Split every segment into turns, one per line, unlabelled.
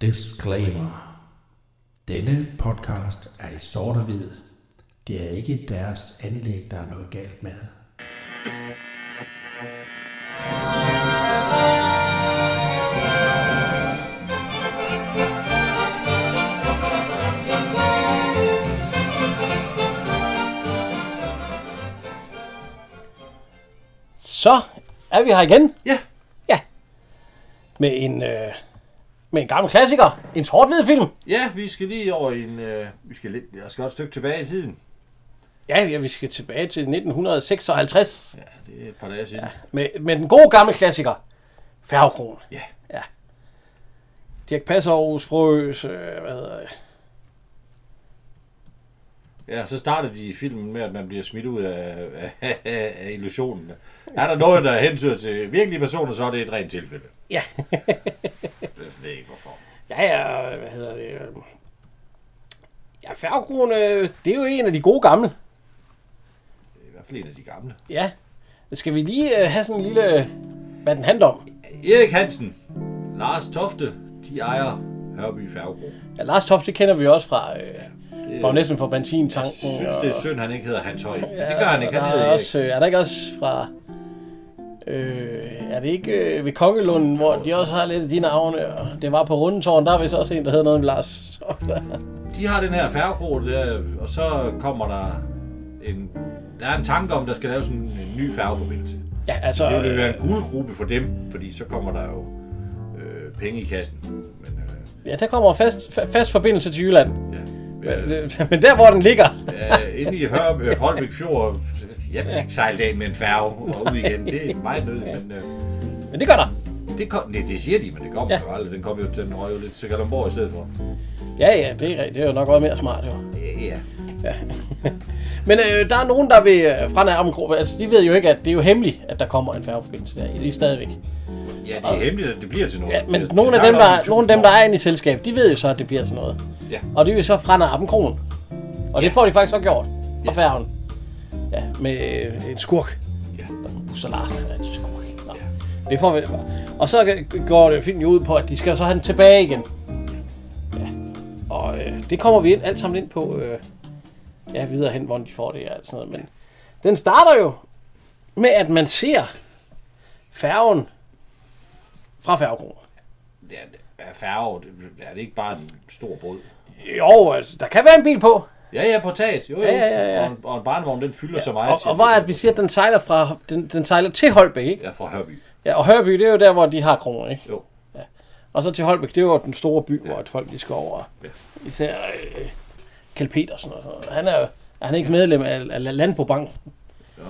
Disclaimer. Denne podcast er i sort og hvid. Det er ikke deres anlæg, der er noget galt med.
Så er vi her igen.
Ja,
Ja. Med en, øh, med en gammel klassiker. En sort-hvid film.
Ja, vi skal lige over i en... Øh, vi skal lidt, jeg skal også et stykke tilbage i tiden.
Ja, ja, vi skal tilbage til 1956.
Ja, det er et par dage siden. Ja.
Med, med den gode gamle klassiker. Færgekron.
ja.
Dirk Passer, Aarhus Brøs, øh, hvad hedder det?
Ja, så starter de filmen med, at man bliver smidt ud af, af, af illusionen. Er der noget, der hentyder til virkelige personer, så er det et rent tilfælde.
Ja.
Jeg ved ikke hvorfor.
ja, ja, hvad hedder det? øh. Ja, Færgekron, øh, det er jo en af de gode gamle.
Det er i hvert fald en af de gamle.
Ja. Skal vi lige øh, have sådan en lille... øh, Hvad den handler om?
Erik Hansen, Lars Tofte, de ejer Hørby Færgebro.
Ja, Lars Toft, det kender vi også fra... Øh,
Det-
Bagnæssen for
Jeg
benzintanken.
synes,
og-
det er synd, han ikke hedder Hans Høj. Det gør han ikke. Han
der er,
hedder Erik.
også, øh, er der ikke også fra... Øh, er det ikke øh, ved Kongelunden, hvor de også har lidt af de navne? Og det var på Rundetårn, der er vist også en, der hedder noget med Lars.
De har den her færgebro, der, og så kommer der en... Der er en tanke om, der skal laves en, en ny færgeforbindelse.
ja, altså...
Det vil
Øh,
være en guldgruppe for dem, fordi så kommer der jo øh, penge i kassen. Men, øh,
ja, der kommer fast, fa- fast forbindelse til Jylland.
ja.
Men,
Øh,
øh, men der, hvor den ligger...
øh, inde i Hørb, øh, Holbæk Fjord, jeg vil ikke sejle det med en færge og ud igen. Det er meget nødvendigt, men øh,
Men det gør der.
det, kom, det, det siger de, men det
Ja.
kommer ja. jo aldrig. Den kom jo, den røg jo lidt til Kalundborg i stedet for.
Ja, ja, det er, rigtigt. det er jo nok også mere smart, jo.
Øh, ja.
Men øh, der er nogen, der vil øh, fra Nærmengro, altså de ved jo ikke, at det er jo hemmeligt, at der kommer en færgeforbindelse der. Det er stadigvæk.
ja, det er hemmeligt, at det bliver til noget.
Ja, men
Det- det
nogle af
snakker
dem,
om
der,
tusind
nogle af dem, der
år.
er inde i selskab, de ved jo så, at det bliver til noget.
Ja.
Og det er jo så fra Narbenkronen. Og det får de faktisk også gjort. Fra
Ja.
færgen. Ja, med øh, en skurk.
Ja.
Buster Larsen er en skurk. Nå. Det får vi. Og så g- går det fint ud på, at de skal jo så have den tilbage igen. Ja. Og øh, det kommer vi ind, alt sammen ind på. Øh, ja, videre hen, hvordan de får det og alt sådan noget. Men den starter jo med, at man ser færgen fra færgekronen.
Ja, er færge, det- er det ikke bare en stor båd?
Jo, altså, der kan være en bil på.
Ja, ja, på taget. Jo, jo.
Ja, ja, ja, ja.
Og, en, og en barnevogn, den fylder ja, så meget.
Og,
til-
og hvor er det, vi siger, at den sejler, fra, den, den sejler til Holbæk, ikke?
Ja, fra Hørby.
Ja, og Hørby, det er jo der, hvor de har kroner, ikke?
Jo.
Og så til Holbæk, det er jo den store by, hvor at folk de skal over.
Ja.
Især øh, Kjell Petersen og sådan noget. Han er jo er han ikke medlem af, af Landbobanken.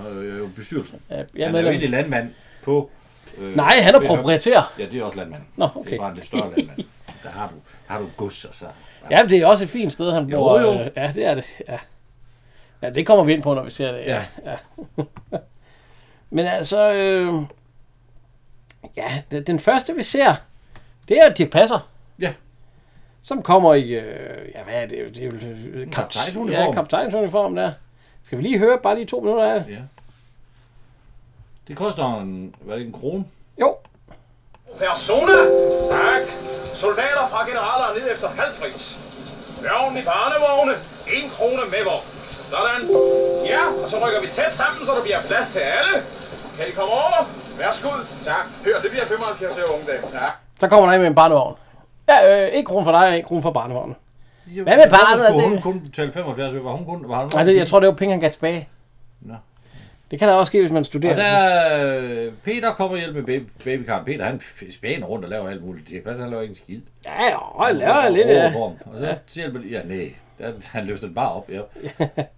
Og, øh, bestyrelsen.
Ja, Jeg
Ja,
er
han er jo
medlem.
egentlig landmand på... Øh,
Nej, han er
ved Hørby.
proprietær.
Ja, det er også landmand.
Nå,
Det
okay.
er bare en lidt større landmand. Der har du, har du gods og så...
Ja, men det er også et fint sted, han
Jo,
bor.
jo.
Øh, Ja, det er det. Ja. ja, det kommer vi ind på, når vi ser det.
Ja.
ja. Men altså, øh, ja, den, den første vi ser, det er Dirk Passer,
Ja,
som kommer i, øh, ja, hvad er det? Det er jo øh, kap-
kaptajnsuniform.
Ja, kaptajnsuniform der. Skal vi lige høre bare lige to minutter af det?
ja. Det koster en, hvad er det, en krone?
Jo,
Persona! Tak! Soldater fra generaler ned efter halv pris. Børn i barnevogne. En krone med vogn. Sådan. Ja, og så rykker vi tæt sammen, så der bliver plads til alle. Kan I komme over? Værsgo. Tak. Hør, det bliver 75 her unge dag. Tak.
så kommer der en med en barnevogn. Ja, øh, en krone for dig og en krone for barnevognen. Hvad med barnet?
Hvorfor skulle hun
Det-
kun betale 75 øre? Var hun kun... Var hun
Nej, det, jeg tror, det var penge, han gav tilbage.
Nå.
Det kan der også ske, hvis man studerer.
Og der er, øh, Peter kommer hjælp med baby, babykarren. Peter, han f- spæner rundt og laver alt muligt. Det passer, han laver ikke en skid.
Ja, jo, jeg laver lidt, ja.
Og så hjælper de, ja nej, der, han løfter den bare op, ja.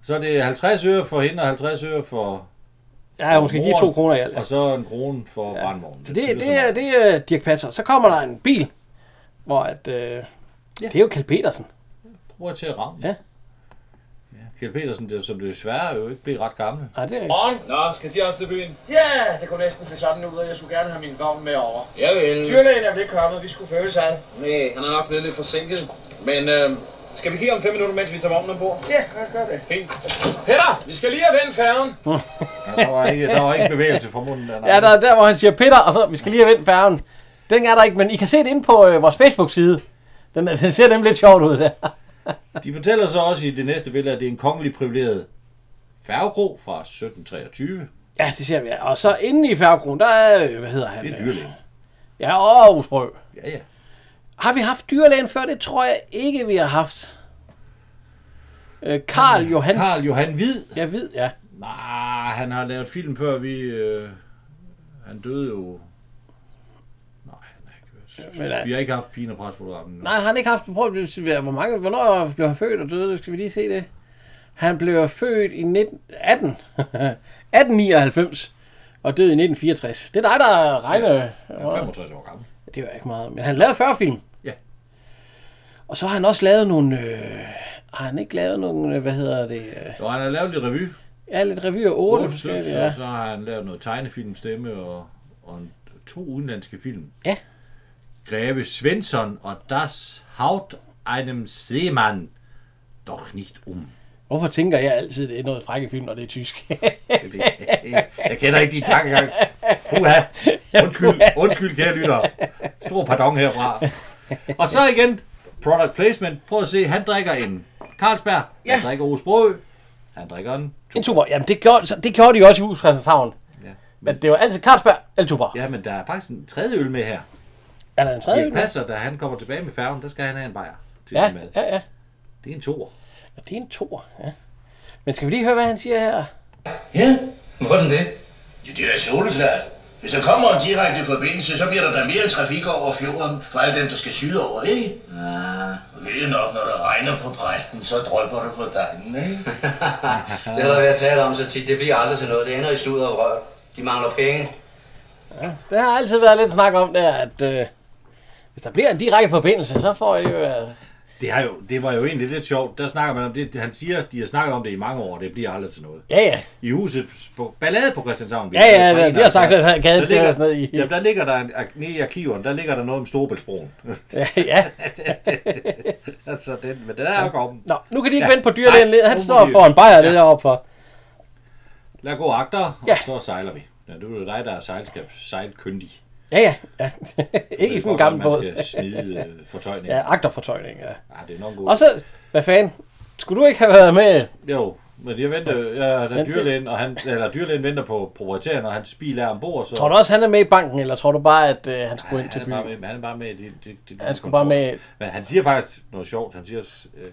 Så er det 50 øre for hende og 50 øre for
Ja, jeg måske give
moren,
to kroner i alt.
Og så en krone for ja. brandvognen.
Så det, det, er, det er Dirk Passer. Så kommer der en bil, hvor at, øh, det er jo Kjeld Petersen.
Prøv til at ramme.
Ja.
Kjell Petersen, det, som desværre jo ikke blev ret gammel.
Nej, det er ikke.
Morgen.
Nå, skal de også til byen?
Ja, det kunne næsten se sådan ud, og jeg skulle gerne have min vogn med over.
Jeg vil.
Dyrlægen er vel ikke kommet, vi skulle føles ad.
Nej, han er nok blevet lidt forsinket. Men øh, skal vi kigge om 5 minutter, mens vi tager vognen ombord?
Ja, lad os gøre det.
Fint. Peter, vi skal lige have vendt færgen.
Ja, der, var ikke, der var ikke bevægelse for munden. Der, nej.
Ja, der er der, hvor han siger Peter, og så vi skal lige have vendt færgen. Den er der ikke, men I kan se det inde på øh, vores Facebook-side. Den, er- den ser nemlig lidt sjovt ud der.
De fortæller så også i det næste billede, at det er en kongelig privilegeret færgekro fra 1723.
Ja, det ser vi. ja. Og så inde i færgekronen, der er, øh, hvad hedder han?
Det er
Øh,
dyrlægen.
Ja, og Aarhusbrø.
Ja, ja.
Har vi haft dyrlægen før? Det tror jeg ikke, vi har haft. Øh, Karl Johan.
Karl Johan Hvid.
Jeg ved, ja.
Nej, han har lavet film før vi... Øh, han døde jo... Nej, han har ikke
Men, øh,
været. Vi har ikke haft pigen og presprogrammet. nu.
Nej, han har ikke haft prøv, at sige, hvor mange, hvornår blev han født og døde? Skal vi lige se det? Han blev født i 19, 18, 1899 og døde i 1964. Det er dig, der regner. Ja,
Han er 65 år gammel.
Det var ikke meget. Men han lavede 40 film.
Ja.
Og så har han også lavet nogle... Øh, har han ikke lavet nogle... øh, Hvad hedder det? Øh,
Og han har lavet lidt revy.
ja, lidt revyer 8.
Otte stykker,
forskellige,
ja.
ja.
så har han lavet noget tegnefilm, stemme og, og en- to udenlandske film.
Ja.
Greve Svensson og Das Haut einem Seemann. Doch nicht um.
Hvorfor tænker jeg altid, det er noget frække film, når det er tysk?
Det ved jeg ikke. Jeg kender ikke de tankegang. Uha. Undskyld, undskyld, kære lytter. Stor pardon herfra. Og så igen, product placement. Prøv at se, han drikker en Carlsberg. Ja. Han drikker Osbrø. Han drikker en...
en tuber. Jamen, det gjorde, så- det gjorde de også i Hus Christianshavn.
Ja.
Men det var altid Carlsberg eller tuber. Ja.
ja, men der er faktisk en tredje øl med her.
Er der en tredje?
Det passer, da han kommer tilbage med færgen, der skal han have en bajer til
Ja,
sin mad.
ja, ja.
Det er en toer.
Og det er en toer, ja. Men skal vi lige høre, hvad han siger her?
Ja, hvordan det?
Ja, det er da soleklart. Hvis der kommer en direkte forbindelse, så bliver der da mere trafik over fjorden for alle dem, der skal syde over, ikke?
Ah.
Ja. Ved nok, når det regner på præsten, så drøber det på dejen, ikke?
det har der været talt om så tit. Det bliver aldrig til noget. Det ender i sludder og røv. De mangler penge.
Der har altid været lidt snak om det, at øh, hvis der bliver en direkte forbindelse, så får I jo... Øh,
Det, har jo, det var jo egentlig lidt sjovt. Der snakker man om det. Han siger, de har snakket om det i mange år, og det bliver aldrig til noget.
ja, ja.
I huset på Ballade på Christianshavn.
Ja, ja, det- det har sagt, at han gaden
Der
skal
ligger-
være sådan noget i.
Jamen, der ligger der, en- nede i arkiverne, der ligger der noget om Storebæltsbroen.
ja, ja.
altså, den, men den er jo kommet.
Nå, nu kan de ikke ja.
Ja.
vente på dyrlægen.
Nej,
Nej, han
nu må
står
de-
for en bajer ja.
Ja.
det deroppe for.
Lad gå agter, og
Ja.
så sejler vi. Ja, det er jo dig, der er sejlskab, sejlkyndig.
Ja, ja. ja. ikke i sådan en gammel båd.
Man skal smide øh, fortøjning.
Ja,
Ja.
agterfortøjning, ja.
Ah, det er nok godt.
Og så, hvad fanden? Skulle du ikke have været med?
Jo, men jeg venter, ja, der er
Men-
dyrlægen, og han, eller dyrlægen venter på proprietæren, og hans bil er ombord, så...
Tror du også, han er med i banken, eller tror du bare, at øh, han skulle ind
han
til
er bare
byen?
med, han er bare med i det, det, det
Han skulle
kontor.
bare med-
Men han siger faktisk noget sjovt. Han siger, øh,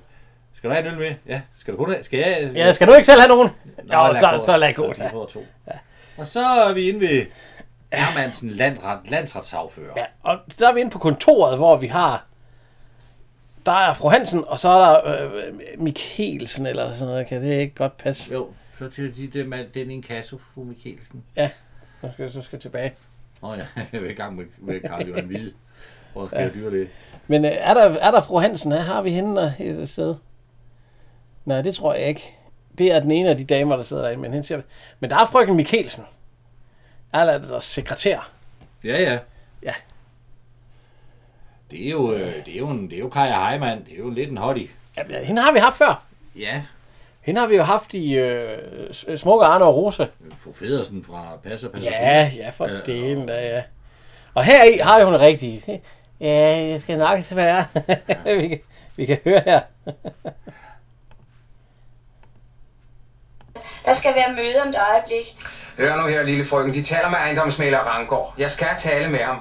skal du have en øl med? Ja, skal du kun have? Skal jeg?
Ja, skal du ikke selv have nogen?
Nå,
Ja,
lad
så,
gå.
så lad gå.
de
Ja.
får to. Og så er vi inde ved Hermansen landret, landsretssagfører.
Ja, og der er vi inde på kontoret, hvor vi har... Der er fru Hansen, og så er der øh, Mikkelsen eller sådan noget. Kan det ikke godt passe?
Jo, så til de det med den inkasso, fru Mikkelsen.
Ja, så skal, så skal jeg tilbage.
Nå ja, jeg er i gang med, med Karl Johan Hvide. Hvor skal jeg dyre det?
Men øh, er, der, er der fru Hansen? her? Har vi hende der et sted? Nej, det tror jeg ikke. Det er den ene af de damer, der sidder derinde. Men, hende siger, vi- men der er frøken Mikkelsen. Eller der altså sekretær.
Ja, ja.
Ja.
Det er jo, øh, det er jo, en, det er jo Kaja Heimann. Det er jo lidt en hottie.
Jamen, hende har vi haft før.
Ja.
Hende har vi jo haft i øh, S- Smukke Arne og Rose.
Fru Federsen fra Passer Passer
Ja, ja, for
Ja,
delen da, ja. Og her i har jo en rigtig... Ja, jeg skal nok svære. vi, kan, vi kan høre her.
Der skal være møde om et øjeblik.
Hør nu her, lille frøken. De taler med ejendomsmælder Rangård. Jeg skal tale med ham.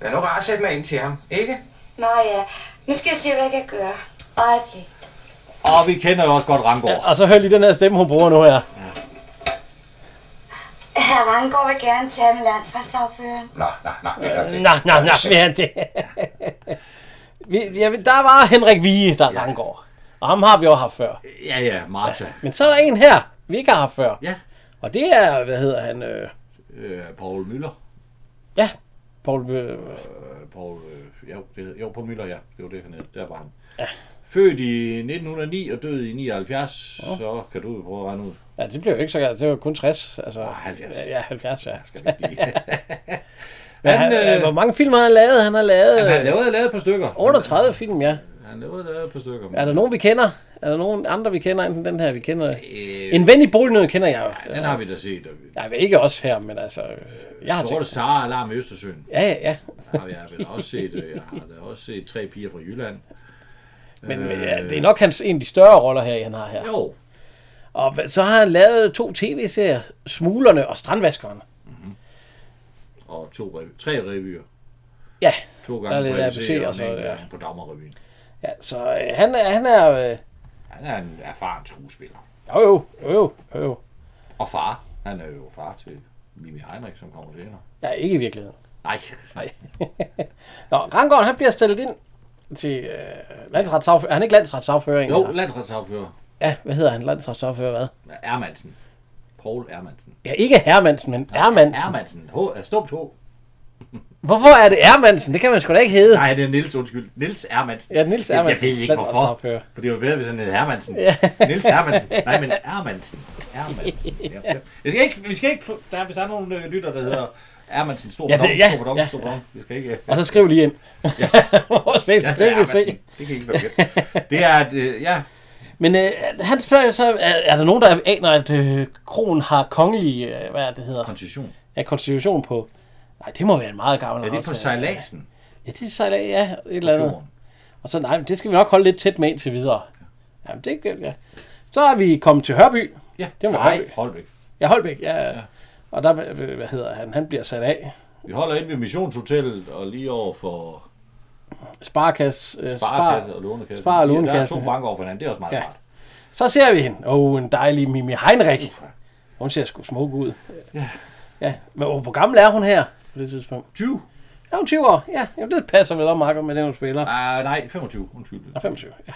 Men nu rar sæt mig ind til ham, ikke?
Nå ja, nu skal jeg se, hvad jeg kan gøre. Øjeblik.
Og vi kender jo også godt Rangård.
Og så hør lige den her stemme, hun bruger nu her.
Herr Ranggaard vil gerne tale med landsretsaføren.
Nå, nå, nå, det er det.
Nå, nå, nå, vi er det. Vi- ja, men der var Henrik Vige, der ja. Rangård. Og ham har vi jo haft før.
Ja, ja, Martha.
Men så er der en her, vi ikke har haft før.
Ja.
Og det er, hvad hedder han? Øh,
Øh, Paul Müller.
ja, Paul, øh,
Øh, Paul, øh, jo, det hed, jo, Paul Müller, ja. Det var det, han hed. Der var han. Født i 1909 og død i 79, så kan du jo prøve at regne ud.
ja, det blev jo ikke så galt. Det var kun 60. Altså,
Ah, 70.
Ja, Ja, 70, ja.
Skal det blive.
Men
han,
han, øh, hvor
øh,
mange film har han lavet? Han har lavet
han har
øh,
lavet, lavet et par stykker.
38 film, ja.
Han lavede lavet et par stykker.
Er der nogen, vi kender? Er der nogen andre, vi kender, enten den her, vi kender?
Øh,
En ven i bolignød kender jeg jo.
den har vi da set. og vi-
Nej, men ikke os her, men altså... øh, Jeg har
Sorte
set...
Sara Alarm i Østersøen.
Ja, ja, ja.
har jeg vel også set. øh, Jeg har da også set tre piger fra Jylland.
Men øh, ja, det er nok hans, en af de større roller her, han har her.
Jo,
Og hvad- så har han lavet to tv-serier, Smuglerne og Strandvaskeren.
Øh, mhm. og to, rev- tre revyer.
Ja,
To
Der er
gange
lidt
på ABC
ABC
og
og så,
en
ja.
gang på Dagmarrevyen.
ja så øh, han, er- han er... Øh,
Han er en erfaren skuespiller.
jo, jo, jo, jo, jo.
Og far. Han er jo far til Mimi Heinrich, som kommer senere.
Ja, ikke i virkeligheden.
Nej, nej.
Nå, Rangården, han bliver stillet ind til øh, landsretssagfører. Han er ikke landsretssagfører
Jo,
Jo.
landsretsafører.
Ja, hvad hedder han? Landsretssagfører hvad?
Ermansen. Paul Ermansen.
Ja, ikke Hermansen, men Ermansen.
Ermansen. H, stumt H.
Hvorfor er det Ermansen? Det kan man sgu da ikke hedde.
Nej, det er Nils, undskyld. Nils Ermansen.
Ja, Niels Ermansen,
Jeg ved ikke, hvorfor.
landsretsafører.
For det var bedre, hvis han hed Hermansen. Nils Hermansen. Nej, men Ermansen. Ermansen. Ja, ja. Vi skal ikke, vi skal ikke få, der, er- hvis der er nogen øh, lytter, der hedder Ermansen, stor
Ja, det- ja,
stor
ja.
ja. stor pardon. Vi skal ikke... øh,
Og så skriv lige ind. Ja. Vores
Ja,
Facebook,
det
det
er
kan vi se.
Ermansen. Det kan I ikke være bekendt. Det er, at, øh, ja,
Men øh, han spørger jo så, er, er der nogen, der aner, at øh, kronen har kongelig, øh, hvad er det hedder,
koncession.
ja, konstitution på? Nej, det må være en meget gavn.
Er det på sejladsen?
Ja, det er sejlads, ja, et eller andet.
Fjorden.
Og så, nej, men det skal vi nok holde lidt tæt med indtil videre. Jamen, det er ikke- ja. Så er vi kommet til Hørby.
Ja,
Det
det
var
var
Holbæk.
nej, Holbæk.
Ja, Holbæk, ja. ja. Og der, øh, hvad hedder han, han bliver sat af.
Vi holder ind ved Missionshotellet og lige over for
Sparkasse, øh,
Sparekasse
spar.
og Lånekasse.
Spar- og
Ja,
Lånekasse,
Der er
ja.
to banker over for hinanden. Det er også meget
Ja.
ja. rart.
Så ser vi hende. Åh, oh, en dejlig Mimi Heinrich. Hun ser sgu smuk ud. Ja. ja. Men hvor gammel er hun her på det tidspunkt?
20?
Er hun 20 år? Ja, jamen, det passer vel om, Marco, med den, hun spiller.
Ah, nej, 25. Undskyld.
Og 25, ja.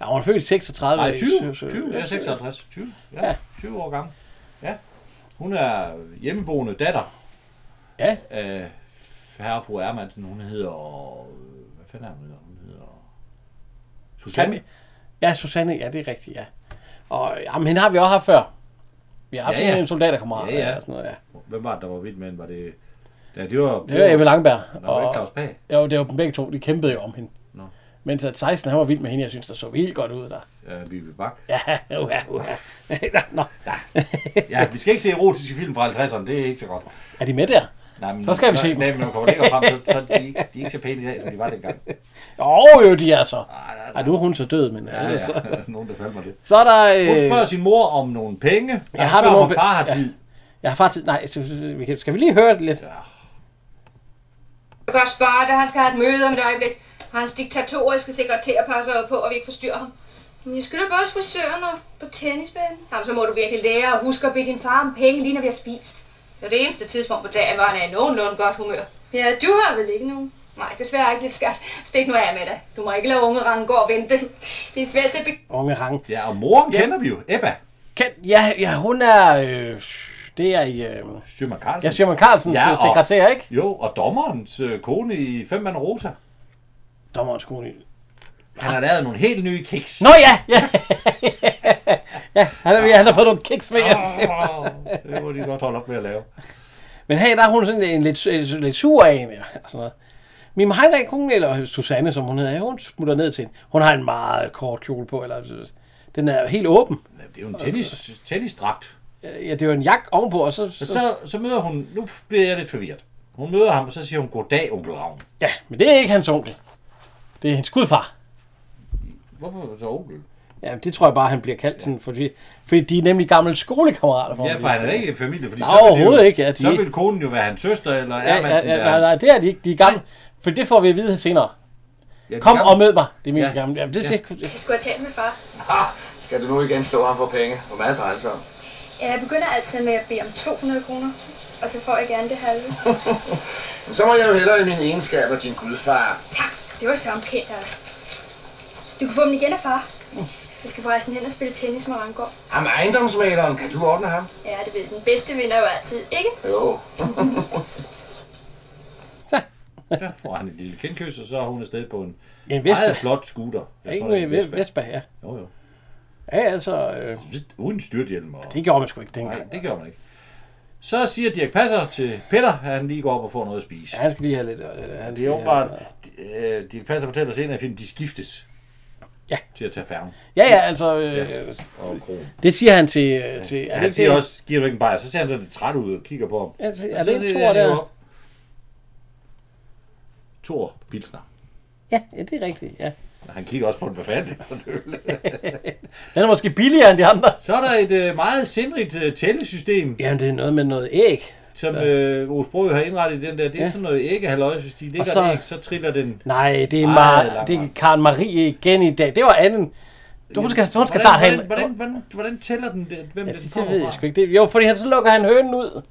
Ja, hun er født i 36.
Nej,
i
20.
27.
20. Ja, 56. 20. Ja,
Ja.
20 år gammel. Ja. Hun er hjemmeboende datter
Ja,
af herre og fru Ermansen. Hun hedder... Hvad fanden er hun hedder? Hun hedder... Susanne.
ja, Susanne, ja, det er rigtigt, ja. Og jamen, hende har vi også haft før. Vi har haft
Ja,
ja, ja.
ja.
en soldaterkammerat
Ja, ja.
og sådan noget, ja.
Hvem var det, der var vild med hende? Var det... Ja, det var...
Det var Ebbe Langberg.
Nå, var det ikke Claus Pag?
Jo, det var dem begge to, de kæmpede jo om hende.
Nå.
Mens at 16, han var vild med hende, jeg synes, der så helt godt ud der.
Uh, Vivi Bak.
Ja, uha, uha. Nå,
Ja, vi skal ikke se erotiske film fra 50'erne. Det er ikke så godt.
er de med der?
Nej, men,
Så skal vi se dem.
dem. Nej, men når man kommer længere frem, så, så er de, ikke, de er ikke så pæne i dag, som de var dengang.
Jo, jo, de er så.
nej, nej.
Ej, nu er hun så død, men
Ja,
ellers så.
ja. Nogen, der faldt mig det.
Så er der...
Hun
øh,
spørger sin mor om nogle penge. Ja,
har
har
du
du
nogle
om far
pe-
har
Ja.
tid.
Jeg har faktisk... Nej, så- så- så- vi kan- skal vi lige høre det lidt?
Du kan spørge dig, han skal have et møde om et øjeblik. Og hans diktatoriske sekretær passer jo på, at vi ikke forstyrrer ham.
Men jeg skulle da gå hos frisøren og på tennisbanen.
Jamen, så må du virkelig lære og huske at bede din far om penge, lige når vi har spist. Det er det eneste tidspunkt på dagen, hvor han er i nogenlunde godt humør.
Ja, du har vel ikke nogen?
Nej, desværre ikke lidt skat. Stik nu af med dig. Du må ikke lade unge Rangård vente.
Det er svært at be-
Unge Rang.
Ja, og moren ja. kender vi jo. Ebba.
Kan, ja, ja, hun er... Øh, det er i... Øh,
Sjøman Carlsen.
ja, Sjøman Carlsens ja,
og,
sekretær, ikke?
Jo, og dommerens øh, kone i Fem Mand og Rosa.
Dommerens kone.
Han har lavet nogle helt nye kiks.
Nå ja! Ja, ja han, har, han har fået nogle kiks med hjem. til.
Det må de godt holde op med at lave.
Men her der er hun sådan en lidt, lidt, lidt sur en, ja, og sådan noget. Min Heinrich, hun, eller Susanne, som hun hedder, hun smutter ned til hende. Hun har en meget kort kjole på, eller den er helt åben.
Det er jo en tennis, tennisdragt.
Ja, det er jo en jak ovenpå, og så...
Og
så
så, så møder hun... Nu bliver jeg lidt forvirret. Hun møder ham, og så siger hun, goddag, onkel Ravn.
ja, men det er ikke hans onkel. Det er hendes gudfar.
Hvorfor så onkel?
Ja, det tror jeg bare, han bliver kaldt sådan, fordi, fordi de er nemlig gamle skolekammerater. For
Ja,
ham,
for han er ikke en familie, fordi
Nej,
så ville det
overhovedet
jo,
ikke, ja, de
så
ikke-
ville konen jo være hans søster, eller
Ja, ja,
Ermansen
ja,
være
nej, nej,
hans-
det er de ikke. De er gamle. For det får vi at vide senere.
Ja, de
Kom
gamle-
og mød mig. Det er mine ja.
Ja.
gamle. Jamen, det,
Ja.
det, det,
Jeg skulle have talt med far.
Ah, skal du nu igen slå ham for penge? Hvor meget drejer det sig om?
Ja, jeg begynder altid med at bede om 200 kroner. Og så får jeg gerne det halve.
Jamen, Så må jeg jo hellere i mine egenskaber, din gudfar.
altså.
tak, det var så omkendt af dig. Du kan få dem igen af far. Jeg skal forresten hen og spille tennis med Rangård.
Ham ejendomsmaleren, kan du ordne ham?
Ja, det ved den bedste vinder jo altid, ikke?
Jo.
Ja, får han en lille kindkys, og så er hun afsted på en
En
meget
Vespa.
flot scooter. Jeg tror, det er
Ikke
en
en
Vespa.
Vespa, ja.
Jo, jo.
Ja, altså, øh,
Uden styrthjelm. Og...
det gjorde man sgu ikke
Nej,
dengang.
det gør man ikke. Så siger Dirk Passer til Peter, at han lige går op og får noget at spise.
Ja, han skal lige have lidt... Øh, han
Det er
skal
jo
lige have-
åbenbart, øh, Dirk Passer fortæller senere i filmen, de skiftes
Ja.
til at tage færgen
Ja, ja, altså... Øh,
og krogen.
det siger han til... Øh, til
Ja,
er
han
det
siger
ikke
også, giver du ikke en bajer, så ser han sådan lidt træt ud og kigger på ham.
det? Er det, er
Og så
det ikke
han
Thor
jo
der?
op. Thor Pilsner.
Ja, ja, det er rigtigt, ja.
Han kigger også på den, hvad fanden det er for en øl.
Den er måske billigere end de andre.
Så er der et øh, meget sindrigt øh, tællesystem,
Jamen, det er noget med noget æg.
som øh, Osbro har indrettet i den der. Det er
Ja.
sådan noget æggehalløj, hvis de ligger
så-
så... æg, så triller den.
Nej, det er,
Meget
Mar-
langt
det er
vej.
Karen Marie igen i dag. Det var anden. Du, hun skal, hun skal
Hvordan-
starte hen.
hvordan, hvordan, hvordan, hvordan tæller den, det, hvem
Ja,
den
det, det
kommer
ved jeg
fra?
sgu ikke. Det, jo, fordi han, så lukker han hønen ud.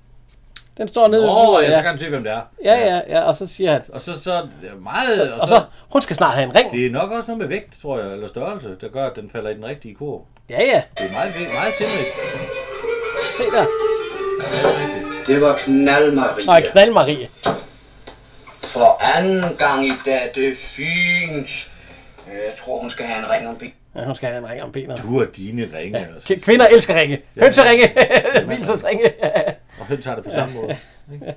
Den står nede. ved
Åh, oh,
bordet,
jeg
ja.
så kan han se, hvem det er.
ja, ja, ja, og så siger han.
Og så, så det er meget...
Og så, hun skal snart have en ring.
Det er nok også noget med vægt, tror jeg, eller størrelse, der gør, at den falder i den rigtige kurv.
Ja, ja,
Det er meget, meget sindrigt.
se der.
Det er rigtigt.
Det var knald, Marie.
Nej, knald Marie.
For anden gang i dag, det er fint. Øh, Jeg tror, hun skal have en ring om ben.
Ja, hun skal have en ring om benet.
Du og dine ringe. altså. Ja.
K- Kvinder elsker ringe. Hønseringe. Vildsensringe.
Og høn tager det på samme måde. ikke?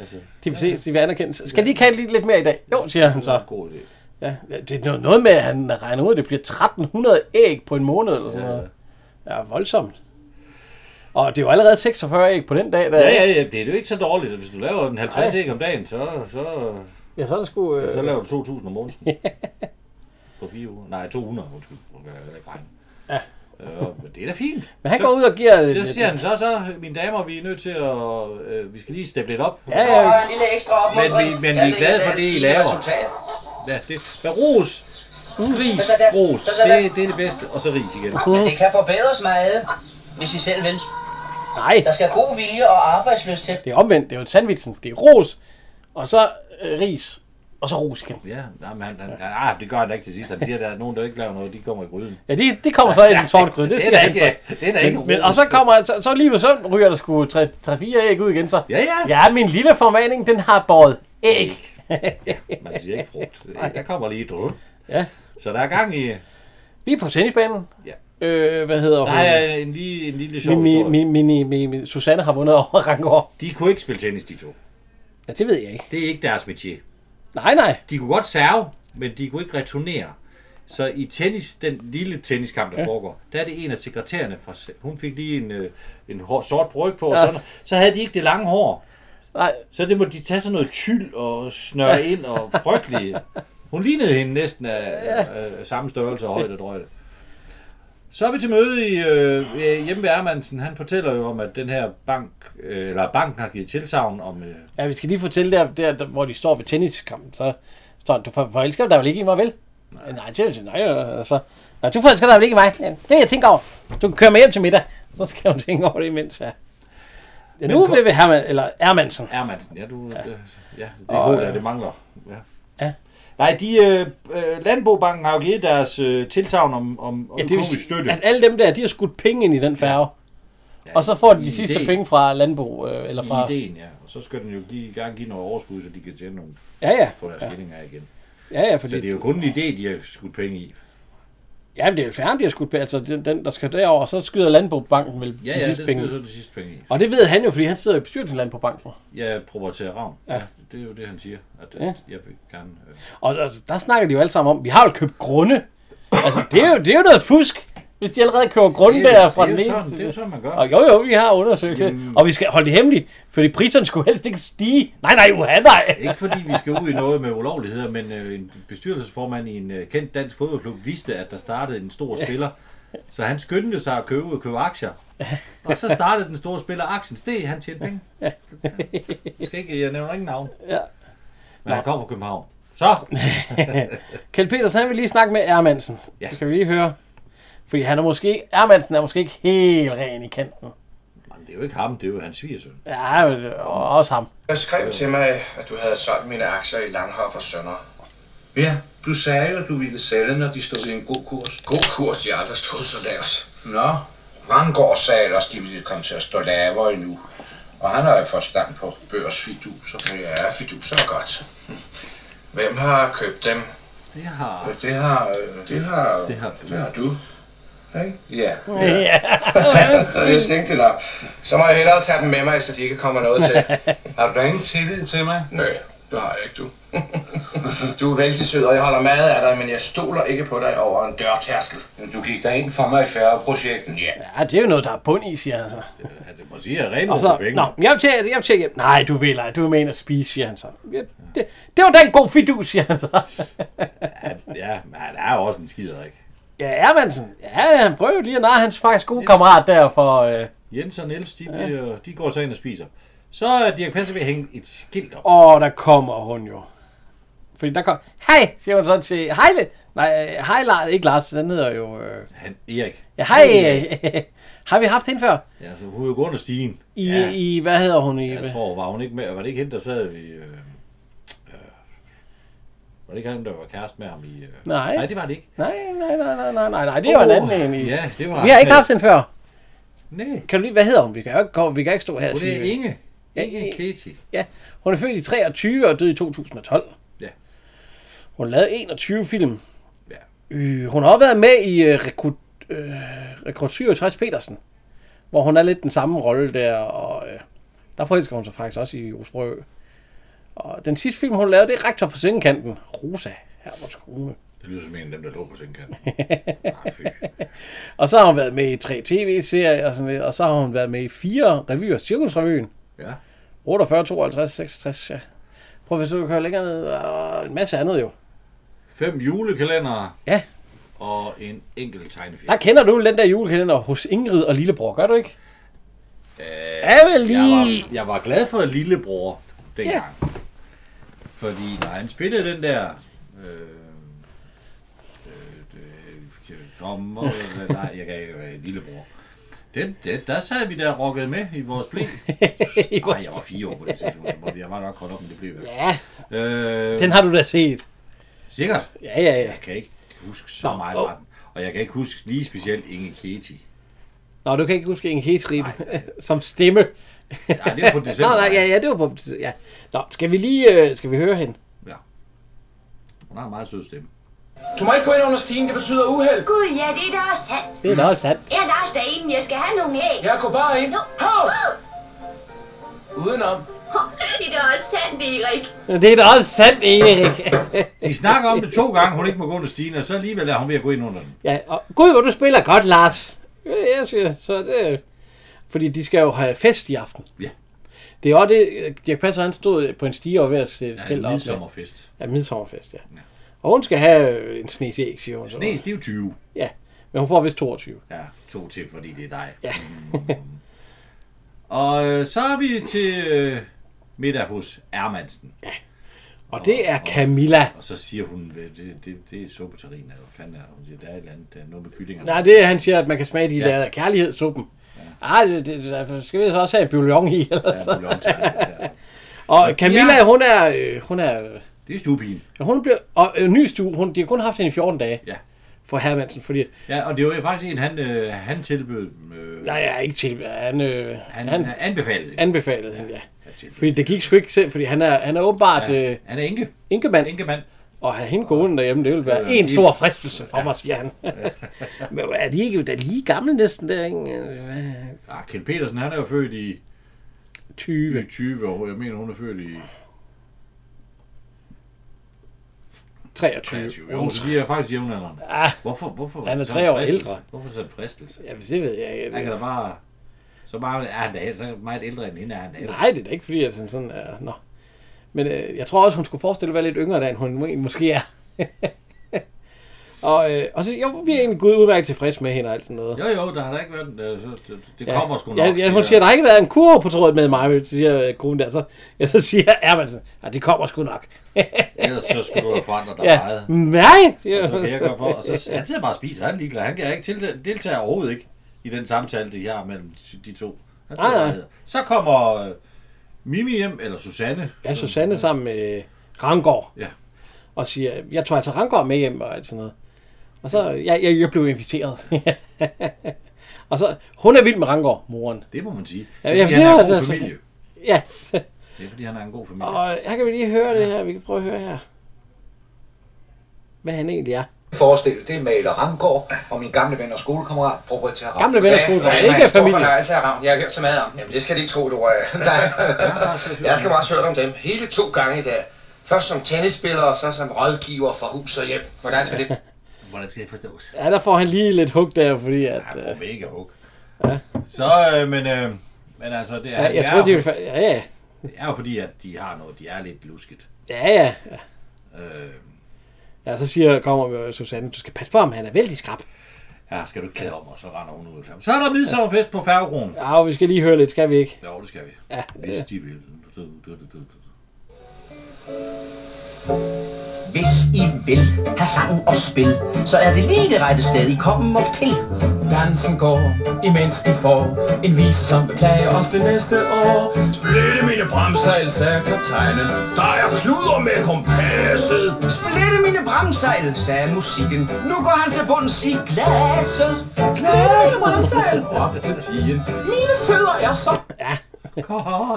Altså, det
De vil ses, de vil anerkendes. Skal de ikke have lidt lidt mere i dag? Jo, siger han
er en
så.
god idé.
Ja, det er noget- noget med, at han regner ud, at det bliver 1300 æg på en måned eller sådan noget. Ja, voldsomt. Og det var allerede 46 æg på den dag, der...
Ja, ja, ja, det er jo ikke så dårligt. at Hvis du laver en 50 æg om dagen, så, så,
ja så er det sgu... Øh...
så laver du 2.000 om måneden. På fire uger. Nej, 200, undskyld. Nu kan jeg heller ikke regne.
Ja.
Øh, men det er da fint.
Men han
så,
går ud og giver... øh,
Så siger han, så, så, mine damer, vi er nødt til at, øh, vi skal lige steppe lidt op.
Ja, ja,
en lille ekstra opmuntring.
Men vi- men vi er
Jeg ved,
glade
at
for det, I
er et
laver.
resultat.
Ja, det, men ros,
Mm.
ris, ros, det, det er det bedste. Og så ris igen.
Men det kan forbedres meget, hvis I selv vil.
nej,
Der skal god vilje og arbejdsløst til.
det er omvendt. Det er jo sandvitsen. Det er ros, og så øh, ris, og så ros igen.
Ja, nej, men han, han, ah, det gør han da ikke til sidst. Han siger, at der er nogen, der ikke laver noget, de kommer i gryden.
Ja, de, de kommer så i den sorte gryde. Det
Det er
siger
da
han så.
ikke, det er da ikke
Men, men,
ros.
og så kommer så, så lige ved søvn ryger der sgu 3-4 æg ud igen så.
Ja, ja.
Ja, min lille formaning, den har båret æg.
Man siger ikke frugt. Der kommer lige et drød.
Ja.
Så der er gang i...
Vi er på tennisbanen.
Ja.
Øh, hvad hedder hun?
Der er en, lige, en lille sjov
mi,
historie.
mi, mi, mi, mi, mi, Susanne har vundet over Rangård.
De kunne ikke spille tennis, de to.
Ja, det ved jeg ikke.
Det er ikke deres métier.
Nej, nej.
De kunne godt serve, men de kunne ikke returnere. Så i tennis, den lille tenniskamp, der ja. foregår, der er det en af sekretærerne fra... se- Hun fik lige en, øh, en hår, sort bryg på, og
Ja.
sådan, så havde de ikke det lange hår.
nej.
Så det må de tage sådan noget tyld og snøre ind og frygtelige. Hun lignede hende næsten af, af, af samme størrelse og højde og drøjde. Så er vi til møde i øh, hjemme ved Ermansen. Han fortæller jo om, at den her bank, øh, eller banken har givet tilsavn om... Øh,
Ja, vi skal lige fortælle der, der, der hvor de står ved tenniskampen, så står han, du for, forelsker dig vel ikke i mig, vel? Nej, nej, det, nej, altså. Nej, du forelsker dig vel ikke i mig? Ja, det vil jeg tænke over. Du kan køre med hjem til middag. Så skal hun tænke over det imens, ja. ja nu
kom-
vil vi Herman, eller Ermansen.
Ermansen, ja, du, ja. Det, ja, det er
Og,
og, ja,
øh,
det mangler. Ja.
ja.
Nej, de, øh, øh, Landbobanken har jo givet deres øh, tilsavn om, om, om
Ja, det vil
økonomisk
sige,
støtte.
at alle dem der, de har skudt penge ind i den færge.
Ja,
Og så får de
i
de sidste
ideen.
penge fra landbrug, øh, eller fra...
I ideen, ja. Og så skal den jo give, i gang give noget overskud, så de kan tjene nogle,
Ja, ja.
få deres ja. skillinger igen.
Ja, ja,
Så
fordi...
det er jo kun en idé, de har skudt penge i.
Ja, men det er jo færre, de har skudt penge. Altså, den, den, der skal derover, og så skyder landbrugbanken vel de sidste penge.
så de sidste penge i.
Og det ved han jo, fordi han sidder i bestyrelsen i Landbrugbanken.
Jeg prøver til Ravn.
Ja.
Ja. ja. det er jo det, han siger. At, at
Ja.
ja. jeg vil gerne... Øh.
Og der, der snakker de jo alle sammen om, vi har jo købt grunde. Altså, det er jo, det er jo noget fusk, hvis de allerede køber grunde
Det er jo-
der fra
det er
den
jo
ene. til-
sådan, det Mm. er jo sådan, man gør.
Og jo, jo, vi har undersøgt det. Og vi skal holde det hemmeligt, fordi priserne skulle helst ikke stige. Nej, nej, uha, nej.
Ikke fordi vi skal ud i noget med ulovligheder, men øh, en bestyrelsesformand i en øh, kendt dansk fodboldklub vidste, at der startede en stor spiller. Så han skyndte sig at købe, købe aktier. Og så startede den store spiller aktien. Steg, han tjente penge. Jeg, skal ikke, jeg nævner ingen navn.
Ja.
Men han kommer fra København. Så!
Kjeld Petersen, han vil lige snakke med Ermansen.
Ja.
Det kan vi lige høre. Fordi han er måske, Ermansen er måske ikke helt ren i kanten.
Men det er jo ikke ham, det er jo hans svigersøn.
Ja, men, og også ham.
Jeg skrev til mig, at du havde solgt mine aktier i Langhoff og Sønder.
Ja,
Du sagde jo, at du ville sælge, når de stod i en god kurs.
God kurs, de aldrig stod så lavt.
Nå,
Rangård sagde ellers, de ville komme til at stå lavere endnu. Og han har jo forstand på børsfiduser. Ja, fiduser er godt. Hvem har købt dem?
det har...
Det har... øh, Det har...
Det har du.
Det har du. Ikke?
Ja.
Ja.
jeg tænkte da,
Så må jeg hellere tage dem med mig, så de ikke kommer noget til. Har du da ingen tillid til mig?
nej, det har jeg ikke, du.
Du er vældig sød, og jeg holder meget af dig, men jeg stoler ikke på dig over en dørtærskel.
Du gik der ind for mig i færgeprojektet. Ja.
Ja, det er jo noget, der er bund i, siger han så.
ja, det må sige, at jeg er
Og så, nå, men jeg vil til, jeg vil til hjem. Nej, du vil ej, du er med ind og spise, siger han så. Ja, det, det var da en god fidus, siger han så.
Ja, men han er jo også en skider, ikke?
Ja, Ermansen, ja, han prøver lige at narre hans faktisk gode kammerat der for... Øh,
Jens og Niels, de, bliver, de går så ind og spiser. Så er Dirk Passer ved at hænge et skilt op.
Åh, der kommer hun jo. Fordi der kom... Hej, siger hun så til... Hej, Le- Nej, øh, hej Lars, ikke Lars, den hedder jo... Øh,
Han, Erik.
ja, hej, øh, har vi haft hende før?
Ja, så hun er jo gået under stigen.
I,
ja,
ja. i hvad hedder hun? I,
jeg tror, var hun ikke med? Var det ikke hende, der sad ved... Øh, øh, var det ikke han, der var kæreste med ham i... Øh,
Nej.
Nej, det var det ikke.
Nej, nej, nej, nej, nej, nej, nej, det var en
Åh,
anden en. I.
Ja, det var...
Vi har ikke haft hende før.
Nej,
Kan du lige, hvad hedder hun? Vi kan jo ikke, gå- vi kan ikke stå her og
hun
sige...
er Inge.
Ja,
Inge
Inge.
Katie.
Ja, hun er født i 23 og døde i 2012.
Ja.
Hun lavede 21 film.
Ja.
Øh, hun har også været med i øh, Rekrut, øh, Rekrut 67 Petersen, hvor hun er lidt den samme rolle der, og øh, der forelsker hun sig faktisk også i Osbrø. Og den sidste film, hun lavede, det er Rektor på sengekanten. Rosa, Herberts kone.
Det lyder som en af dem, der lå på sengekanten. Ah, fy.
Og så har hun været med i tre tv-serier og sådan lidt, og så har hun været med i fire revyer. Cirkusrevyen,
Ja.
48, 52, 66, ja. Prøv hvis du kører længere ned, og en masse andet jo.
Fem julekalendere
Ja,
og en enkelt tegnefilm.
der kender du den der julekalender hos Ingrid og Lillebror, gør du ikke? Ja, vel
Øh, Jeg
lige...
var, jeg var glad for lillebror
Ja.
dengang. Ja. Fordi når han spillede den der... Øh, øh, øh, kom og, nej, jeg kan ikke være lillebror. Den, den, der sad vi der og rockede med i vores blæ. Nej, jeg var fire år på det tidspunkt. hvor Jeg var nok holdt op, men det blev jeg.
Ja,
Øh,
den har du da set.
Sikkert.
Ja, ja, ja.
Jeg kan ikke huske så
Nå,
meget
åh.
af den. Og jeg kan ikke huske lige specielt Inge Keti.
Nå, du kan ikke huske en helt rib som stemme.
Nej, det var på
Nå,
december.
nej, ja, ja, det var på... Ja. Nå, skal vi lige... Øh, skal vi høre hende?
ja. Hun har en meget sød stemme.
Du må ikke gå ind under stigen, det betyder uheld.
Gud, ja, det er da også sandt.
Det er da også sandt.
Jeg er Lars derinde, jeg skal have nogle æg.
Mm. Jeg går bare ind.
Nu.
Hov!
Uh,
Udenom.
det er da også sandt, Erik.
Det er da også sandt, Erik.
De snakker om det to gange, hun ikke må gå under stigen, og så alligevel er hun ved at gå ind under den.
ja, og gud, hvor du spiller godt, Lars. Ja, jeg siger, så det... Fordi de skal jo have fest i aften.
Ja.
Det er også det, øh, Dirk Passer, han stod på en stige og var ved at sætte
Ja,
skilt op.
en
med-
midsommerfest.
Ja, midsommerfest, ja. ja. Og hun skal have øh, en snes æg, siger hun. så.
Snes, det er jo 20.
Ja, men hun får vist 22.
Ja, to til, fordi det er dig.
Ja.
Og øh, så er vi til øh, middag hos Ermansen. Ja.
Og det er Camilla.
Og så siger hun, øh, det, det, det er suppeterrin, eller hvad fanden er det? Hun siger, der er et eller andet, der er noget med kyllinger.
Nej, det er, han siger, at man kan smage de
Ja.
ja. der kærlighedssuppen. Ja. Ej, det, det, derfor skal vi så også have en bouillon i, eller
Ja,
så.
bouillontegn, ja.
Og Camilla,
Ja.
hun er, øh, hun er, øh,
Det er stuepigen.
hun bliver, og øh, ny stue, hun, de har kun haft hende i 14 dage
Ja.
for Hermansen, fordi
Ja, og det var jo faktisk en, han, øh, han tilbød... Øh,
der er ikke til, han, øh,
han,
han,
han, anbefalede det.
anbefalede hende, ja.
Ja, tilbød.
Fordi det gik sgu ikke selv, fordi han er, han er åbenbart ja.
ja,
øh,
han er enke.
enkemand,
Enkemand.
og have hende gående derhjemme, det ville være
Ja,
en
det-
stor fristelse for mig, siger han. Men er de ikke da lige gamle næsten der, ikke? Øh, hvad?
Ah, Kjeld Petersen, han er jo født i
20.
20 år. Jeg mener, hun er født i
23.
23 år, så de er faktisk jævnaldrende.
Ah,
Hvorfor, hvorfor
Han er
sådan en
tre år
fristelse?
ældre.
Hvorfor sådan en fristelse?
ja, hvis det ved jeg ikke.
Han kan da bare... Så bare er han da, så meget ældre end hende er han da. ældre.
Nej, det er da ikke fordi, at sådan sådan er... Nå. Men øh, jeg tror også, hun skulle forestille at være lidt yngre, da end hun egentlig måske er. og, øh, og så, jo, vi er egentlig gået udmærket tilfreds med hende og alt sådan noget.
Jo, jo, der har da ikke været... øh, så- så- Det kommer sgu nok.
ja, ja, hun siger, der har ikke været en kurve på trådet med mig, men så siger øh, konen der. Så, ja, så siger Ermansen, at det kommer sgu nok.
Ellers så skulle du have forandret dig meget.
ja, nej, siger
Og så
hun
kan jeg
så.
godt for, og så han sidder bare og spiser, han er ligeglad. Han kan ikke til, deltage overhovedet ikke i den samtale, de har mellem de- de to. Han sidder
Nej, nej.
bare og hedder. Så kommer øh, Mimi hjem, eller Susanne.
Ja, Susanne sammen med Rangård.
Ja.
og siger, jeg tror altså Rangård med hjem og alt sådan noget. Og så, jeg, jeg, jeg blev inviteret. og så, hun er vild med Rangård, moren.
Det må man sige.
Ja,
Det
ja,
er, fordi
det
han
var
er en god
altså-
familie.
Ja.
Det er, fordi han er en god familie.
Og her kan vi lige høre det her. Vi kan prøve at høre her. Hvad han egentlig er.
forestil, det er Maler Ramgaard og min gamle ven og skolekammerat, proprietær Ram.
Gamle venner skulle være ikke familie.
Ram. Jeg har hørt så meget om.
Jamen, det skal de ikke tro, du er. jeg skal bare høre om dem hele to gange i dag. Først som tennisspiller, og så som rådgiver for hus og hjem. Hvordan skal det?
Hvordan skal det forstås?
Ja, der får han lige lidt hug der, fordi at...
Han
øh,
får mega hug.
Ja.
Så, øh, men, øh, men altså, det
Ja,
er...
jeg
det er
troede, de
jo-
ville fa- ja, ja.
Det er jo fordi, at de har noget, de er lidt lusket.
Ja, ja.
Øh,
Ja, så siger, kommer med Susanne, du skal passe på ham, han er vældig skrab.
ja, skal du ikke klæde om, og så render hun ud. Så er der midsommerfest på Færgekronen.
Ja, vi skal lige høre lidt, skal vi ikke?
Jo, det skal vi.
Ja.
Hvis de vil. Du, du, du, du.
Hvis I vil have sang og spil, så er det lige det rette sted, I kommer til.
Dansen går, imens I får en vise, som vil plage os det næste år. Splitte mine bremser, sagde kaptajnen. Der er kluder med kompasset.
Splitte mine bremsejl, sagde musikken. Nu går han til bunds i glasset. Knas bremsejl,
råbte pigen.
mine fødder er så...
Ja.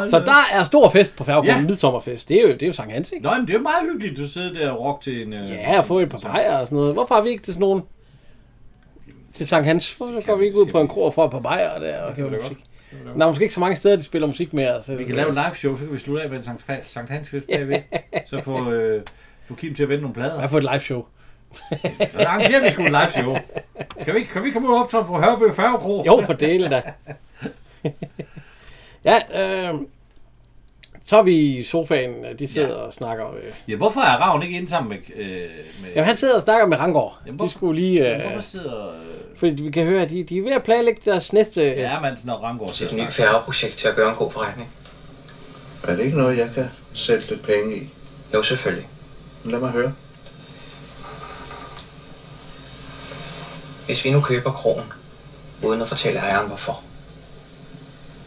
Så der er stor fest på Færgegrund, ja. midsommerfest. Det er jo, det er jo Sankt Hans, ikke?
Nå, men det er jo meget hyggeligt, du sidder der og rock til en... Øh,
Ja, og få et par bajer og sådan noget. Hvorfor har vi ikke til sådan nogen? Til Sankt Hans, hvorfor går vi ikke ud på en krog og får et par bajer der og hører
vi da godt.
musik? Der er måske ikke så mange steder, de spiller musik mere. altså. Så
Vi kan lave et live show, så kan vi slutte af med en Sankt, Fa- Sankt Hans fest bagved. Så få, øh, få Kim til at vende nogle plader.
Hvad for et live show?
Så arrangerer vi sgu et live show. Kan vi, ikke- kan vi komme ud og optræde på Hørbø Færgekro?
Jo, for delen da. ja, øh, så er vi i sofaen, de sidder ja. og snakker. Øh.
Ja, hvorfor er Ravn ikke inde sammen med... Øh, med
Jamen, han sidder og snakker med Rangård.
Jamen,
de skulle lige...
Jamen,
Øh,
hvorfor sidder... Øh,
fordi vi kan høre, at de, de er ved at planlægge deres næste...
Ja, men sådan noget Rangård
Det er et nyt færgeprojekt til at gøre en god forretning.
Er det ikke noget, jeg kan sætte lidt penge i? Jo, selvfølgelig. Lad mig høre.
Hvis vi nu køber krogen, uden at fortælle ejeren hvorfor.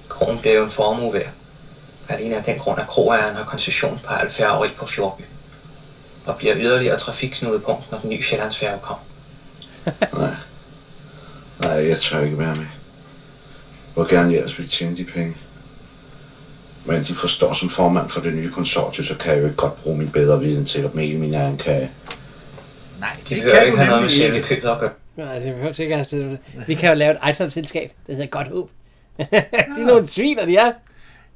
Krogen bliver jo en formue værd. Alene af den grund, at kroejeren har koncession på al færgeri på Fjordby. Og bliver yderligere trafikknudepunkt, når den nye Sjællandsfærge kommer.
Nej, jeg tør ikke være med. Hvor gerne jeg ellers vil tjene de penge. Men de forstår som formand for det nye konsortium, så kan jeg jo ikke godt bruge min bedre viden til at male min egen kage.
Nej,
De behøver ikke have noget med selve købet at gøre.
Nej, det behøver ikke at have Vi kan jo lave et item-selskab, der hedder Godt Håb. de er nogle sviner, de er.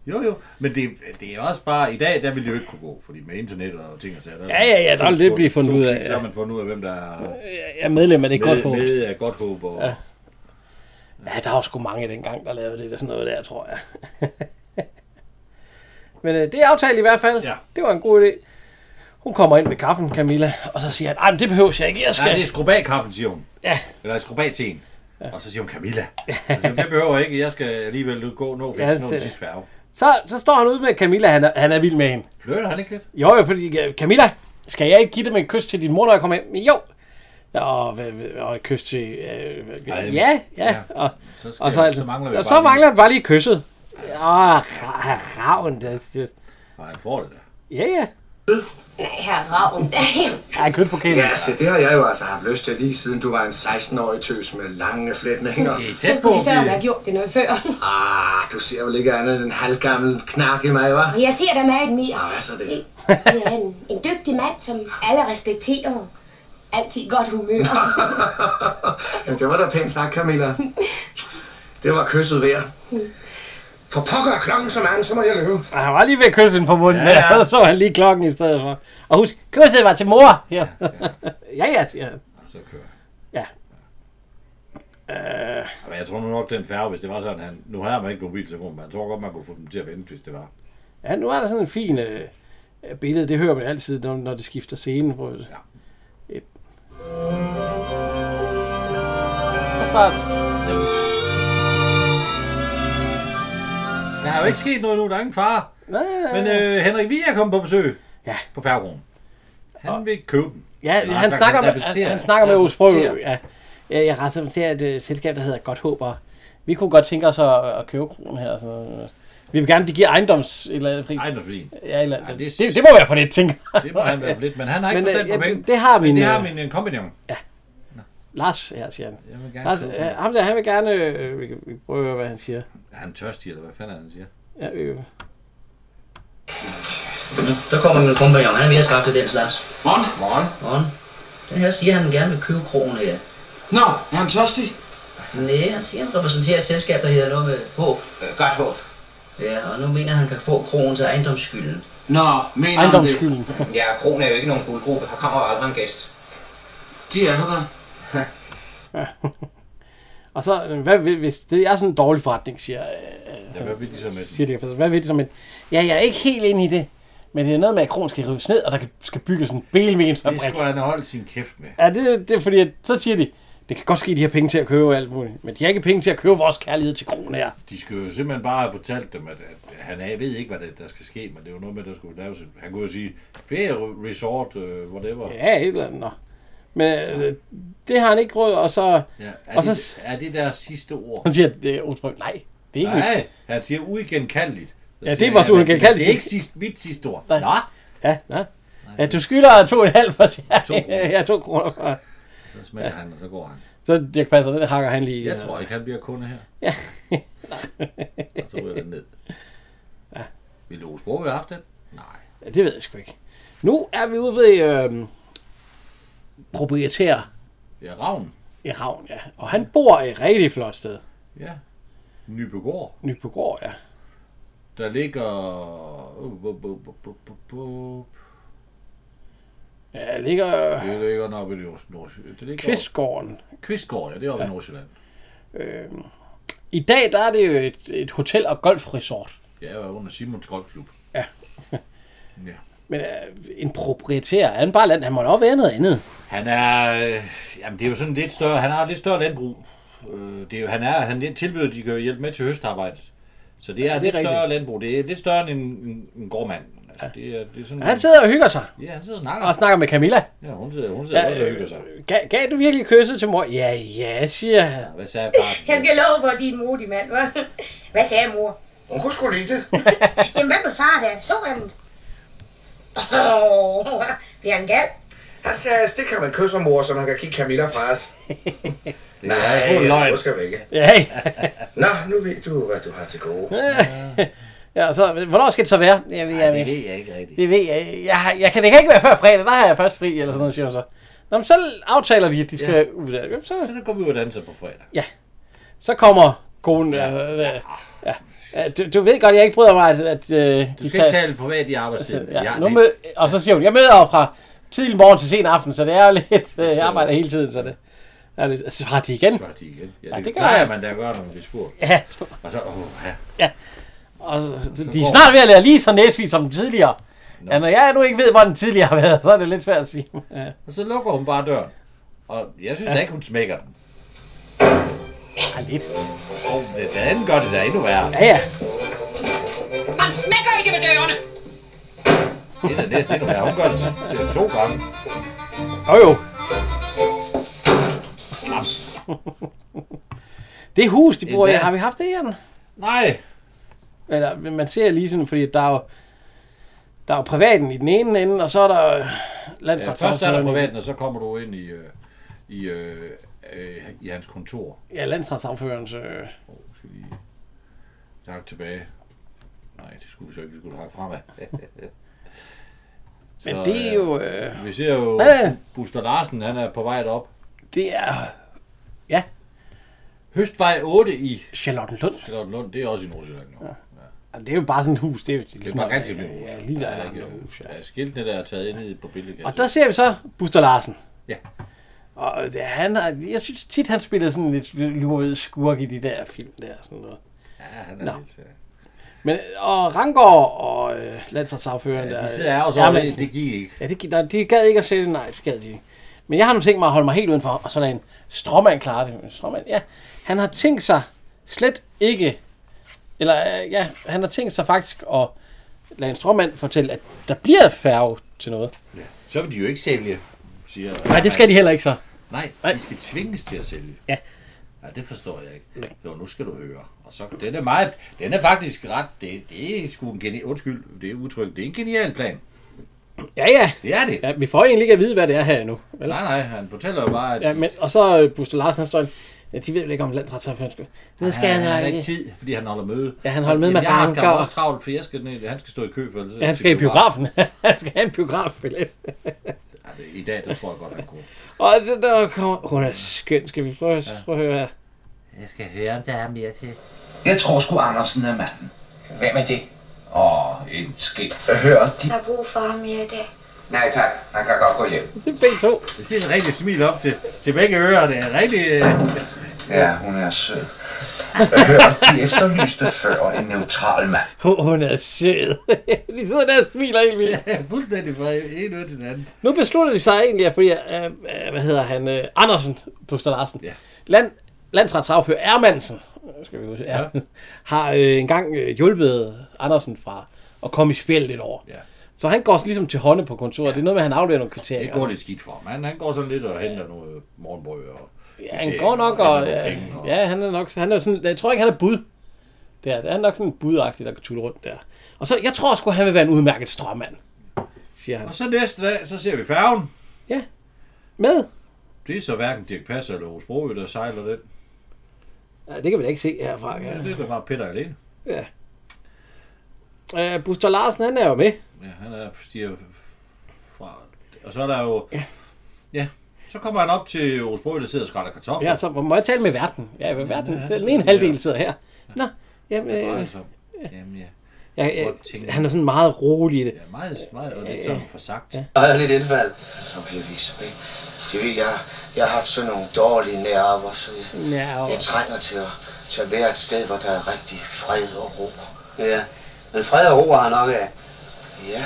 Jo, jo. Men det, det er også bare... I dag, der ville det jo ikke kunne gå, fordi med internet og ting og sager... der-
Ja, ja, ja, der vil
to
det
skud-
blive fundet
to
ud af,
klik, Så har
ja.
man fundet ud af, hvem der er...
Jeg er medlem af det Godt Håb.
Med af godt håb og...
Ja. Ja, der var sgu mange dengang, der lavede det der sådan noget der, tror jeg. Men øh, det er aftalt i hvert fald. Ja. Det var en god idé. Hun kommer ind med kaffen, Camilla, og så siger han, "Ej, men det behøver jeg ikke, jeg skal...
Nej, det er skrub af kaffen, siger hun.
Ja.
Eller skrub af teen. Ja. Og så siger hun Camilla. Altså, jeg behøver ikke, jeg skal alligevel ud- gå nå
Ja,
fest, nå
så-
til færge.
Så, så står han ude med Camilla, han er, han er vild med hende.
Flytter han ikke lidt?
Jo, jo, fordi øh, Camilla, skal jeg ikke give dig med et kys til din mor, når jeg kommer hjem? Jo. Og, hvad- hvad- og et kys til... Øh, hvad-
Ej,
ja, ja.
ja.
Og,
Så skal-
og
så
så, altså,
mangler
mangler
vi
og så
bare lige-
mangler bare lige kysset. Åh, ra- ravn. det- det-
Nej, han får det der.
Ja, ja.
Nej, herre Ravn.
Ej, kød på kælen.
Ja, se, det har jeg jo altså haft lyst til lige siden du var en 16-årig tøs med lange flætninger. Det er
Så skulle de selv have gjort det noget før.
Ah, du ser vel ikke andet end en halvgammel knak i mig, hva'?
Og jeg ser dig med et mere.
Ah, Hvad så det?
Det er en, en dygtig mand, som alle respekterer. Altid i godt humør.
Jamen, det var da pænt sagt, Camilla. Det var kysset værd. For pokker er klokken så mange, så må jeg løbe.
Og ah, han var lige ved at kysse hende på munden,
Ja,
ja,
ja.
ja. og så så han lige klokken i stedet for. Og husk, kysset var til mor. Ja, ja, ja, siger han.
Så kører han.
Ja. Øh,
Men jeg tror nu nok, den færge, hvis det var sådan, han... Nu havde man ikke mobiltelefon, men jeg tror godt, man kunne få dem til at vente, hvis det var.
ja, nu er der sådan en fin øh, billede, det hører man altid, når, når det skifter scene. På, ja. et. Og så er
Der er jo ikke sket noget nu, der er ingen far.
Nej,
Men øh, Henrik Vi er kommet på besøg
ja.
på Færgekronen. Han vil købe den.
Ja, han,
Eller
han,
sagt,
snakker, med, han,
repræsenterer-
han snakker med Osbro.
repræsenterer.
Ja. Jeg, jeg repræsenterer et øh, selskab, der hedder Godt Håber. Vi kunne godt tænke os at, at købe kronen her. og Sådan noget. Vi vil gerne, de giver ejendoms... et Eller andet pris.
Ejendomsværdien.
Ja, eller, ja, det, det, det, må være for lidt, tænker jeg.
Det må han være for lidt, men han har ikke
øh,
forstand på
ja,
penge.
det, det har
Men
min...
det har
øh,
min, øh, kompagnon.
Ja. Lars, her siger han. Jeg
vil
vil gerne
gerne
Lars,
købe
øh,
den.
ham der, han vil gerne... Øh, vi, kan- vi prøver at høre, hvad han siger.
Er han tørstig, eller hvad fanden er han siger?
Ja, øh.
Der kommer min kompagnon, han er mere skarp til den slags.
Morgen. Morgen.
Morgen. Den her siger, at han gerne vil købe krogen her.
Nå, er han tørstig?
Nej, han siger, han repræsenterer et selskab, der hedder noget med håb. Øh, godt håb. Ja, og nu mener han, kan få krogen til ejendomsskylden.
Nå, mener han det?
ja, krogen er jo ikke nogen guldgruppe. Her kommer aldrig en gæst.
De er her.
Og så, øh, hvad vil, hvis det er sådan en dårlig forretning, siger, øh,
Ja, hvad vil de så med den?
siger de, Altså, hvad vil de så med den? Ja, jeg er ikke helt inde i det, men det er noget med, at kronen skal rives ned, og der kan- skal bygges en
Det
belmensfabrik.
skulle han holde sin kæft med.
Ja, det, det er fordi, at, så siger de, det kan godt ske, at de har penge til at købe alt muligt, men de har ikke penge til at købe vores kærlighed til kronen her.
De skulle jo simpelthen bare have fortalt dem, at, at han er, jeg ved ikke, hvad det, der skal ske, men det var noget med, at der skulle laves. et- Han kunne jo sige, ferie resort, øh, whatever.
Ja, et eller andet. Nå. Men øh, det har han ikke råd, og så...
Ja, er,
og så,
det, er det deres sidste ord?
Han siger, at det er utrygt. Nej, det er ikke
Nej, han siger uigenkaldeligt. Så
Ja, det
siger
er vores
han, at
uigenkaldeligt.
Det er ikke sidst, mit sidste ord.
Nej.
Nej.
Ja, ja. ja du skylder to og en halv for sig.
To kroner.
Ja, to kroner for.
Så smager han, og så går han.
Så Dirk Passer, den hakker han lige. øh.
Jeg tror ikke, han bliver kunde her.
Ja.
Og så ryger den ned. Ja. Vil Ove Sprog have haft den?
Ja, det ved jeg sgu ikke. Nu er vi ude ved øh, proprietær
Ja, Ravn.
i Ravn, ja. Og han bor i et rigtig flot sted.
Ja. Nybegård.
Nybegård, ja.
Der ligger... Uh, bu- bu- bu- bu- bu- bu-
Ja, det ligger-
Det ligger nok oppe i Nords- Nordsjælland. Det ligger-
Kvistgården.
Kvistgården, ja, det er oppe i Nordsjælland.
Øh, I dag der er det jo et, et hotel- og golfresort.
Ja, jeg var under Simons Golfklub.
Ja.
ja.
Men øh, en proprietær, han bare land, han må da også være noget andet.
Han er... Øh, jamen, det er jo sådan lidt større... Han har et lidt større landbrug. Øh, det er jo, han er... Han er tilbyder, de kan jo hjælpe med til høstarbejdet. Så det er,
Ja, det
ja,
er
det lidt
rigtigt.
større landbrug. Det er lidt større end en, en, en gårdmand. Altså, ja. det, er, det er sådan,
Han sidder og hygger sig.
Ja, han sidder og snakker.
Og snakker med Camilla.
Ja, hun sidder, hun sidder
Ja,
ja, også og
øh,
hygger sig.
Gav, gav du virkelig kysset til mor? Ja, ja, siger han.
Hvad sagde far?
Jeg skal love for, at de er en modig mand, hva? Hvad sagde mor?
Hun kunne sgu lide det.
Jamen, hvad med far der? Så han? Åh, oh, bliver han gal?
Han sagde, det kan man kysse mor, så man kan kigge Camilla fra os. Nej,
god løgn.
du skal væk.
Ja.
Nå, nu ved du, hvad du har til gode.
ja, og så, hvornår skal det så være? Jeg ved, jeg
det ved jeg ikke rigtigt.
Det ved jeg. jeg, har- jeg kan, det kan ikke være før fredag, der har jeg først fri, eller sådan noget, siger hun så. Nå, men så aftaler de, at de skal ja. ud der. Jamen, Så,
så går vi ud og danser på fredag.
Ja. Så kommer konen. Ja. Øh, øh, ja. Ja, Du, du, ved godt, jeg ikke bryder mig, at, at øh, de
Du skal ikke tale privat i
Altså,
arbejdstiden.
ja,
Jeg-
nu
det-
mød, og så siger hun, jeg møder jo fra tidlig morgen til sen aften, så det er jo lidt, øh, jeg arbejder hele tiden, så det er lidt, svarer de igen.
Svarer de igen. Ja,
Ja,
det,
det gør
plejer
jeg.
man da at gøre, når man bliver spurgt.
Ja, så-
Og så, åh, ja.
Ja. Og så, så,
Så
de er
går-
snart ved at lære lige så næsvis som den tidligere. Ja, når jeg nu ikke ved, hvor den tidligere har været, så er det lidt svært at sige. Ja.
Og så lukker hun bare døren. Og jeg synes ja.
Ja.
ikke, hun smækker den.
Ja, lidt.
Og den anden gør det da endnu værre.
Ja, ja.
Man smækker ikke med dørene.
Det er da næsten endnu værre. Hun gør det t- t- to gange.
Jo jo. Det hus, de bor i,
Endda.
har vi haft det, Jan?
Nej.
Eller, man ser lige sådan, fordi der er jo, der er jo privaten i den ene ende, og så er der øh,
Ja, først er der
landsretsafføreren.
privaten, og så kommer du ind i, øh, i, øh, øh, i hans kontor.
Ja, landsretsafførens... Øh,
Jeg tilbage. Nej, det skulle vi så ikke. Vi skulle hakke fremad.
Men det er jo, øh,
Vi ser jo,
Ja, ja.
Buster Larsen, han er på vej op.
Det er... Ja.
Høstvej 8 i...
Charlottenlund.
Charlottenlund, det er også i Nordsjælland. Ja.
det er jo bare sådan et hus. Det er, jo
Det er bare ganske lidt.
Ja, lige der.
er ikke, ja, skiltene, der er taget ind i på billedet.
Og der ser vi så Buster Larsen.
Ja.
Og øh, han har, jeg synes tit, han spillede sådan lidt luret skurk i de der film der. og Sådan noget.
Ja, han
Nå.
er lidt... øh,
Men, og Rangård og øh, landsretsaføreren...
Ja,
der,
de
øh,
sidder her, og så er det-
Hermansen.
det gik ikke.
Ja, det, gik- nej, de gad ikke at sælge det. Nej, det gad de ikke. Men jeg har nu tænkt mig at holde mig helt udenfor, og så lade en stråmand klare det. Men Stråmand, ja. Han har tænkt sig slet ikke... Eller øh, ja, han har tænkt sig faktisk at lade en stråmand fortælle, at der bliver færge til noget.
Ja. Så vil de jo ikke sælge, siger
Nej, det skal de heller ikke så.
Nej, de skal tvinges til at sælge.
Ja.
Ja, det forstår jeg ikke. Jo, nu skal du høre. Og så, den er meget, den er faktisk ret, det, det er sgu en genial, undskyld, det er udtryk, det er en genial plan.
Ja, ja.
Det er det.
Ja, vi får egentlig ikke at vide, hvad det er her endnu.
Vel? Nej, nej, han fortæller jo bare, at...
Ja, men, og så øh, Buster Larsen, han står ind. ja, de ved vel ikke om landsretsaffæren skal... Nu skal han,
Ah, han, har
have
ikke tid, fordi han holder møde.
Ja, han holder møde med
Jeg har skam
banker.
også travlt, for jeg skal, ned, han skal stå i kø for ellers-
Ja, han skal i
til
biografen. han skal have en biografbillet.
Ja, det, I dag, der tror jeg godt, han kunne.
og det der kommer... Hun er skøn. Skal vi prøve, prøve at høre her?
Jeg skal høre, om der er mere til.
Jeg tror sgu Andersen er manden. Hvem er det?
Åh, en skæg.
Hør
de...
Jeg har brug for ham i dag.
Nej tak, han kan godt gå hjem.
Det er B2.
Det ser en rigtig smil op til, til begge ører. Det er rigtig... øh,
Ja, hun er sød. Hør, de efterlyste før en neutral mand.
Hun, hun er sød. de sidder der og smiler helt vildt.
Ja, fuldstændig fra en øre til den anden.
Nu beslutter de sig egentlig, at fordi, øh, øh, hvad hedder han, øh, Andersen, Buster Larsen,
ja.
Land, landsretsaffører Ermansen, øh, skal vi huske, ja. har øh, engang øh, hjulpet Andersen fra at komme i spil lidt over.
Ja.
Så han går ligesom til hånden på kontoret. Ja. Det er noget med, at han afleverer nogle kriterier.
Det går lidt skidt for ham. Han, han går sådan lidt og henter nogle øh, morgenbrød og...
Ja, han går nok og... Ja, ja, han er nok... Han er sådan, jeg tror ikke, han er bud. Det er, han er nok sådan budagtig, der kan tulle rundt der. Og så, jeg tror sgu, han vil være en udmærket strømmand, siger han.
Og så næste dag, så ser vi færgen.
Ja. Med?
Det er så hverken Dirk Passer eller Hos Broø, der sejler den.
Ja, det kan vi da ikke se herfra.
Ja, det er da bare Peter alene.
Ja. Øh, Buster Larsen, han er jo med.
Ja, han er stiger fra... Og så er der jo... Ja. ja. Så kommer han op til Hos Broø, der sidder og skræller kartofler.
Ja, så må jeg tale med verden. Ja, med verden.
ja,
Ja, den ene
han sidder der.
halvdel sidder her. Nå, jamen...
Hvad drejer
Øh,
det sig om? Jamen, ja.
ja, ja,
Prøv at tænke.
han er sådan meget rolig i det.
Meget, meget, og lidt
Øh, Ja.
sådan for sagt. Ja.
Jeg havde lidt indfald. Så bliver vi så med. Det ved jeg, jeg har haft sådan nogle dårlige nerver, så jeg,
Ja,
jeg trænger til at, til at være et sted, hvor der er rigtig fred og ro.
Ja, men fred og ro har han nok af.
Ja,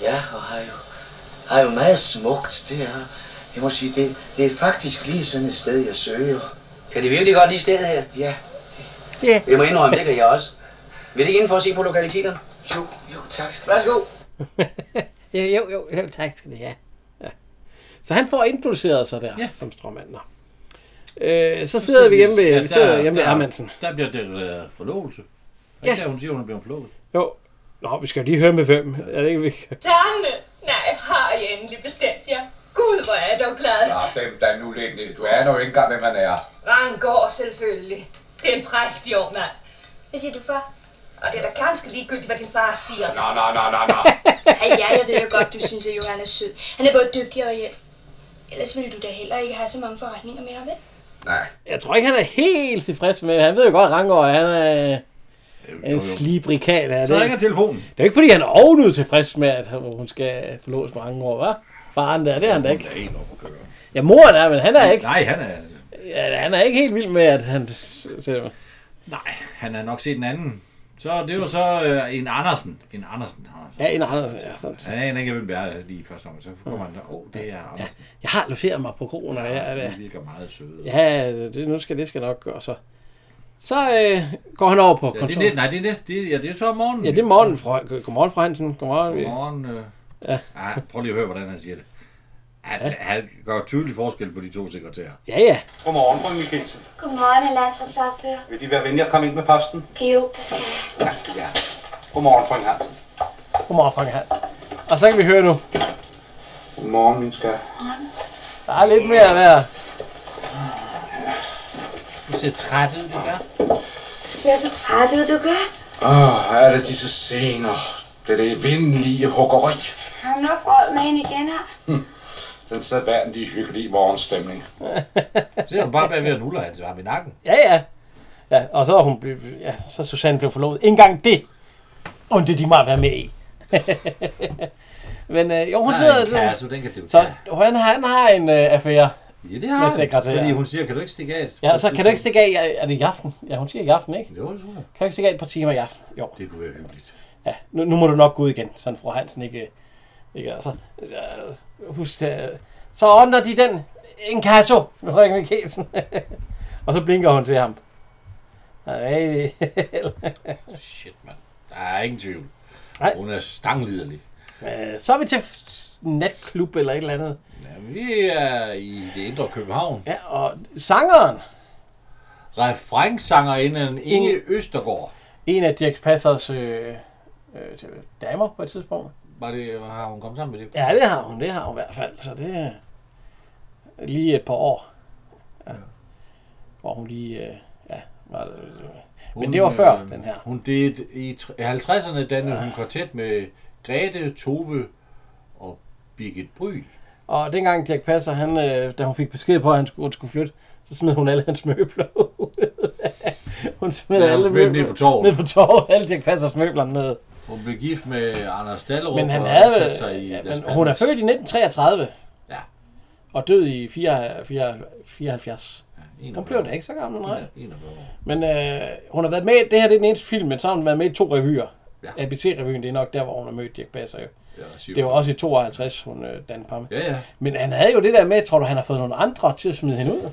ja, og har jo, har jo meget smukt, det er. Jeg må sige, det, det er faktisk lige sådan et sted, jeg søger.
Kan de virkelig godt lide stedet her?
Ja.
Ja.
Jeg må indrømme, det kan jeg også. Vil det ikke inden for at se på lokaliteterne? Jo,
jo, tak skal
du Værsgo.
Ja, jo, jo, jo, tak skal det have. Ja. Så han får indplaceret sig der, ja. som strømmand. Nå. Øh, så sidder vi hjemme ved, ja, vi sidder hjemme ved Ermansen.
Der bliver det uh, forlovelse.
Ja.
Ja. Der, hun siger, hun er blevet forlovet.
Jo, Nå, vi skal jo lige høre med hvem. Er det ikke, vi...
Tanne! Nej, har jeg endelig bestemt jer. Gud, hvor er jeg dog glad.
Ja, Ah, dem der nu lidt ned. Du aner jo ikke engang, hvem han er.
Rangård selvfølgelig. Det er en prægtig ung mand.
Hvad siger du, far?
Og det er da ganske ligegyldigt, hvad din far siger.
Nå, nå, nå, nå, nå.
Ja, ja, jeg ved jo godt, du synes, at Johan er sød. Han er både dygtig og hjælp. Ellers ville du da heller ikke have så mange forretninger med ham, vel?
Nej.
Jeg tror ikke, han er helt tilfreds med. Han ved jo godt, at Rangård han er en slibrikal. Er
Så ringer telefonen.
Det er jo ikke, fordi han er ovenud tilfreds med, at hun skal forlås med Rangård, hva'? Faren der, det er han da ikke.
er helt oppe
Ja, moren er, men han er ikke.
Nej, han er...
Ja, han er ikke helt vild med, at han...
Nej, han har nok set en anden. Så det var så øh, en Andersen. En Andersen.
Ja, en Andersen, ja, sådan.
Ja, han ikke hvem det er lige i første omgang. Så kommer han der, åh, oh, det er Andersen.
Jeg har logeret mig på krogen, og jeg,
Ja,
jeg,
de virker meget søde.
Ja, det, nu skal det skal nok gøre så. Så øh, går han over på
det er
kontoret.
næ- nej, det er næste, det, er- ja, det er så om morgenen.
Ja, det er morgen, fra, godmorgen, Fransen. Godmorgen.
Godmorgen. Øh.
Ja.
Ah, prøv lige at høre, hvordan han siger det. Han, ja. han gør tydelig forskel på de to sekretærer.
Ja, ja.
Godmorgen, fru Mikkelsen.
Godmorgen, landsretsafører.
Vil de være venlige at komme ind med posten?
Jo, det skal jeg.
Ja, ja. Godmorgen, fru Hansen.
Godmorgen, Frank Hansen. Og så kan vi høre nu.
Godmorgen, min skat.
Der er lidt mere der.
Du ser træt ud, det gør.
Du ser så træt ud, du gør.
Åh, er det disse scener. Det er det vindelige hukkeri.
Har du nok råd med hende igen her?
Den sædvanlige hyggelige morgenstemning.
Ser du bare bagved, at nuller han til ham i nakken.
Ja, ja. Ja, og så er hun blev, ja, så Susanne blev forlovet. Ikke engang det undte de mig at være med i. Men øh, jo, hun
Nej,
sidder...
en kasse, den kan du
så han, han har en øh, affære.
Ja, det har han.
sekretæren.
Fordi hun siger, kan du ikke stikke af? et-
Ja, så kan du ikke stikke af, i- er det i aften? Ja, hun siger i aften, ikke?
Jo, det tror jeg.
Kan du ikke stikke af et par timer i aften? Jo.
Det kunne være hyggeligt.
Ja, nu, nu må du nok gå ud igen, sådan fru Hansen ikke... ikke altså, ja, husk, øh, så ordner de den en kasso med Frederik Mikkelsen. og så blinker hun til ham. Nej,
Shit, mand. Der er ingen tvivl.
Nej.
Hun er stangliderlig.
Øh, så er vi til f- natklub eller et eller andet.
Ja, vi er i det indre København.
Ja, og sangeren,
Refrensangerinden Inge Østergaard.
En af Dirk Passers øh, øh, damer på et tidspunkt.
Var det, har hun kommet sammen med det?
Ja, det har hun. Det har hun i hvert fald. Så det er lige et par år. Ja. Hvor hun lige... Øh, ja, var det, men det var før,
øh,
den her.
Hun det i tr- i 50'erne dannede ja. hun kvartet med Grete, Tove og Birgit Bryl.
Og dengang Dirk Passer, han, øh, da hun fik besked på, at han skulle, hun skulle flytte, så smed hun alle hans møbler ud. hun smed
Ja, hun
alle
smed dem ned på torvet.
Ned på torvet. Alle Dirk Passers møbler ned.
Hun blev gift med Anders Dallerup
Men han
og
havde,
ansatte sig i
ja, men
Las
hun er
Palmas.
født i 1933.
Ja.
Og død i 4, 4, 74. hun blev da ikke så gammel, nej. Men øh, hun har været med, det her det er den eneste film, men så har hun været med i to revyer.
Ja.
ABC-revyen, det er nok der, hvor hun har mødt Dirk Passer jo.
Ja, siger
det var
hun.
også i 52, hun øh, dannede par med.
Ja, ja.
Men han havde jo det der med, tror du, han har fået nogle andre til at smide hende ud?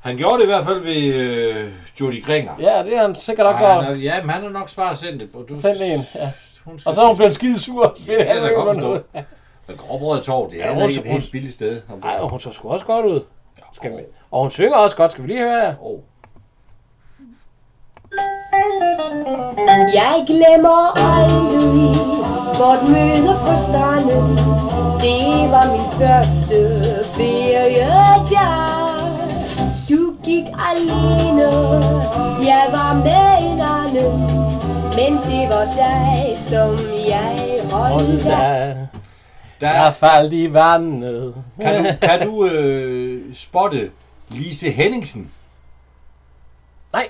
Han gjorde det i hvert fald ved øh, Judy Gringer.
Ja, det har han sikkert nok
Ej, han
gjort.
er, ja, men han har nok svaret sendt det. på. Du,
Send en, ja.
Hun skal-
Og så er hun blevet skide sur.
Ja, det kan jeg godt
noget.
forstå. Men Gråbrød Torv, det er
Ja,
ja,
hun-
ikke et
hun-
helt billigt sted.
Ej, og hun så sgu også godt ud. Skal vi? Og hun synger også godt, skal vi lige høre her?
Oh.
Jeg glemmer aldrig vort møde på stranden. Det var min første feriedag. Du gik alene, jeg var med en anden. Men det var dig, som jeg holdt af.
Der, der er faldt i vandet.
Kan du, kan du øh, spotte Lise Henningsen?
Nej.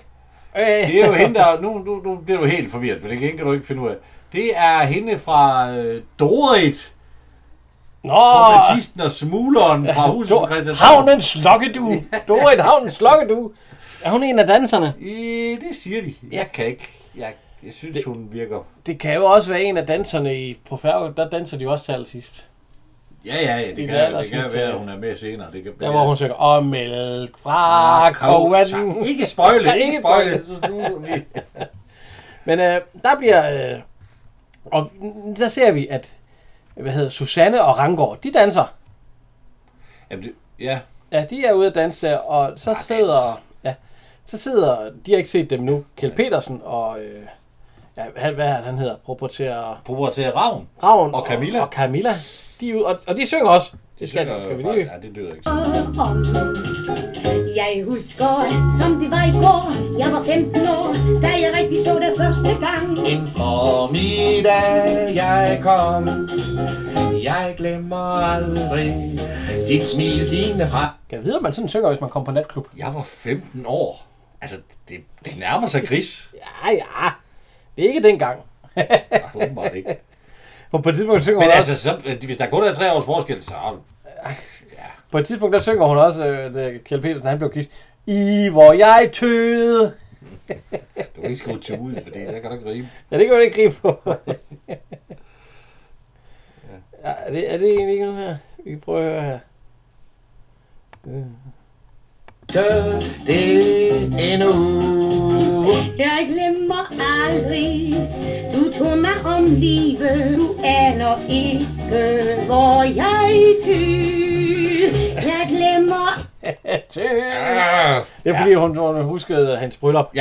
Det er jo hende, der... Nu, nu, nu bliver du helt forvirret, for det kan kan du ikke finde ud af. Det er hende fra øh, Dorit.
Nå!
Trompetisten og smugleren fra huset på
Dor-
Christianshavn.
Havnens lokkedu.
Uh.
Dorit Havnens lokkedu. Er hun en af danserne?
Øh, det siger de. Jeg kan ikke. Jeg, jeg synes, det, hun virker...
Det kan jo også være en af danserne i, på færge. Der danser de jo også til allersidst.
Ja, ja, ja det,
I det
det, kan, det kan
allersidste,
være,
ja.
at hun er med senere. Det kan,
Der hvor hun synger, og mælk fra
Ah, kog-
kogen.
Ikke spoile,
Ja,
ikke spoile. Nu- vi-
Men øh, der bliver... Øh, og n- der ser vi, at hvad hedder, Susanne og Rangård, de danser.
Jamen, det, ja.
Ja, de er ude at danse der, og så sidder... Ja, så sidder... De har ikke set dem nu. Kjeld Petersen og... Øh, ja, han, hvad er det, han hedder? Proporterer...
Proporterer Ravn.
Ravn.
Og Camilla.
Og, og Camilla. De er ude, og, og de synger også. Det skal,
synger
skal vi
jo
lige...
fra- Ja, det lyder ikke.
om. Jeg husker, som det var i går. Jeg var 15 år, da jeg rigtig så dig første gang.
En formiddag jeg kom Jeg glemmer aldrig Dit smil, dine fra
Kan jeg vide, om man sådan synger, hvis man kommer på natklub?
Jeg var 15 år. Altså, det, det nærmer sig gris.
Ja, ja. Det er ikke dengang.
Åbenbart ikke.
Og på et tidspunkt synger
Men
hun
altså,
også,
så, hvis der kun er tre års forskel, så...
på et tidspunkt der synger hun også, øh, da Kjeld Petersen han blev gift, I hvor jeg tøede.
Du kan ikke skrive til ud, for det, så kan du ikke rime.
Ja, det kan man ikke gribe på. ja, er, det, er det egentlig ikke noget her? Vi kan prøve at høre her.
Gør det endnu
Jeg glemmer aldrig, du tog mig om livet. Du aner ikke, hvor jeg tyr. Jeg glemmer
Tøede. Det er fordi, hun, hun huskede hans bryllup.
Ah,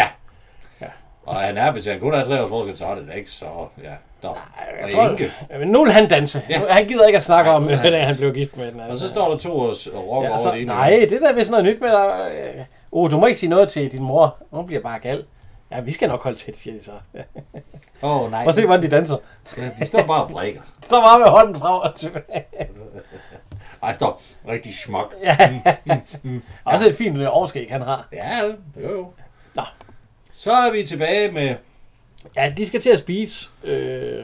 Ja. Og han er, hvis han kun er tre års forskel, så er det da ikke så... Ja, der.
Jeg
Og
tror,
enke.
Ja, men nu vil han danse.
Ja.
Ja. Han gider ikke at snakke om,
nu vil han
hvordan han
danse.
blev gift med den anden.
Og så står der to års øh, rock
ja,
ja,
så,
over det ene.
Nej, det der er vist noget nyt med dig. Øh, Oh, du må ikke sige noget til din mor. Hun bliver bare gal. Ja, vi skal nok holde tæt, siger de så.
Åh, oh, nej.
Prøv at se, hvordan de danser.
Ja, de står bare og brækker.
De står bare med hånden frem og tilbage.
Ej, står rigtig smuk. Mm,
Ja. Også et fint øh, overskæg, han har.
Ja, jo jo.
Nå.
Så er vi tilbage med...
Ja, de skal til at spise. Øh,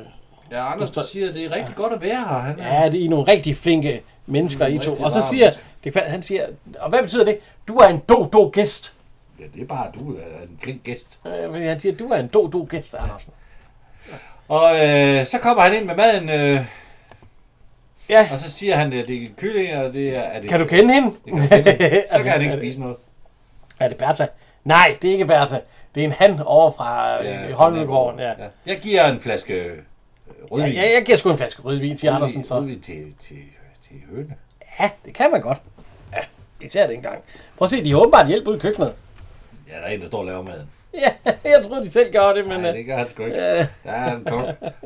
Ja, Anders du siger, at det er rigtig godt at være her. Han er...
ja, det er nogle rigtig flinke mennesker, I to.
rigtig
Og så
varmt.
siger, det, han siger, og hvad betyder det? Du er en do-do-gæst.
ja, det er bare, du er en flink gæst.
Øh, fordi Han siger, du er en do-do-gæst, Andersen.
Og øh, så kommer han ind med maden, øh,
ja.
og så siger han, at det er kylling, og det er... er det
Kan du kende hende?
Det kan du kende hende.
Er
Så
det-
kan han ikke
er det-
spise noget.
Er det Bertha? Nej, det er ikke Bertha. Det er en han over fra
Ja,
ja,
fra
Holmegården. Ja.
Ja. Jeg giver en flaske øh,
Ja,
rødvin.
ja, jeg giver sgu en flaske rødvin til
Rødvin-
Andersen så.
Rødvin til, til, til høne.
Ja, det kan man godt. Ja, især dengang. Prøv at se, de har åbenbart hjælp ud i køkkenet.
Ja, der er en, der står og laver maden.
Ja, jeg tror de selv gør det, men... øh,
Nej, det gør han sgu ikke.
Ja.
Der er en kok.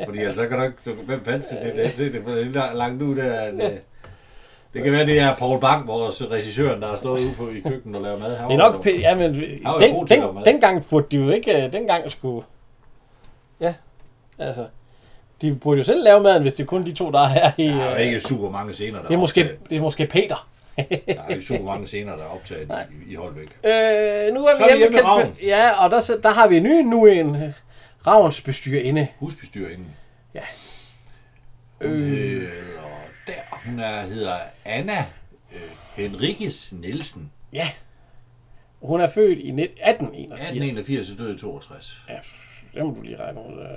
Fordi ellers så kan du ikke... Du, hvem fanden skal det? Det, det, det er lidt langt ud af... en, øh, Det kan være, det er Paul Bang, vores regissør, der har stået ude på i køkkenet og lavet mad. Han
Det er
var
nok...
jo-
p- Ja, men
Han var jo god
den,
til at lave mad.
den, dengang burde de jo ikke... øh, Dengang skulle... Ja, altså... De burde jo selv lave maden, hvis det er kun de to, der er her i...
Der er jo
øh,
ikke super mange scener, der
det, er
optaget.
måske, det er måske Peter.
Der er ikke super mange scener, der er optaget i, i Holbæk.
Øh, nu er vi
Så er
hjemme,
vi hjemme
hjemme
ved Ravn.
Ja, og der, så- der har vi en ny nu en øh, Ravns bestyrerinde.
Husbestyrerinde.
Ja.
Hun øh. hedder, der, hun er, hedder Anna øh, Henrikes Nielsen.
Ja. Hun er født i 19- 1881.
1881 og døde i 62.
Ja, det må du lige regne ud. øh.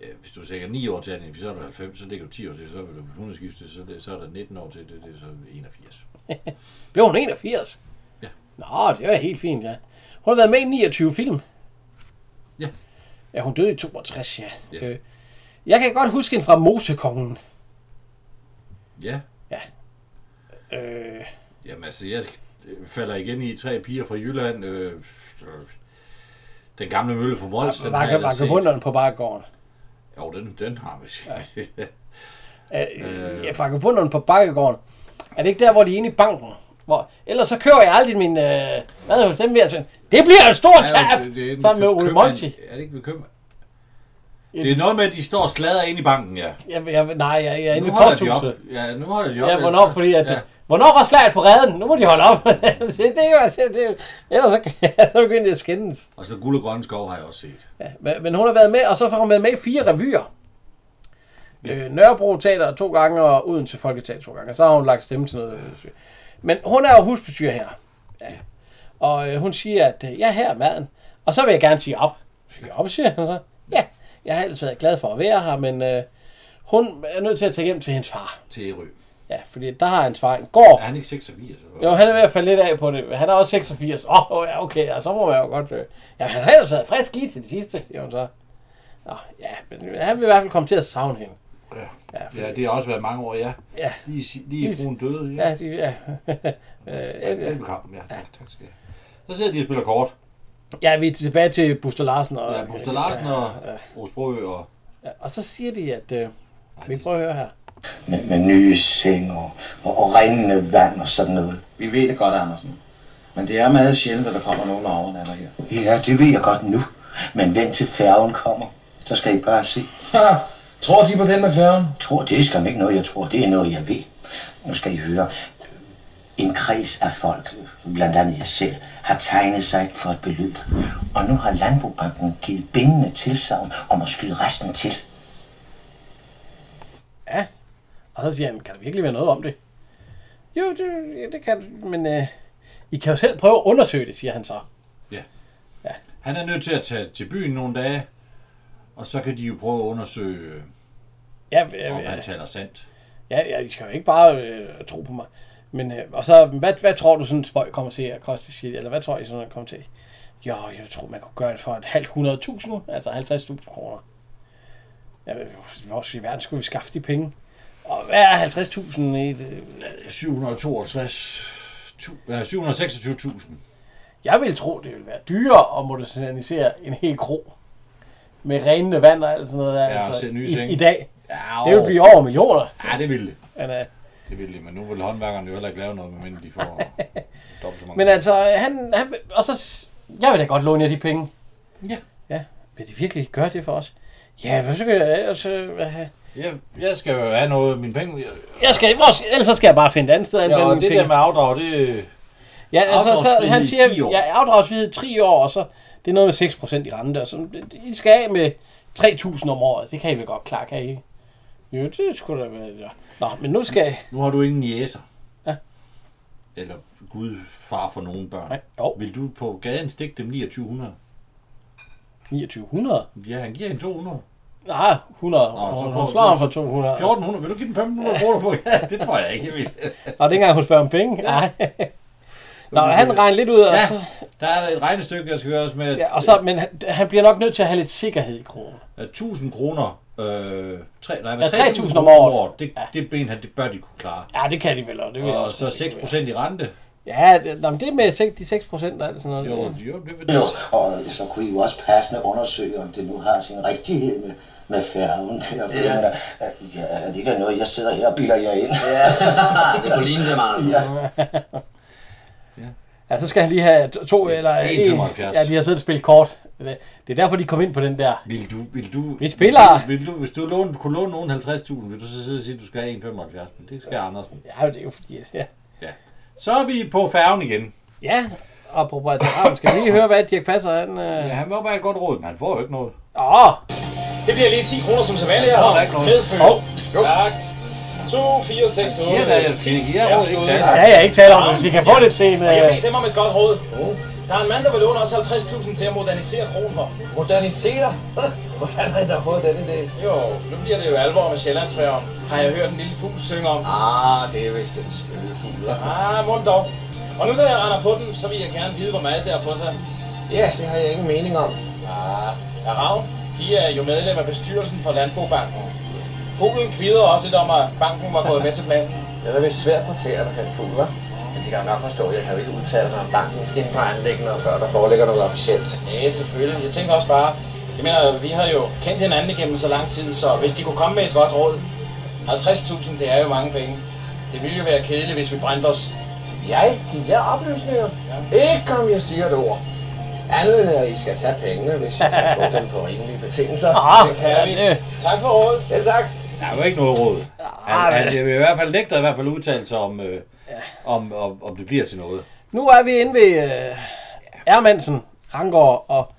Ja, hvis du sækker 9 år til 1881, så er du 90, så ligger du 10 år til, så vil du hun er skiftet, så, det, så er der 19 år til, det, det er så 81.
Blev hun 81?
Ja.
Nå, det var helt fint, ja. Hun har været med i 29 film.
Ja.
Ja, hun døde i 62, ja.
Ja.
Øh, jeg kan godt huske hende fra Mosekongen.
Ja.
Ja. Øh.
Jamen altså, jeg falder igen i tre piger fra Jylland. Øh, øh, den gamle mølle på Mols, den har jeg
Vakke,
ellers set.
vakke bunderen på Bakkegården.
Jo, den, den har vi set.
Øh, ja, Fakabunderen på Bakkegården. Er det ikke der, hvor de er inde i banken? Hvor, ellers så kører jeg aldrig min øh, mad hos dem ved at sige, det bliver et stort
Ja, jo,
tab!
det- det er en
Sammen med
køb-
Ole
købmand.
Monti.
Er det ikke ved købmand?
Ja,
Det er
de-
noget med, at de står og sladrer ind i banken, ja.
Jeg, jeg, nej, jeg, jeg er inde
Nu
i
holder de op.
posthuset.
Ja, nu holder de op. altså.
Ja, hvornår, fordi at, Øh, ja. hvornår var slaget på redden? Nu må de holde op. det er jo, det er jo, ellers så, så begynder de at skændes.
Og så Guld og Grønne Skov har jeg også set.
Ja, men- men hun har været med, og så har hun været med i fire revyer. Øh, Nørrebro Teater to gange, og Odense Folketeater to gange. Og så har hun lagt stemme til noget. øh, Men hun er jo husbestyrer her. Ja. Og øh, hun siger, at øh, jeg er her er maden. Og så vil jeg gerne sige op. Siger op, siger hun så. Ja, jeg har ellers været glad for at være her, men øh, hun er nødt til at tage hjem til hendes far.
Til Ærø.
Ja, fordi der har hans far en gård.
Er han ikke 86?
Jo, han er ved at falde lidt af på det. Han er også 86. Åh, oh, ja, okay, ja, så må man jo godt... Øh. Ja, han har ellers været frisk i til det sidste, siger hun så. Nå, ja, men øh, han vil i hvert fald komme til at savne hende.
Ja.
Ja,
Ja, det har også været mange år, ja.
Ja.
Lige, si- lige
Lige-
fruen døde, ja.
Ja, de, ja. Øh, ja, ja.
Velbekomme, ja. Tak, tak skal jeg. Så sidder de og spiller kort.
ja, vi er tilbage til Buster Larsen og...
Ja, Buster Larsen og Rose Brøø og...
Ja, og så siger de, at... Øh, vi prøver at høre her.
Med, med nye senge og, og, og rindende vand og sådan noget.
Vi ved det godt, Andersen. Men det er meget sjældent, at der kommer nogen og overnatter her.
Ja, det ved jeg godt nu. Men vent til færgen kommer. Så skal I bare se.
Ha! Tror de på den med færgen?
Tror det er skam ikke noget, jeg tror. Det er noget, jeg ved. Nu skal I høre. En kreds af folk, blandt andet jeg selv, har tegnet sig for et beløb. Og nu har Landbobanken givet bindende tilsavn om at skyde resten til.
Ja. Og så siger han, kan der virkelig være noget om det? Jo, det, ja, det kan du, men... Øh, I kan jo selv prøve at undersøge det, siger han så.
Han er nødt til at tage til byen nogle dage, og så kan de jo prøve at undersøge, øh,
Ja, ja,
om
ja.
han taler sandt.
Ja, ja, I skal jo ikke bare øh, tro på mig. Men, øh, og så, hvad, hvad tror du sådan en spøj kommer til at koste shit? Eller hvad tror I sådan noget kommer til? Jo, jeg tror, man kunne gøre det for et halvt 100.000, altså 50.000 kroner. Ja, men hvor i verden skulle vi skaffe de penge? Og hvad er 50.000 i det?
762... tu- ja, 726.000.
Jeg vil tro, det ville være dyrere at modernisere en hel kro. Med renende vand og alt sådan noget.
Ja, og
altså,
sætte nye
i,
senge.
I dag.
Ja,
det vil
og-
blive over millioner.
Ja, det ville det.
Men, øh,
Det ville det, men nu vil håndværkerne jo heller ikke lave noget, medmindre de får dobbelt så mange.
Men altså, han, han vil- og så, s- jeg vil da godt låne jer de penge.
Ja.
Ja, vil de virkelig gøre det for os? Ja, hvad skal jeg ellers øh, have?
Jeg, jeg skal jo have noget af mine penge. Jeg,
Jeg skal, hvor, ellers så skal jeg bare finde et andet sted at
ja,
anvende
og
mine
det der med afdrag, det...
Ja, altså, så,
afdragsfrihed
han
i
siger,
10 år.
ja, afdragsfrihed i 3 år, og så det er noget med 6% i rente, og så det- I skal af med 3.000 om året. Det kan I vel godt klare, kan I? Jo, det skulle da være, ja. Nå, men nu skal jeg...
Nu har du ingen jæser.
Ja.
Eller gud far for nogle børn.
Nej, jo.
Vil du på gaden stikke dem 2900?
2900?
Ja, han giver en 200.
Nej, 100. Nå,
så
hun,
får
hun
du-
slår ham for 200.
1400, vil du give dem 1500 kroner på? Ja, det tror jeg ikke, jeg vil.
Og det er ikke engang, hun spørger om penge. Nej. Nå, han regner lidt ud, og
øh, Ja,
så...
der er et regnestykke, der skal gøres med, at,
Ja, og så, men han, han bliver nok nødt til at have lidt sikkerhed i kronen.
at 1000 kroner, øh, 3, nej,
Ja,
hvad, 3000
3.000 om
kroner om året, det, det ben, han, det bør de kunne klare.
Ja, det kan de vel, og det vil jeg
og
også
så
godt, det kan
6% i rente,
Ja, det, nå, men det med seks- de 6 procent og alt sådan noget.
Jo, jo, det
Jo, og så kunne I jo også passende undersøge, om det nu har sin rigtighed med, med færgen der. For
Ja.
ja. Mener, ja, er det ikke er noget, jeg sidder her og bilder jer ind?
Ja, det kunne ligne det, Anders.
Ja.
Ja, så skal han lige have to, to eller
1,75.
Ja, de har siddet og spillet kort. Det er derfor, de kom ind på den der.
Vil du... Vil du
Vi spiller.
Vil du, hvis du låne, kunne låne nogen 50.000, vil du så sidde og sige, at du skal have 1,75, men det skal Andersen.
Ja, det er jo fordi, ja.
ja. Så er vi på færgen igen.
Ja, apropos Ataramen. Skal vi lige høre, hvad Dirk Passer han... Øh...
Ja, han var bare et godt råd, men han får jo ikke noget.
Åh!
Det bliver lige 10 kroner som sædvanligt,
Jeg
jeg
tror, der
har
er ikke noget.
medføl.
Hov.
Tak. 2, 4, 6, 8.
Jeg siger da, jeg skal- jeg må ikke tale.
Ja,
Ja, ja, ikke tale om det, hvis I kan få lidt til en,
Og jeg
øh,
ved dem om et godt råd. Der er en mand, der vil låne os 50.000 til at modernisere kronen for. Modernisere? Hvordan har I da fået den idé? Jo, nu bliver det jo alvor med Sjællandsfærgen. Har jeg hørt en lille fugl synge om. Ah, det er vist en spøgefugl. Ah, mund dog. Og nu da jeg render på den, så vil jeg gerne vide, hvor meget der er på sig.
Ja, det har jeg ingen mening om.
Ah, ja, Ravn, de er jo medlem af bestyrelsen for Landbobanken. Fuglen kvidede også lidt om, at banken var gået med til planen.
Det er da vist svært på tæer, der kan fugler. Men de kan nok forstå, at jeg kan jo ikke udtale mig om bankens indre anlæggende, før der foreligger noget officielt.
Ja, selvfølgelig. Jeg tænker også bare, jeg mener, vi har jo kendt hinanden igennem så lang tid, så hvis de kunne komme med et godt råd, 50.000, det er jo mange penge. Det ville jo være kedeligt, hvis vi brændte os.
Jeg giver oplysninger. Ikke om jeg siger et ord. Andet end at I skal tage pengene, hvis I kan få dem på rimelige betingelser.
Ah, det kan vi. Tak for rådet.
Ja, tak.
Der er jo ikke noget råd.
Ah,
Han,
men-
han, jeg vil i hvert fald nægter i hvert fald udtale sig om, øh, om, om, om det bliver til noget.
Nu er vi inde ved øh, Ermansen, Ranggaard og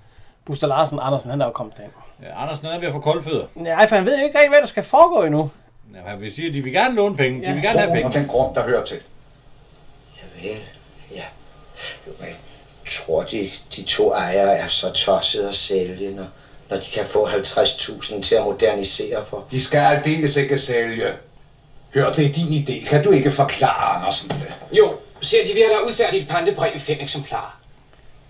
Buster Larsen. Andersen, han er jo kommet til.
Ja, Andersen han er ved at få kolde fødder.
Nej, for han ved jo ikke rigtig, hvad der skal foregå endnu.
Ja, han vil sige, at de vil gerne låne penge. De vil gerne have penge.
Og den
grund, der hører til.
Vel, ja. Jo, men tror de, de to ejere er så tossede at sælge, når, når de kan få 50.000 til at modernisere for?
De skal aldeles ikke sælge. Hør, det er din idé. Kan du ikke forklare Andersen det?
Jo, ser de, vi har da udfærdigt et pantebrev i fem eksemplarer.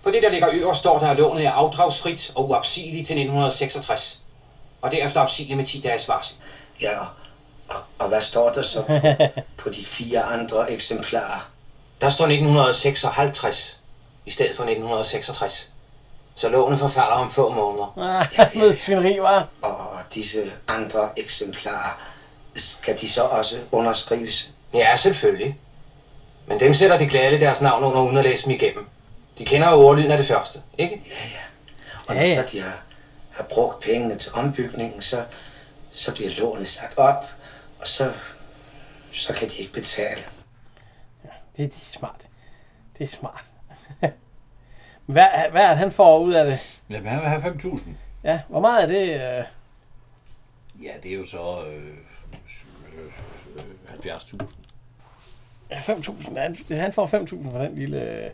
På det, der ligger øverst, står der, at lånet er afdragsfrit og uopsigeligt til 1966. Og derefter opsigeligt med 10 dages varsel.
Ja, og, og hvad står der så på, på de fire andre eksemplarer?
Der står 1956 i stedet for 1966. Så lånet forfalder om få måneder.
Ah, Med svineri, var.
Og disse andre eksemplarer, skal de så også underskrives?
Ja, selvfølgelig. Men dem sætter de glædeligt deres navn under uden at læse dem igennem. De kender jo ordlyden af det første, ikke?
Og når så de har, har brugt pengene til ombygningen, så, så bliver lånet sat op, og så, så kan de ikke betale.
Det er de er smart. Det er smart. hvad, er- hvad er det, han får ud af det?
Jamen, han vil have 5.000.
Ja, hvor meget er det? Øh?
Ja, det er jo så øh, øh, øh, 70.000.
Ja, 5.000. Han, han får 5.000 for den lille... øh,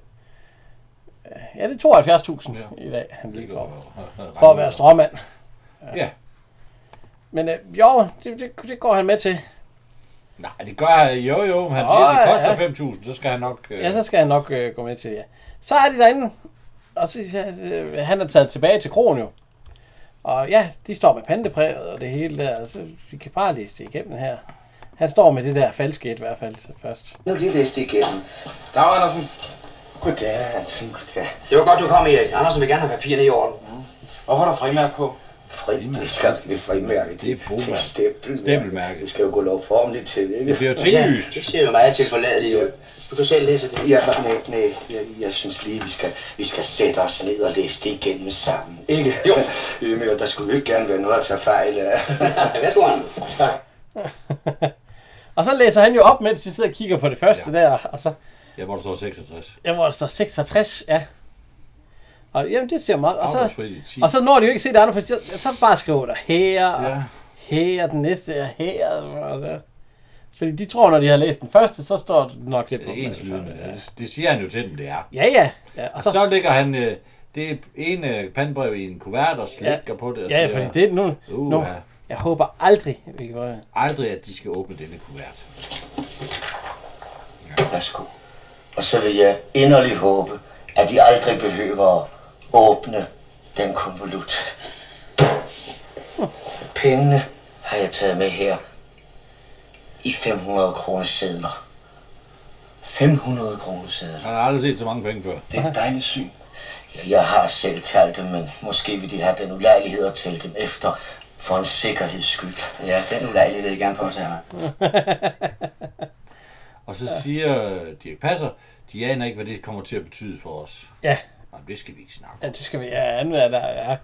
Ja, det er 72.000 ja. i dag, han bliver for, for at være stråmand.
Ja.
Men øh, jo, det, det, det går han med til.
Nej, det gør han. Jo, jo, men han
Nå,
siger, at det
ja.
koster 5.000, så skal han nok... Øh,
Ja, så skal han nok øh, gå med til det, ja. Så er de derinde, og så, øh, han er taget tilbage til krogen jo. Og ja, de står med pandebrevet og det hele der, og så vi kan bare læse det igennem her. Han står med det der falske et i hvert fald først.
Nu er de læst igennem.
Dag, Andersen.
Goddag, Hansen. Goddag.
Det var godt, du kom, Erik. Andersen vil gerne have papirerne i orden. Hvorfor er der frimærke på?
Fri, det skal det frimærke. Det er bomærke. Det er stempelmærke.
stempelmærke.
Det skal jo gå lovformeligt til, ikke?
Det bliver jo tinglyst.
Ja, det ser jo meget til forladeligt ud. Du kan selv læse det. Ja, nej, nej. Jeg, jeg synes lige, vi skal, vi skal sætte os ned og læse det igennem sammen. Ikke? Jo. Men der skulle jo ikke gerne være noget at tage fejl af. Værsgo, Anders. Tak.
Og så læser han jo op, mens de sidder og kigger på det første ja. der, og så
Ja, hvor der står 66.
Jeg var altså 66, ja. Og jamen, det ser meget. Og så,
Afdragsfrit i 10.
og så når de jo ikke se det andre, for så, så bare skriver der her, og ja. her, den næste er her. Og så. Fordi de tror, når de har læst den første, så står det nok det på.
Det er ens lydende. Ja. Det, det siger han jo til dem, det er. Altså,
Ja, ja. ja
Og så, så ligger han øh, det ene pandebrev i en kuvert og slikker
Ja.
på det. Og
Ja,
siger,
fordi det er nu-
Uh,
nu-
ja.
jeg håber aldrig, vi kan være.
Aldrig, at de skal åbne denne kuvert.
Værsgo. Og så vil jeg inderligt håbe, at I aldrig behøver at åbne den konvolut. Pengene har jeg taget med her i 500 kroner sedler. 500 kroner sæde.
Han har aldrig set så mange penge før.
Det er et dejligt syn. Jeg har selv talt dem, men måske vil de have den ulejlighed at tælle dem efter for en sikkerheds skyld. Ja, den ulejlighed vil jeg gerne påtage mig.
Og så siger Dirk Passer, de aner ikke, hvad det kommer til at betyde for os.
Ja.
Jamen, det skal vi ikke snakke om.
Ja, det skal vi ja, anvære der, ja.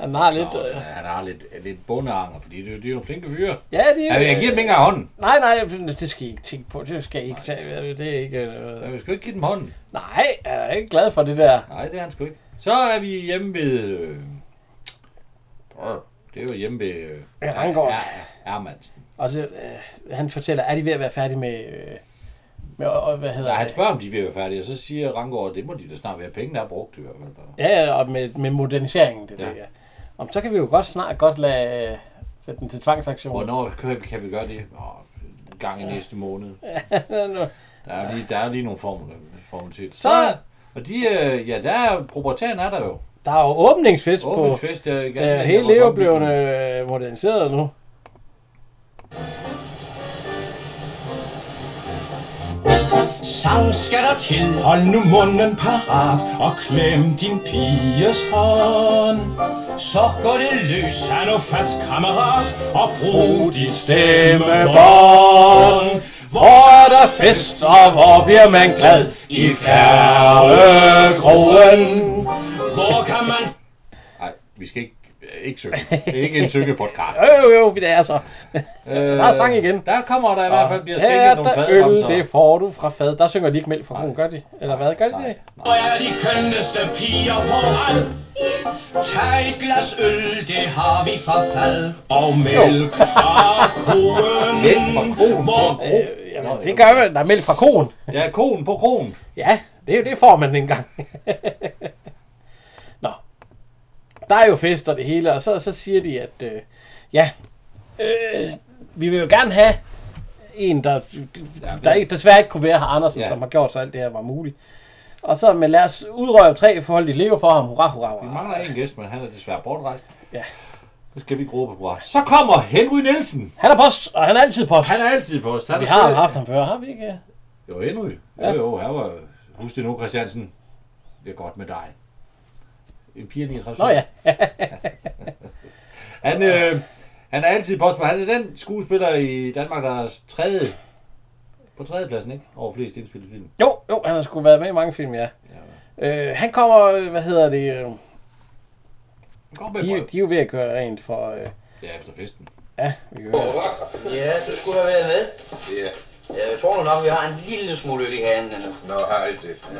Han har lidt...
Nå,
Øh,
han har lidt, lidt bondeanger, fordi det, det er jo flinke fyre.
ja, det
Jeg, jeg giver dem ikke engang hånden.
Nej, nej, det skal I ikke tænke på. Det skal I ikke tage. Det er ikke... Øh,
vi skal ikke give dem hånden.
Nej, jeg er ikke glad for det der.
Nej, det er han sgu ikke. Så er vi hjemme ved... Øh, brr, det er jo hjemme ved... Øh,
Ja, Rangård.
Ja, Ermansen.
Og så, øh, han fortæller, er de ved at være færdige med... Øh, med og, og, hvad hedder
Ja, han
det?
spørger, om de vil være færdige, og så siger Rangård, det må de da snart være. Pengene er brugt i hvert fald.
Ja, ja, og med, med moderniseringen, det ja.
Ja.
der. Ja. Om, så kan vi jo godt snart godt lade øh, sætte den til tvangsaktion.
Hvornår kan vi, kan vi gøre det? Nå, en gang i
Ja.
næste måned.
nu-
Der er, lige, der er lige nogle formler, formler
Så-
Så, og de, øh, ja, der er, proprietæren er der jo.
Der er jo åbningsfest,
Åbningsfest,
på.
ja, i gang
Ja,
med
hele
vores
Leo blev øh, moderniseret nu.
Sang skal der til, hold nu munden parat og klem din piges hånd. Så går det løs, han og fat kammerat, og brug dit stemmebånd. Hvor er der fest, og hvor bliver man glad i færgekrogen? Hvor kan man...
Nej, vi skal ikke, ikke synge. Det er ikke en syngepodcast.
Jo, jo, jo, det er så. Der er sang igen.
Øh, Der kommer der i hvert fald, bliver skænket
ja,
nogle
der
fadekomser.
Øl, det får du fra fad. Der synger de ikke mælk fra konen, gør de? Eller hvad, gør de det?
Hvor er de kønneste piger på rad? Tag et glas øl, det har vi fra fad. Og mælk fra koen.
Mælk
fra koen. Hvor
Øh, jamen, det gør man. Der er mælk fra konen.
Ja, konen på kronen.
Ja, det, er jo- det får man engang. Nå. Der er jo fest og det hele, og så, så siger de, at øh, ja, øh, vi vil jo gerne have en, der, der ikke, desværre ikke kunne være her Andersen,
Ja.
ja. som har gjort så alt det her var muligt. Og så, men lad os udrøve tre forhold i leve for ham. Hurra, hurra, hurra.
Vi mangler en gæst, men han er desværre bortrejst.
Ja.
Nu skal vi ikke råbe hurra. Så kommer Henry Nielsen.
Han er post, og han er altid post.
Han er altid post. Han
Vi
er
har
stadig-
haft ham før, har vi ikke?
Jo, Henry.
Ja.
Jo, jo, han var... Husk det nu, Christiansen. Det er godt med dig. En pige af 39.
Nå ja.
han, øh, han er altid post, men han er den skuespiller i Danmark, der er tredje... På tredjepladsen, ikke? Over flest indspillede film.
Jo, jo, han har sgu været med i mange film, ja. ja. Øh, han kommer, øh, hvad hedder det? Øh,
kommer
de, de er jo ved at gøre rent for... Øh,
Ja, efter festen.
ja, vi kan høre.
Ja, du skulle da være med. Ja. Ja, jeg tror nu nok, vi har en lille smule øl i handen nu. Nå, har I det? Ja.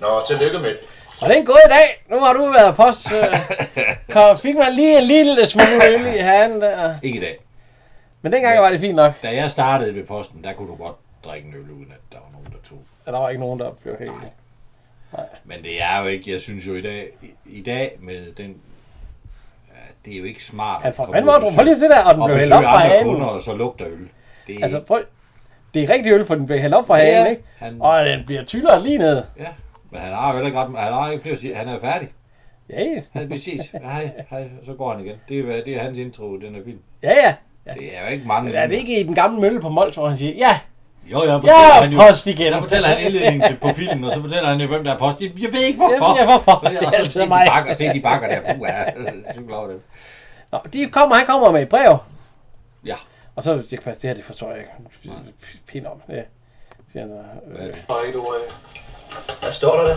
Nå, tillykke med.
Og det er en god dag. Nu har du været post. Øh, kom, fik man lige en lille smule øl i handen der.
Ikke i dag.
Men dengang var det fint nok.
Da jeg startede ved posten, der kunne du godt drikke en øl, uden at der var nogen, der tog.
Ja, der var ikke nogen, der blev helt...
Men det er jo ikke, jeg synes jo i dag, i, i dag med den, ja, det er jo ikke smart.
Han
at
får
komme
fandme
ud
op. Prøv lige at se der, og den blev hældt op
besøge
fra
andre
hanen.
kunder, Og så lugter øl. Det er
Altså,
altså,
prøv, det er rigtig øl, for den bliver hældt op fra
Ja,
hagen, ikke?
han-
Og den bliver tyndere lige ned.
Ja. men han har jo heller ikke, ret- han har ikke flere at sige, han er færdig.
Ja,
Han vi ses. Hej, hej, så går han igen. Det er, hvad- det er hans intro, i den her film.
Ja, ja.
Det er jo ikke mange.
Er det ikke i den gamle mølle på Mols, hvor han siger, ja,
Jo, jeg fortæller
jeg
han
er
jo,
post igen.
Der fortæller han indledningen til, på filmen, og så fortæller han jo, hvem der er post. Jeg ved ikke, hvorfor.
Jeg ved ikke, hvorfor.
Og
Det er
så
altid
se de
mig.
bakker, se de bakker der. Puh, ja, cykler over dem.
Nå, de kommer, han kommer med et brev.
Ja.
Og så Dirk Passer, det her, det forstår jeg ikke. P- Pind om. Ja. Siger han så. Øh.
Hvad står der der?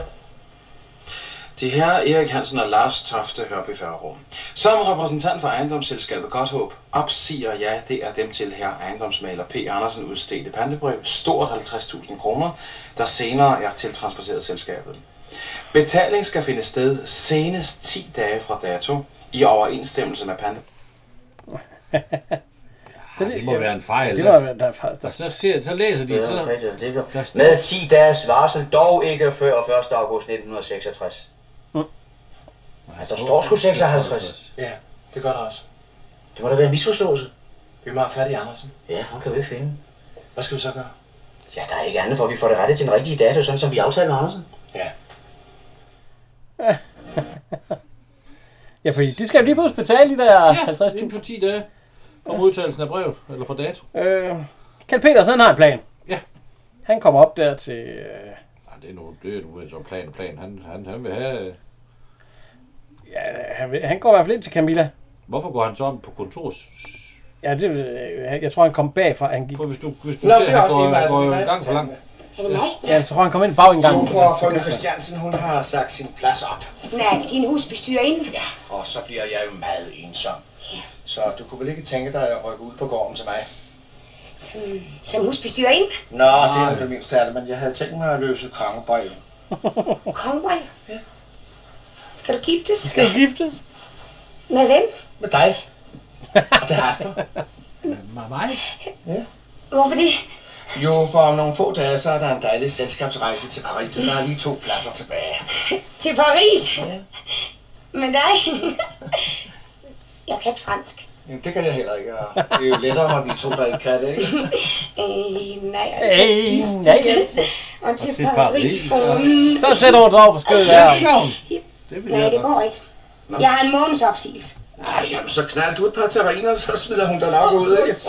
De herrer Erik Hansen og Lars Tofte Hørby Færgerum. Som repræsentant for ejendomsselskabet Godthåb opsiger jeg det er dem til herre ejendomsmaler P. Andersen udstedte pantebrev, stort 50.000 kroner, der senere er tiltransporteret selskabet. Betaling skal finde sted senest 10 dage fra dato i overensstemmelse med pantebrev.
Så det,
må være en fejl.
Det var, der er faktisk... Der,
Og så, ser, så læser de,
Ja,
så...
okay, ja, det er
der
Med 10 dages varsel, dog ikke før 1. august 1966.
Mm.
Ja, der står sgu 56.
Ja, det gør der også.
Det må da være en misforståelse.
Vi må have fat i Andersen.
Ja, ham kan vi finde.
Hvad skal vi så gøre?
Ja, der er ikke andet for, at vi får det rettet til den rigtige dato, sådan som vi aftaler med Andersen.
Ja.
ja, fordi de skal jo lige pludselig betale de der
Ja,
50
inden for 10 dage fra modtagelsen af brevet, eller fra dato.
Øh, Kjeld Petersen har en plan.
Ja.
Han kommer op der til... Øh,
Ja, det er nu, det er nu en sådan plan og plan. Han, han, han vil have...
Ja, han, vil- han går i hvert fald ind til Camilla.
Hvorfor går han så om på kontors?
Ja, det, øh, jeg tror, han kom bagfra. Han gik...
hvis du, hvis du Nå, ser, det er øh, han også går- lige meget. går jo gang for langt.
Ja, jeg tror, han kom ind bagindgangen.
Jordbror von Christiansen, hun har sagt sin plads op.
Hun er din husbestyrerinde. Ja.
Og så bliver jeg jo meget ensom. Så du kunne vel ikke tænke dig at rykke ud på gården til mig?
Som, som husbestyrerinde.
Nå, det er jo det mindste af det, men jeg havde tænkt mig at løse kongebrevet.
Kongebrev. Ja. Skal du giftes?
Skal du giftes?
Med hvem?
Med dig. Og det haster.
Med mig?
Ja.
Hvorfor det?
Jo, for om nogle få dage, så er der en dejlig selskabsrejse til Paris, så der er lige to pladser tilbage.
Til Paris? Ja. Med dig? jeg kan ikke fransk.
Jamen, det kan jeg heller ikke, og det er jo lettere, når vi er to, der ikke kan det, ikke?
Øh, nej.
Ey, nej.
Og til, og til Paris.
Så sætter hun dig over på skødet der.
Nej, det går ikke. Jeg har en måneds opsigelse.
Ej, jamen, så knald du et par terriner, så smider hun dig nok ud, ikke?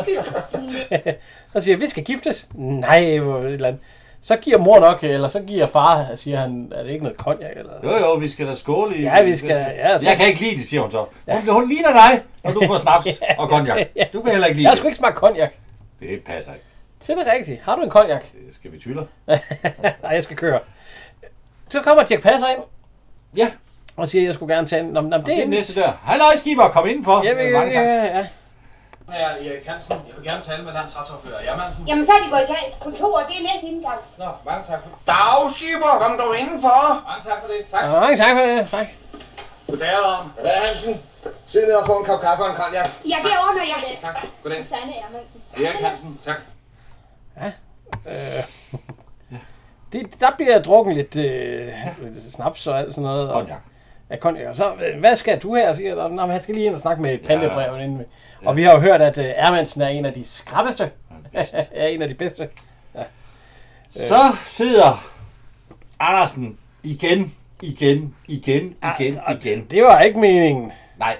Så siger jeg, vi skal giftes. Nej, hvor et eller andet. Så giver mor nok, eller så giver far, siger han, er det ikke noget konjak? Eller?
Jo, jo, vi skal da skåle i...
Ja, vi skal- ja, så-
Jeg kan ikke lide det, siger hun så. Hun, hun ligner dig, når du får snaps og konjak. Du kan heller ikke lide
Jeg skulle ikke smage konjak.
det. Det passer ikke.
Så er det rigtigt. Har du en konjak?
Øh, Skal vi tyller?
Nej, jeg skal køre. Så kommer Dirk Passer ind.
Ja.
Og siger, jeg skulle gerne tage en... Nå, men, det,
det er
hendes-
næste der. Halløj, Skipper, kom indenfor.
Jamen,
Øh,
ja,
mange tak.
ja, ja.
Ja, Erik Hansen, jeg vil gerne tale med landsretsordfører Jermansen.
Jamen, så er de gået i gang. Kontoret, det er næsten ikke engang.
Nå, mange tak.
Dagskiber, kom dog indenfor.
Mange tak for det. Tak.
Nå, mange tak for det. Tak.
Goddag, Ram.
Hvad, Hansen? Sid ned og få en kop kaffe og en konjak.
Ja, det ordner jeg.
Tak. Goddag.
Susanne Ermansen.
Erik Hansen, tak.
Øh, det, der bliver drukket lidt, øh, lidt snaps og alt sådan noget. og-
Konjak.
Ja, konjak. Og så, øh, hvad skal du her? Siger, jeg, Nå, men han skal lige ind og snakke med pandebreven. Ja. Inden. vi-" Og vi har jo hørt, at øh, Ermansen er en af de skrappeste. ja, en af de bedste. Ja.
Så sidder Andersen igen, igen, igen, igen, igen.
Ah, Det var ikke meningen.
Nej.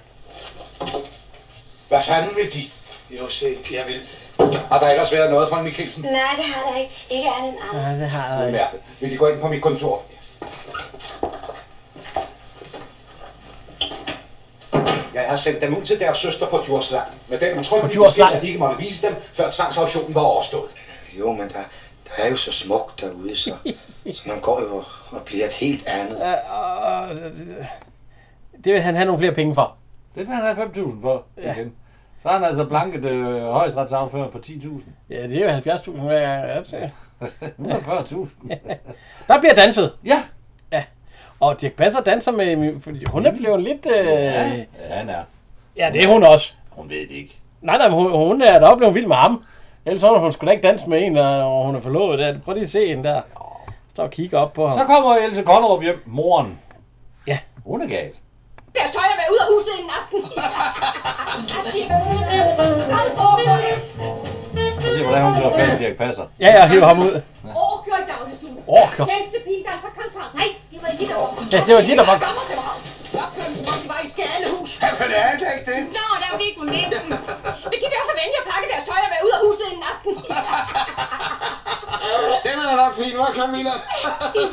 Hvad fanden vil de? Jo, se, jeg vil. Har der ellers været noget fra Mikkelsen?
Nej, det har der ikke. Ikke andet end Anders.
det har
jeg ikke. Vil de gå ind på mit kontor? Jeg har sendt dem ud til deres søster på Djursland. Med den utrolige besked, at de ikke måtte vise dem, før tvangsauktionen var overstået.
Jo, men der, der er jo så smukt derude, så, så man går jo og bliver et helt andet.
Ja, og, øh, det vil han have nogle flere penge for.
Det vil han have 5.000 for
Ja.
igen. Så har han altså blanket øh, højesteretsaffører for 10.000.
Ja, det er jo 70.000 hver gang. Ja, det er-
140.000.
Der bliver danset.
Ja.
Ja. Og Dirk Passer danser med, min- fordi hun er blevet lidt... Øh...
Ja, han er.
ja, det er hun også.
Hun ved det ikke.
Nej, nej, men hun, hun er da blevet vild med ham. Ellers så hun skulle da ikke danse med en, når hun er forlovet. Der. Prøv lige at se hende der. Står og kigger op på ham.
Så kommer Else Konrup hjem, moren.
Ja.
Hun er gal.
Deres tøj er været ud af huset en aften.
Så se, hvordan hun bliver fat, Dirk Passer.
Ja, jeg hiver ham ud.
Overkør i dagligstuen.
Overkør.
Næste pige, der er fra kontant. Nej, det var dit over.
Ja, det var dit, der var-
Dommer, det var. Jeg købte som om de var i et gadehus.
Jamen, det er det ikke det.
Nå, der var det ikke med Vil de være så venlige at pakke deres tøj og være ud af huset en aften?
Den er da nok fin, hva' Camilla?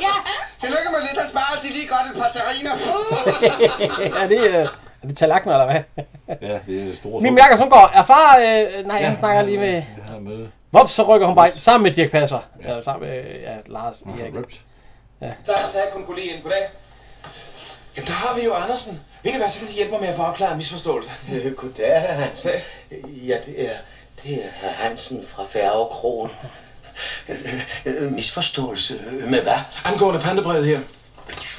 ja.
Tillykke med lidt at spare, de lige godt et par terriner.
Uh.
er det, øh, er det talakner, eller hvad?
Ja, det er det store.
Min mærker, som går, er far... Øh, nej, ja, han snakker lige med...
Han er møde.
Vops, så rykker hun bare ind, sammen med Dirk Passer. Ja. Eller sammen med øh, ja, Lars Erik. Ja.
Der sagde kong Goli ind. Goddag. Jamen, der har vi jo Andersen. Ved du hvad, så kan de hjælpe mig med at få opklaret en misforståelse.
Øh, Goddag, herr Hansen. Ja, det er, det er herr Hansen fra Færgekrogen. Øh, øh, misforståelse øh, med hvad?
Angående pandebrevet her.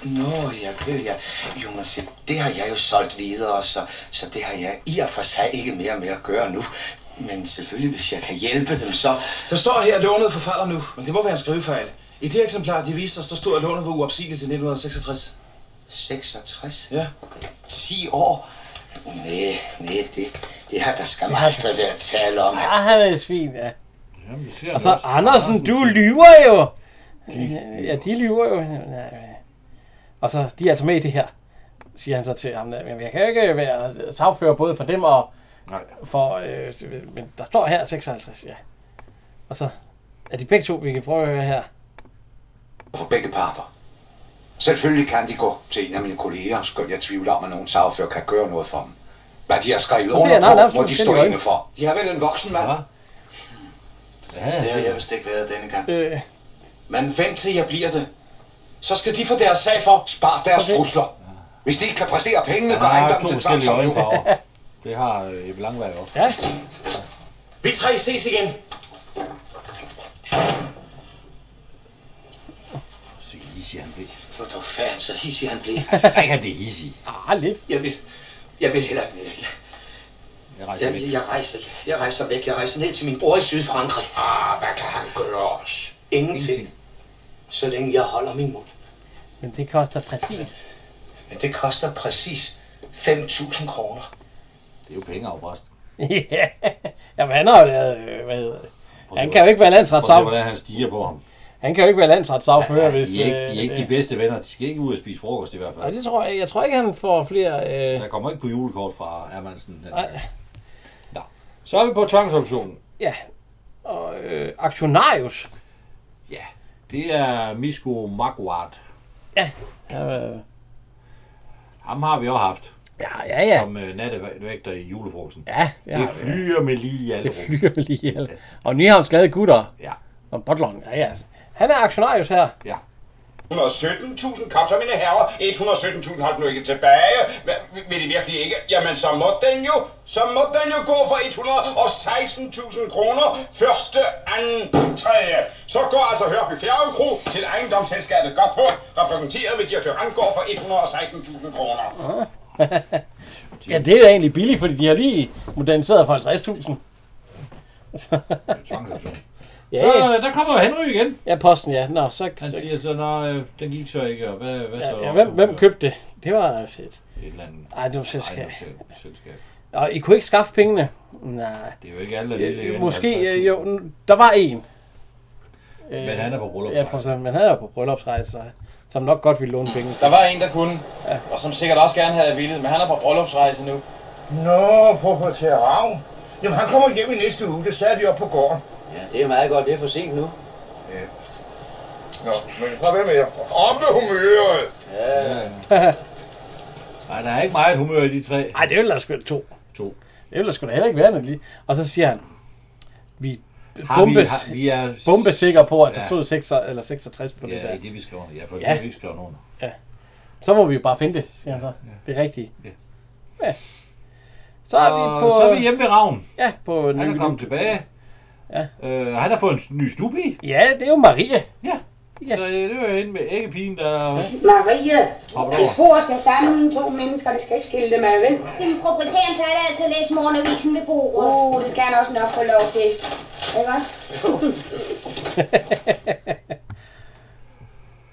Nå, jeg ved, jeg... Jo, men se, det har jeg jo solgt videre, så, så det har jeg i og for sig ikke mere med at gøre nu. Men selvfølgelig, hvis jeg kan hjælpe dem, så...
Der står her, at lånet forfalder nu, men det må være en skrivefejl. I det eksemplar, de viste os, der stod, at lånet var uopsigeligt til 1966.
66? Ja. 10 år? Nej, nej, det, det har der skal aldrig været tale om.
Ah, han er et svin, ja.
Jamen,
Og så Andersen, du lyver jo! Ja, de lyver jo. Og så, de er altså med i det her, siger han så til ham. der. Men jeg kan jo ikke være sagfører både for dem og for... Øh, men der står her 56, ja. Og så, Er de begge to, vi kan prøve at høre her?
for begge parter. Selvfølgelig kan de gå til en af mine kolleger, skønt jeg tvivler om, at nogen sagfører kan gøre noget for dem. Hvad de har skrevet
Nu ser jeg,
under
nej, nej,
på, må de
forskellige
stå
øjne.
inde for. De har vel en voksen mand? Ja.
Ja,
det har jeg vist ikke været denne gang.
Øh.
Men vent til jeg bliver det. Så skal de få deres sag for. Spar deres okay. trusler. Hvis de ikke kan præstere pengene, går
Der er to
ejendommen til
forskellige
tvangsopgave.
øjenfarver. Det har øh, Jeppe Langvej også.
Ja.
Vi tre ses igen.
Så easy han blev.
Hvor dog fanden, så hissig han blev.
Ej, han blev easy.
Ah, lidt.
Jeg vil, jeg vil heller ikke mere. Jeg,
Jeg
rejser, jeg, jeg, rejser, jeg rejser væk. Jeg rejser ned til min bror i Sydfrankrig. Ah, hvad kan han gøre os? Ingenting. Ingenting. Så længe jeg holder min mund.
Men det koster præcis.
Men det koster præcis 5.000 kroner.
Det er jo penge afbræst.
ja. Jamen, han har jo lavet, øh, hvad hedder det? Han kan jo ikke være landsret
Prøv at se, hvordan
sagfører.
han stiger på ham.
Han kan jo ikke være landsret sagfører, hvis...
De er, ikke, de er ikke
øh,
de bedste venner. De skal ikke ud og spise frokost i hvert fald.
Nej, det tror jeg, jeg tror ikke, han får flere... Øh,
Der kommer ikke på julekort fra Hermansen. Den.
Nej.
Nå. Så er vi på tvangsauktionen.
ja, og øh, aktionarius.
Ja. Det er Misko Magwart.
Ja. Øh.
Ham har vi også haft.
Ja, ja, ja.
Som øh, nattevægter i julefrokosten.
Ja, det
det,
har
det
vi, ja.
flyer med lige i alle
Det
rum.
flyer vel lige ihjel. Og Nyhavns glade gutter.
Ja.
Og Botlon. Ja, ja. Han er aktionarius her.
Ja.
117.000, kom så mine herrer. 117.000 har den jo ikke tilbage. Hva, vil de virkelig ikke? Jamen så må den jo, så må den jo gå for 116.000 kroner. Første, anden, tredje. Så går altså Hørby Fjergekro til ejendomsselskabet godt på, repræsenteret ved direktør Randgaard for 116.000 kroner.
Ja, det er da egentlig billigt, fordi de har lige moderniseret for 50.000.
Tvangsauktion.
Ja.
Så øh, der kommer Henry igen.
Ja, posten, ja. Nå, så...
Han
så-
siger så, nej, øh, den gik så ikke, og hvad, hvad så?
ja, ja, hvem, hvem købte det? Det var fedt.
Et eller andet
Ejendomsselskab.
ejendomsselskab.
Og I kunne ikke skaffe pengene? Nej.
Det er jo ikke alle, der lige
Øh,
lever
Måske,
50.000.
øh, jo, n- der var en. Øh.
Men han er på bryllupsrejse.
Ja, på, men han er på bryllupsrejse, så- som nok godt ville låne penge.
Der var en, der kunne, ja. og som sikkert også gerne havde ville, men han er på bryllupsrejse nu.
Nå, proprietær Ravn. Jamen, han kommer hjem i næste uge. Det sagde de op på gården.
Ja, det er meget godt. Det er for sent nu.
Ja. Nå, men prøv at være med jer. Op med humøret!
Ja.
Nej, der er ikke meget humør i de tre.
Nej, det ville da sgu to.
To.
Det ville da sgu da heller ikke være noget lige. Og så siger han, vi
Har vi-
bombes,
har- vi er-
bombesikre på, at der
Ja.
stod 6, eller 66 på det
Ja,
der.
i det vi skriver. Ja, for
Ja.
eksempel ja. ikke skriver nogen.
Ja. Så må vi jo bare finde det, siger han så. Det er rigtigt.
Ja.
ja. Så er vi
Og
på...
så er vi hjemme ved Ravn.
Ja, på...
Han er
ny-
kommet tilbage.
Ja.
Øh, han har fået en s- ny stupige.
Ja, det er jo Marie.
Ja.
ja.
Så øh, det var hende med æggepigen, der
Maria,
hopper
et
over.
bord skal samle to mennesker, det skal ikke skille dem ad, vel?
Jamen, proprietæren plejer da altid at læse morgenavisen ved bordet.
Uh, det skal han også nok få lov til. Er det godt?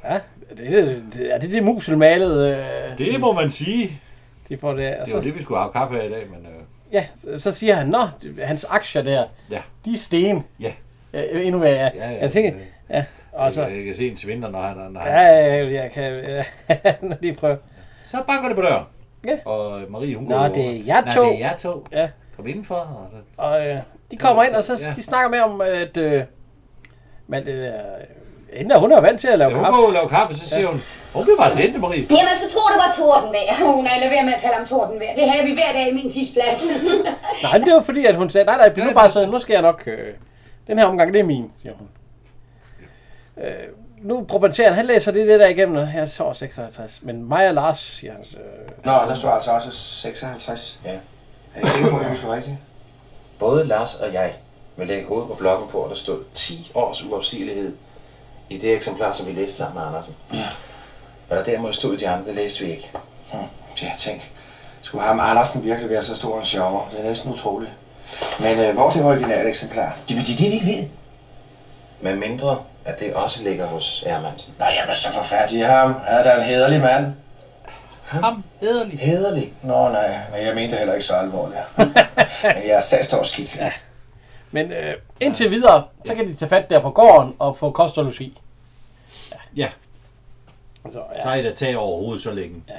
Ja, det, det, det, er det det muselmalede... Øh,
Det må man sige.
De får det, og
Det var det,
så,
vi skulle have kaffe af i dag, men øh,
ja, så, så siger han, nå, hans aktier der,
ja.
de er sten.
Ja.
Ja, endnu mere, ja.
Ja, ja,
jeg tænker, ja. Og så,
Jeg, jeg kan se en svinder, når han... Når
Ja,
han
ja, jeg kan ja, når de prøver.
Så banker det på døren.
Ja.
Og Marie, hun
Nå,
går
det er
over.
jer to.
Nå, det er jer to.
Ja.
Kom indenfor. Og så...
Og øh, de kommer ind, og så
Ja.
de snakker med om, at øh, men det der, Enda, hun er jo vant til at lave
Ja, hun
kaffe.
går og laver kaffe, så siger hun, hun bliver bare sendt, Marie.
Ja, man skulle tro, det var tordenvejr.
Uh, nej, lad være med at tale om tordenvejr. Det havde vi hver dag i min sidste plads.
Nej, men det var fordi, at hun sagde, nej, nej, bliv nu bare sådan, nu skal jeg nok, øh, den her omgang, det er min, siger hun. Øh, nu propaterer han, han læser det, det der igennem, og jeg sover 56, men mig og Lars, siger han, øh,
Nå, der står altså også 56. Ja. Er I sikker på, at jeg husker rigtigt?
Både Lars og jeg vil lægge hovedet på blokken på, at der stod 10 års uopsigelighed i det eksemplar, som vi læste sammen med Andersen.
Ja.
Hvad der derimod stod i de andre, det læste vi ikke. Hm,
Ja, tænk. Skulle ham Andersen virkelig være så stor en sjov? Det er næsten utroligt. Men øh, hvor er det originale eksemplar? Jamen, det er det, vi ikke ved.
Med mindre, at det også ligger hos Ermansen.
Nå, jamen, så forfærdelig ham. Han er da en hederlig mand.
Ham? Hederlig?
Hederlig? Nå, nej. Men jeg mente det heller ikke så alvorligt. Men jeg er sagsdårskidt. Ja.
men øh, indtil videre, så kan de tage fat der på gården og få kost og logi.
Ja.
Så,
ja. Så er I da tag over hovedet så længe. Ja.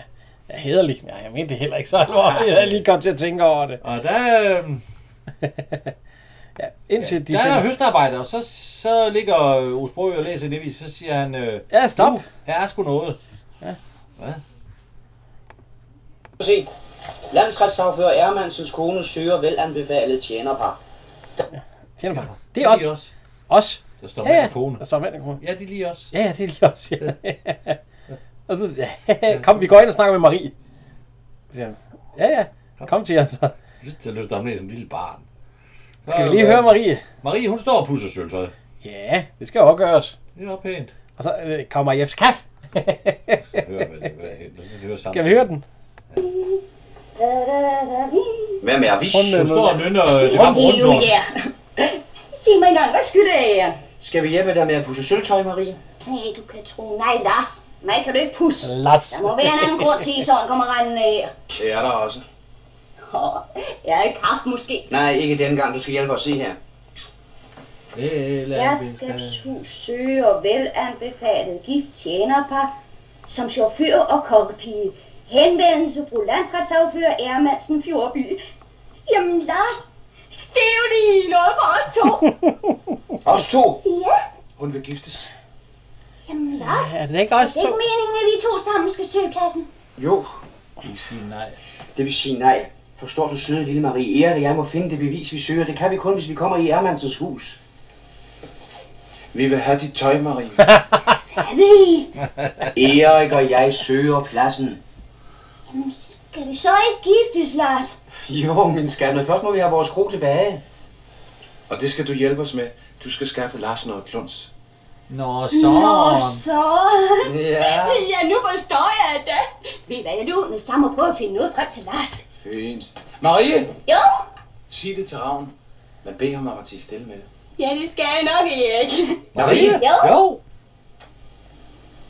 Ja, hederlig. Nej, jeg
øh,
mente det heller ikke så alvorligt. Jeg er lige kommet til at tænke over det.
Og der... Øh...
Ja, indtil de
der er
finder-
der høstarbejde, og så, så ligger Osbro og læser det, så siger han... Øh,
Ja, stop.
Uh, her er sgu noget.
Ja.
Hvad?
Se, landsretssagfører Ermansens kone søger velanbefalet tjenerpar.
Tjener bare. Det er også. Os. Os.
Der står
ja,
mand
ja.
og kone.
Der står mand og kone.
Ja, de er lige os.
Ja, ja, det er lige os. Ja. Og så, ja. Kom, vi går ind og snakker med Marie. Så siger han, Ja, ja. Kom til jer så.
Jeg synes, det lyder ham lidt som et lille barn. øh,
Skal vi lige høre Marie?
Marie, hun står og pudser sølvtøj.
Ja, det skal også gøres.
Det er pænt.
Og så øh, kommer Jeffs kaffe.
Hør, hvad det- hvad det- det hører
Skal
samtidig.
vi høre den?
Hvem er vi?
Hun står og nynner øh, det
Rundt-
gamle rundtårn.
ja. Sig mig engang, hvad skylder jeg jer?
Skal vi hjælpe dig med at pusse sølvtøj, Marie?
Nej, du kan tro. Nej, Lars. Mig kan du ikke pusse.
Lars.
Der må være en anden grund til, at sådan kommer rendende af.
Det er der også.
Åh, jeg er ikke haft måske.
Nej, ikke dengang. Du skal hjælpe os. Se her.
Herskabshus søger velanbefalet gift tjenerpar som chauffør og kokkepige. Henvendelse fra landsretssagfører Ermansen Fjordby. Jamen Lars, det er jo lige noget for os to.
Os to.
ja,
Hun vil giftes.
jamen Lars,
er det ikke
det er ikke meningen, at vi to sammen skal søge pladsen.
Jo,
Vi siger nej.
det vil sige nej. Forstår du, søde lille Marie? Ære, og jeg må finde det bevis, vi søger. Det kan vi kun, hvis vi kommer i Ermansens hus.
Vi vil have dit tøj, Marie.
Hvad ved I?
Erik og jeg søger pladsen.
Jamen, skal vi så ikke giftes, Lars?
Jo, min skat, men først må vi have vores kro tilbage.
Og det skal du hjælpe os med. Du skal skaffe Lars noget kluns.
Nå,
Nå, så.
Ja.
ja, nu forstår jeg det. Ved I hvad, jeg løber med sammen og prøver at finde noget frem til Lars.
Fint. Marie,
Jo,
sig det til Ravn. Men bed ham om at tage stille med det.
ja, det skal jeg nok ikke.
Marie?
Jo.
Jo.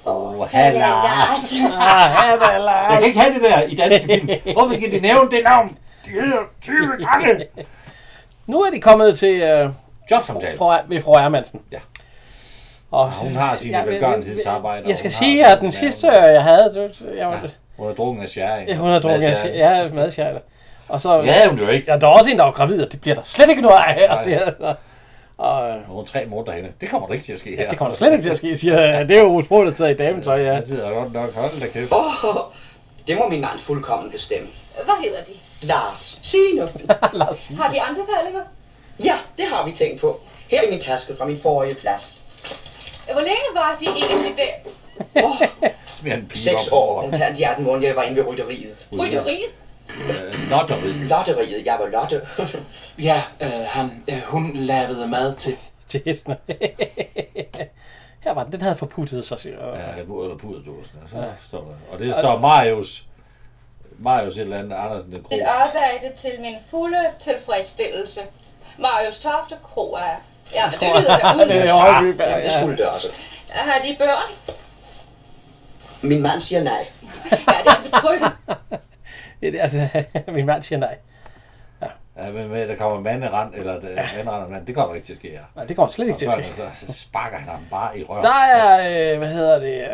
Åh, Hanna.
Lars.
Ah, Hanna Lars. Jeg kan ikke have det der i danske film. Hvorfor skal de nævne det navn? Det hedder 20 gange.
Nu er de kommet til øh,
jobsamtale
fra, ved fru Ermansen.
Ja.
Og,
hun har sine
Ja, men-
velgørenhedsarbejder,
Jeg skal
hun
sige,
har
at den
den
sidste, øh, jeg havde, det- jeg var,
Hun har drukket af sjære,
Ja, hun har drukket af sjæl. Ja, madskjejler. Og så,
Ja, hun er jo ikke.
Ja, der er også en, der er gravid, og det bliver der slet ikke noget af her,
Nej.
siger jeg så. Og, øh,
Hun er tre måneder henne. Det kommer der ikke til at ske her.
ja, det kommer der slet ikke til at ske, siger jeg. Det er jo Osbro, der sidder i dametøj, ja.
Det er godt nok. Hold da kæft.
Åh, det må min mand fuldkommen bestemme.
Hvad hedder de?
Lars, sig nu.
Lars.
Har de anbefalinger?
Ja, det har vi tænkt på. Her er min taske fra min forrige plads.
Hvor længe var de egentlig der?
Seks år, kontant i 18 måneder, jeg var inde ved rytteriet.
Rytteriet?
Øh, Lotteriet.
Lotteriet, jeg var lotte.
Ja, øh, han, øh, hun lavede mad til.
Til hestene. Her var den, den havde forputtet sig, siger jeg.
Ja, eller puderdåsen. og Så
Ja.
står der. Og det står Marius. Marius et eller andet. Andersen den Kro.
Et arbejde til min fulde tilfredsstillelse. Marius Tofte Kroa. Ja, men det lyder da
Det
ud.
er
Højby,
Jamen, det
ja.
skulle det også.
Har de børn?
Min mand siger nej.
Det er Altså, min mand siger nej.
Ja, men med, der kommer manderand, eller ja. manderand og mand, det kommer ikke til at ske her.
Nej, det kommer slet ikke til at ske.
Så, så sparker han ham bare i røven.
Der er, øh, hvad hedder det? øh,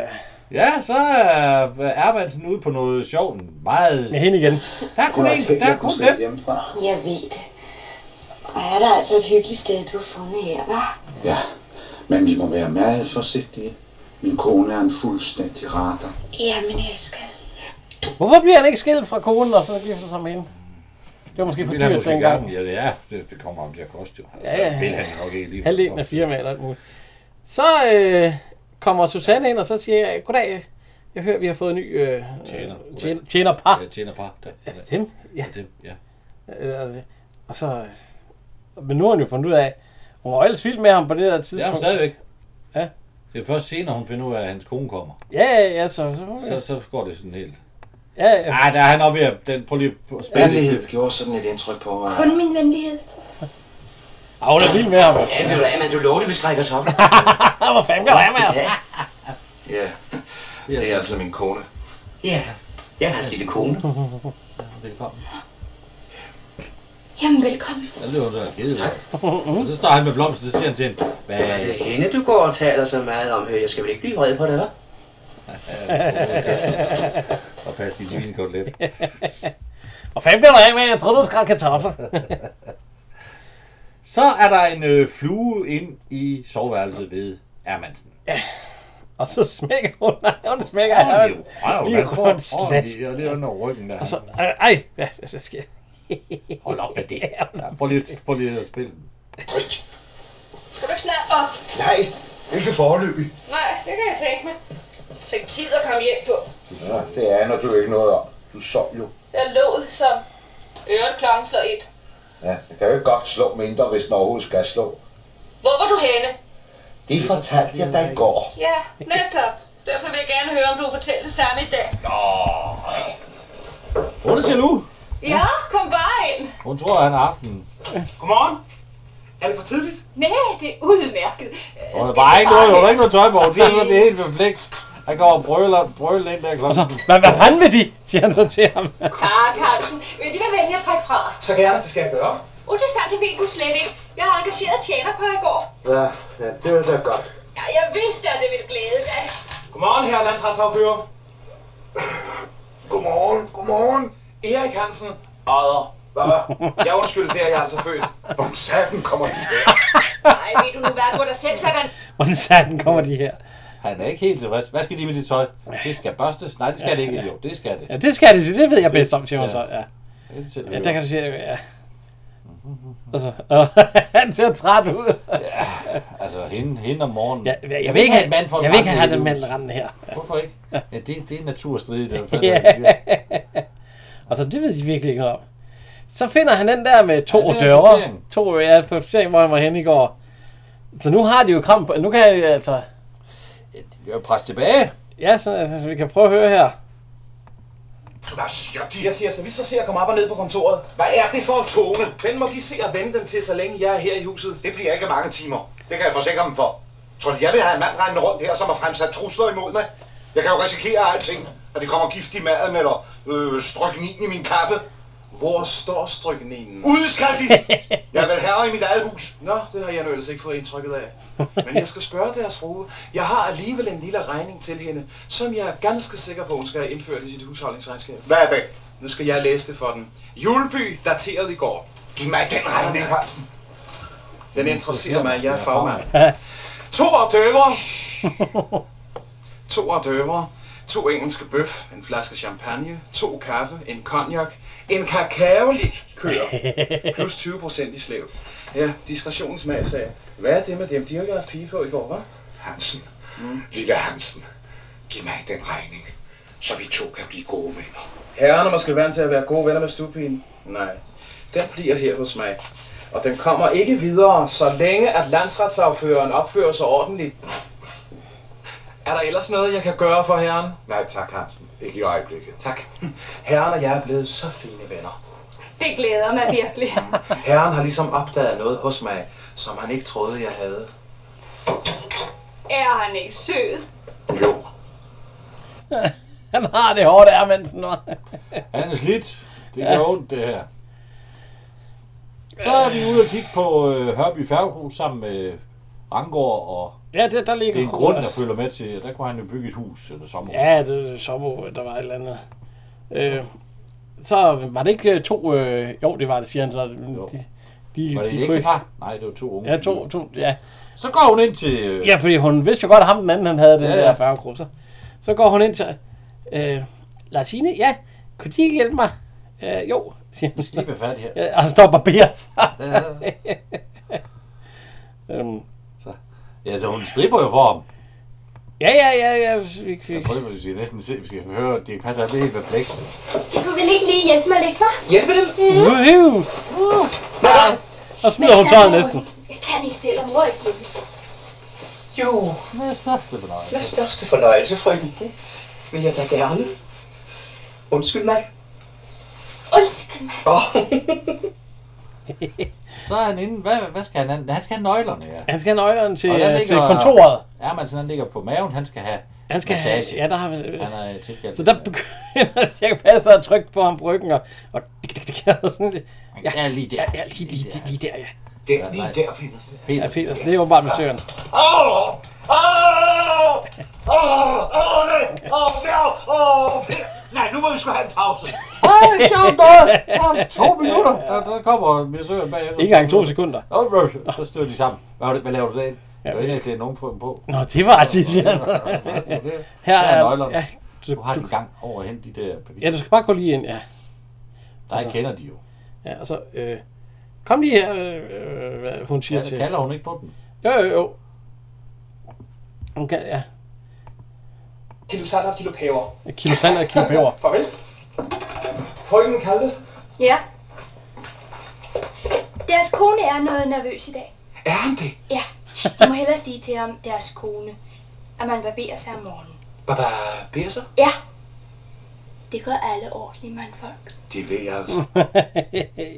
Ja, så er Ermansen ude på noget sjovt. Meget...
Med hende igen.
Der er kun en, der er kun dem.
Jeg ved det. Og er der altså et hyggeligt sted, du har fundet her, hva'?
Ja, men vi må være meget forsigtige. Min kone er en fuldstændig rater.
Jamen, jeg skal.
Hvorfor bliver han ikke skilt fra konen, og så gifter sig med hende? Det var måske for
Vil han
dyrt
måske
dengang.
gerne- Ja, det er. Det, det kommer ham til at koste jo. Altså,
Ja, ja.
Vil han nok ikke lige.
Halvdelen af firmaet og alt muligt. Så øh, kommer Susanne ind, og så siger jeg, goddag, jeg hører, vi har fået en ny øh,
Tjener.
tjener, tjenerpar.
Ja, tjener par. Der.
Altså dem? Ja.
Dem, ja.
Øh, altså, Og så... øh, Men nu har hun jo fundet ud af... Hun var jo ellers vild med ham på det der
Det
tidspunkt.
er hun stadigvæk.
Ja.
Det er først senere, hun finder ud af, at hans kone kommer.
Ja, ja, ja, så...
Så,
så, så
så går det sådan helt.
ja, ja.
Nej, der er han oppe i at- den. Prøv lige at spille
Ærlighed gjorde sådan et indtryk på mig.
Kun min venlighed.
Ah, hun er vild med ham.
Ja, ved du hvad, men du lovede, vi skrækker toppen.
Hvor fanden gør jeg med
ham?
Ja, det er altså min kone.
Ja, jeg er hans lille kone.
Velkommen.
Jamen, velkommen.
Ja, det var da givet. Og så står han med blomsten, så siger han til hende, hvad
Ja, det er hende, du går og taler så meget om. Hør, jeg skal vel ikke blive vred på det, hva'?
Og pas din svinekotelet.
Hvor fanden bliver du af med? Jeg troede, du skrædte kartofler.
Så er der en øh, flue ind i soveværelset ved Ermansen.
Ja. Og så smækker hun, nej, hun smækker
Åh,
ham.
det er jo røv,
Lige
man får
rundt
ordentligt,
slask.
og det er under ryggen der.
Og så, ej, ej, hvad hvad sker
Hold op med det. Ja, prøv, lige, prøv lige at spille den.
Skal du ikke snart op?
Nej, ikke forløb.
Nej, det kan jeg tænke mig. Tænk tid at komme hjem på.
Ja, det aner du ikke noget om. Du sov jo.
Jeg lå som øret klokken slår et.
Ja, jeg kan jo ikke godt slå mindre, hvis den overhovedet skal slå.
Hvor var du henne?
Det fortalte jeg dig i går.
Ja, netop. Derfor vil jeg gerne høre, om du fortæller det samme i dag.
Hun er jaloux.
Ja, kom bare ind.
Hun tror, han har haft den.
Godmorgen. Er det for tidligt?
Nej, det er udmærket. Øh,
Hun har
skal
bare
vi
ikke noget, hun har
hen?
ikke noget tøj på. Hun sidder sådan helt perpleks. Han går og brøler, brøler ind der
Og
klokken.
så, hvad, hvad fanden vil de, siger han så til ham.
Ah, Carlsen, vil de være venlig at trække fra?
Så gerne, det skal jeg gøre.
Utilsagt, det ved du slet ikke. Jeg har engageret tjener på i går.
Ja, ja det er da godt.
Ja, jeg vidste, at det ville glæde dig.
Godmorgen, herre landtrætsaffører. Godmorgen, godmorgen. Erik Hansen, Odder. Hvad? Jeg undskylder det, er jeg altså født. Hvor satan kommer de her?
Nej, ved du nu hvad, hvor der selv sådan.
Hvordan satan kommer de her?
Han er ikke helt tilfreds. Hvad skal de med dit tøj? Det skal børstes. Nej, det skal det ikke. Jo, det skal det.
Ja, det skal det, sige, det ved jeg bedst om, siger hun
Ja.
så. Ja,
Det selv
ja
høre.
der kan du sige, ja. Altså, Og så, og han ser træt ud.
Altså, hende, hende om morgenen.
Ja, jeg, jeg, vil ikke have, jeg vil ikke have den mand rendende her.
Hvorfor ikke? Ja, det, det er naturstridigt. Det er fandme,
Ja.
hvad de siger.
Og så det ved de virkelig ikke noget om. Så finder han den der med to
Ja, det er
døre.
fortjent.
To, ja, for fortjent, hvor han var henne i går. Så nu har de jo kram på, nu kan jeg jo altså...
Vi har pres tilbage.
Ja, så altså, vi kan prøve at høre her.
Hvad siger de? Jeg siger, så vi så ser at komme op og ned på kontoret. Hvad er det for en tone? Den må de se at vende dem til, så længe jeg er her i huset. Det bliver ikke mange timer.
Det kan jeg forsikre dem for. Tror du, jeg vil have en mand rendende rundt her, som har fremsat trusler imod mig? Jeg kan jo risikere alting, at det kommer gift i maden eller øh, stryknin i min kaffe.
Hvor står strykninen?
Udskald de! Jeg vil herre i mit eget hus.
Nå, det har jeg nu ellers ikke fået indtrykket af. Men jeg skal spørge deres frue. Jeg har alligevel en lille regning til hende, som jeg er ganske sikker på, hun skal have indført i sit husholdningsregnskab.
Hvad er det?
Nu skal jeg læse det for den. Juleby, dateret i går. Giv mig den regning, Hansen. Den interesserer mig, jeg er fagmand. To ordøver. To ordøver. To engelske bøf, en flaske champagne, to kaffe, en cognac, en kakao kører. Plus 20 procent i slæv. Ja, diskretionens sagde. Hvad er det med dem? De har jo haft pige på i går, hva'?
Hansen, mm. lille Hansen, giv mig den regning, så vi to kan blive gode venner.
Herrerne måske vant til at være gode venner med stupin. Nej, den bliver her hos mig. Og den kommer ikke videre, så længe at landsretsaføreren opfører sig ordentligt. Er der ellers noget, jeg kan gøre for herren?
Nej tak, Hansen. Ikke i øjeblikket.
Tak. Herren og jeg er blevet så fine venner.
Det glæder mig virkelig.
Herren har ligesom opdaget noget hos mig, som han ikke troede, jeg havde.
Er han ikke sød?
Han har det hårdt, er Mansen nu.
Han er slidt. Det gør
Ja.
ondt, det her. Så er vi ude og kigge på øh, Hørby Færgekrus sammen med Rangård og
Ja, det, der ligger
det er en
Kro
grund, der
også.
følger med til. Der kunne han jo bygge et hus øh, eller sommerhus.
Ja, det var sommer, der var et eller andet. Øh, så var det ikke øh, to... Øh, jo, det var det, siger han så. De, de,
Var det
de
et
kunne ikke-
ægtepar? Nej, det var to unge.
Ja, to, to, ja.
Så går hun ind til... øh,
Ja, fordi hun vidste jo godt, at ham den anden, han havde den
Ja,
ja,
ja.
der farvekrusser. Så går hun ind til... Øh, Larsine, ja, kunne de ikke hjælpe mig? Øh, jo, siger
Vi skal lige være færdige her.
Ja, og han står og barberer sig.
Ja.
øhm.
så. Ja, så hun stripper jo for ham.
Ja, ja, ja, ja. Vi, vi.
Jeg prøver, at vi skal næsten se, vi skal høre, at de passer han er helt perpleks.
Du vil ikke lige hjælpe mig lidt, hva'?
Hjælpe dem?
Mm.
Woohoo!
Uh.
Og smider hun
Men
tøjet
jeg-
næsten.
Jeg kan ikke selv, om mor ikke vil.
Jo,
Hvad er største fornøjelse?
Med største fornøjelse, frøken. Det vil jeg da gerne. Undskyld mig.
Undskyld mig.
Åh,
Så er han inde. Hvad, hvad skal han have? Han skal have nøglerne, ja.
Han skal have nøglerne til, øh,
Og der
til kontoret.
Ja, men sådan, han ligger på maven. Han skal have
Han skal have-
massage.
ja, der har-
han er tilkaldt.
Så der begynder jeg passer og trykke på ham på ryggen, og, og dik, dik, dik, og sådan lidt. Ja,
ja, lige der.
Ja, ja lige, lige, lige, lige der, ja.
Det er lige der, Petersen.
Ja, Petersen, det er åbenbart med søren.
Åh! Åh! Åh! Åh, nej! Åh, nej! Åh, Per! Nej, nu må vi sgu have en pause.
Ej, det er sjovt noget. Der er to minutter. Der, der kommer misøren bagefter.
Ikke engang to sekunder.
Nå, bro, så støder de sammen. Hvad, var det- hvad laver du det? Jeg var ikke engang klædt nogen på dem på.
Nå, det var det, ja.
Her
Her
er
er-
nøglerne.
ja,
du, har din gang over hen de der papirer.
Ja, du skal bare gå lige ind, ja. Altså-
Der kender de jo.
Ja, og så... Øh, kom lige her, øh, øh, hvad hun siger
Ja, så
til.
kalder hun ikke på den.
Jo, jo, jo. Hun kan, ja.
Kilo salt og kilo peber.
Et kilo sand og et kilo peber.
Farvel. Frøken Kalte.
Ja. Deres kone er noget nervøs i dag.
Er han det?
Ja. De må hellere sige til ham, deres kone, at man barberer sig om morgenen.
Baba Birser?
Ja. Det gør alle ordentlige mandfolk.
Det ved jeg altså.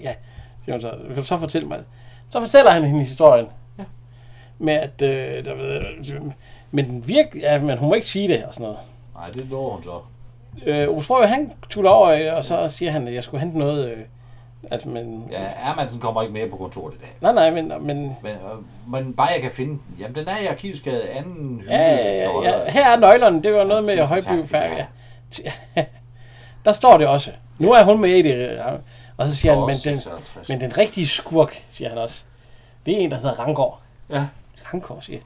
ja, siger hun så. Kan du så fortælle mig? Så fortæller han hende historien. Ja. Med at, øh, der, ved- men, den virk, ja, men hun må ikke sige det og sådan noget.
Nej, det lover hun så.
Øh, Osborg, han tuller over, øh, og så siger han, at jeg skulle hente noget... Øh, at man,
Ja, Ermansen kommer ikke mere på kontoret i dag.
Nej, nej, men... men
Men, øh, men bare jeg kan finde den. Jamen, den er i arkivskade anden hylde.
Ja, ja,
til
ja,
højre.
ja. Her er nøglerne. Det var noget med
Tusind
Højby
tak,
Færge. Ja. Der står det også. Nu er hun med i det. øh, Og så siger han,
Åh,
men den,
56.
men den rigtige skurk, siger han også. Det er en, der hedder Rangård.
Ja.
Rangård, siger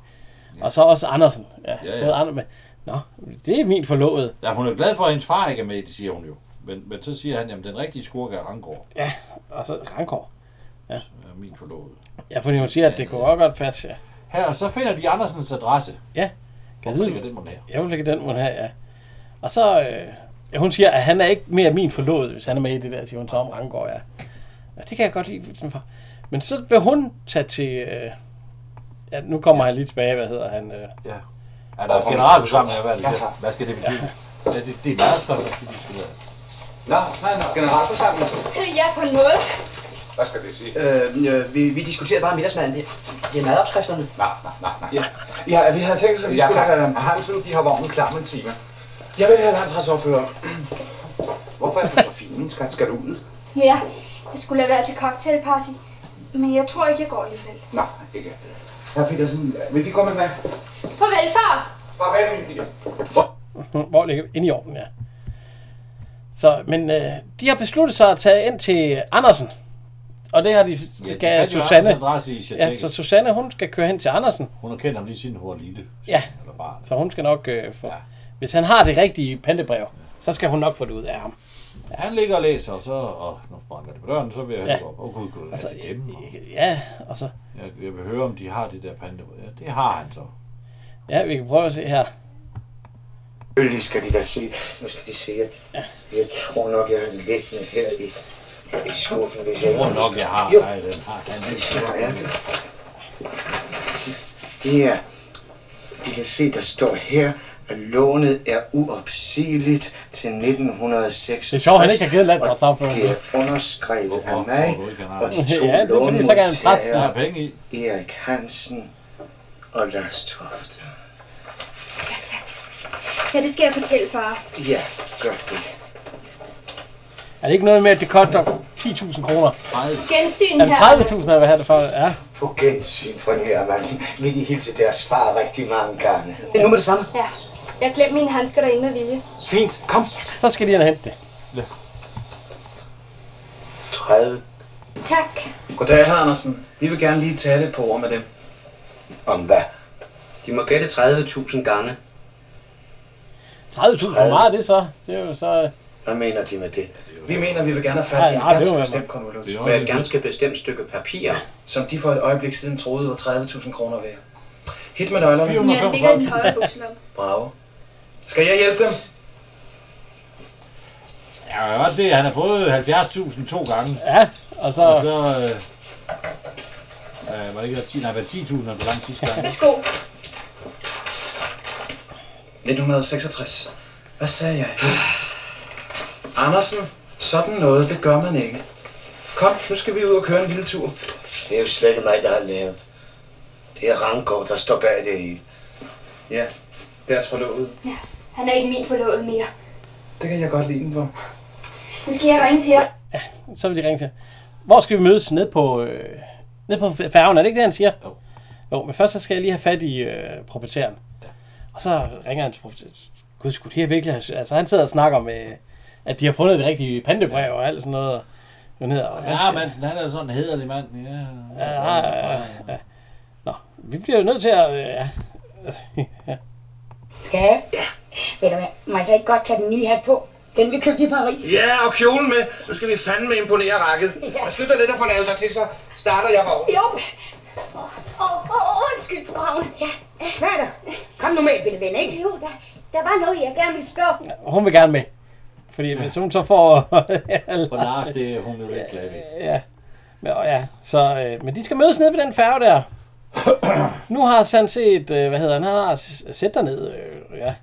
han. Og så også Andersen. Ja,
Ja, ja.
ja, ja. Med. Nå, det er min forlovede.
Ja, hun er glad for, at hendes far ikke er med, det siger hun jo. Men, men så siger han, jamen den rigtige skurk er Rangård.
Ja, og så Rangård. Ja.
Er min forlovede.
Ja, fordi hun siger, at det kunne også godt passe, ja.
Her, og så finder de Andersens adresse.
Ja.
Hvorfor
vide-
ligger den mon her?
Jeg vil lægge den hun her, ja. Og så, øh, ja, hun siger, at han er ikke mere min forlovede, hvis han er med i det der, siger hun så om Rangård, ja. ja det kan jeg godt lide. sådan for- Men så vil hun tage til, øh, ja, nu kommer han lige tilbage, hvad hedder han? Øh,
ja. Er der generalforsamling, eller hvad er det til? Hvad skal det betyde? Ja, det, det er meget godt, at de skal være.
Nå, nej, nej. Generalforsamling.
Ja, på en måde.
Hvad skal det sige?
Øh, øh, vi, vi diskuterer bare middagsmaden. Det, det er madopskrifterne.
Nej, nej, nej, nej. Ja. Ja, vi havde tænkt os, at vi
Ja,
ja, skulle
tak.
have Hansen, de har vognen klar med en time. Jeg vil have landsretsoverfører. Hvorfor er du så fin, skat? Skal du ud?
Ja, jeg skulle lade være til cocktailparty. Men jeg tror ikke, jeg går alligevel.
Nej, ikke. Herr Petersen, vil de komme med?
Farvel, far!
Farvel, min lille.
Hvor ligger Inde i ovnen, ja. Så, men øh, de har besluttet sig at tage ind til Andersen. Og det har de, det
de
gav
fandt jo
Susanne.
Andersens adresse i Shatækket.
ja, så Susanne, hun skal køre hen til Andersen.
Hun har kendt ham lige siden hun var lille.
Ja,
Eller barn.
så hun skal nok øh, få... Ja. Hvis han har det rigtige pantebrev, så skal hun nok få det ud af ham.
Han ligger og læser, og så og nu banker det på døren, så vil jeg
Ja.
ja. op. Åh gud, gud, altså,
Altså,
er det dem? Og...
Ja, og så...
Jeg, jeg vil høre, om de har det der pandebrev. Ja, det har han så.
Ja, vi kan prøve at se her.
Selvfølgelig skal de da se. Nu skal de se, at jeg tror nok, jeg har liggende her i, i skuffen. Hvis
Jeg tror nok, jeg har.
Jo,
Nej, den har han ikke.
Hvor er det? det er... De kan se, der står her, at lånet er uopsigeligt til 1966.
Det er sjovt, han ikke har givet landsretsamfundet.
og Det er underskrevet af mig
tror du ikke, han har
og de
det?
to
Ja, det er fordi, så kan han presse den her
penge i.
Erik Hansen og Lars Tofte.
Ja, tak. Ja, det skal jeg fortælle, far.
Ja, gør det.
Er det ikke noget med, at det koster 10.000 kroner?
Gensyn
Er det
her,
30.000, eller hvad er det for? Ja.
På gensyn, fru Nørmansen. Vil de hilse deres far rigtig mange gange?
Det er nu med det samme.
Ja, jeg glemte mine handsker derinde med vilje.
Fint, kom.
Så skal de ind og hente det.
30.
Tak.
Goddag, herr Andersen. Vi vil gerne lige tale et par ord med dem.
Om hvad?
De må gætte 30.000 gange.
30.000, hvor meget er det så? Det er jo så...
Hvad mener de med det?
Vi mener, vi vil gerne have
Ja,
fat i en
ja, det
ganske
må være-
bestemt konvolut.
det er
Med
også-
et ganske bestemt stykke papir, som de for et øjeblik siden troede var 30.000 kroner værd. Hit med nøglerne.
Ja, det ligger i den høje bukselomme.
Bravo. Skal jeg hjælpe dem?
Ja, Jeg kan godt se, at han har fået 70.000 to gange.
Ja, og så...
Og så øh, øh, var det ikke 10, nej, var det 10.000, han forlangte sidste gang.
Værsgo.
1966. Hvad sagde jeg? Andersen, sådan noget, det gør man ikke. Kom, nu skal vi ud og køre en lille tur.
Det er jo slet ikke mig, der har lavet. Det er Ranggaard, der står bag det hele.
Ja, deres forlovede.
Han er ikke min forlovede mere.
Det kan jeg godt lide den for.
Nu skal jeg ringe til jer.
Så vil de ringe til. Hvor skal vi mødes? Ned på, øh, ned på færgen, er det ikke det, han siger? Jo. Jo, men først så skal jeg lige have fat i øh, proprietæren. Ja. Og så ringer han til proprietæren. Gud, skulle det her virkelig have... Altså, han sidder og snakker med at de har fundet det rigtige pandebrev og alt sådan noget. Og, hvad hedder, og hvad
Ja,
skal-
Mansen, han er sådan en hederlig mand. Ja,
Ja, ja, ja, ja. Nå, vi bliver jo nødt til at... øh, Ja.
Skal jeg? Ja. Ved du hvad, må jeg så ikke godt tage den nye hat på? Den vi købte i Paris.
Ja, og kjolen med. Nu skal vi fandme imponere rakket.
Ja. Skynd dig lidt at få lavet dig til, så starter jeg vognen.
Jo. Åh, oh, oh, undskyld, fru Ravn. Ja, hvad er der? Kom nu med, bitte ven, ikke?
Jo, der, der var noget, jeg gerne ville spørge.
Og hun vil gerne med. Fordi hvis hun så får...
Og Lars, det er hun jo ikke glad ved.
Ja. Men, og ja. Så, øh, men de skal mødes nede ved den færge der. nu har sådan set, øh, hvad hedder han, han har s- sæt derned, øh, ja.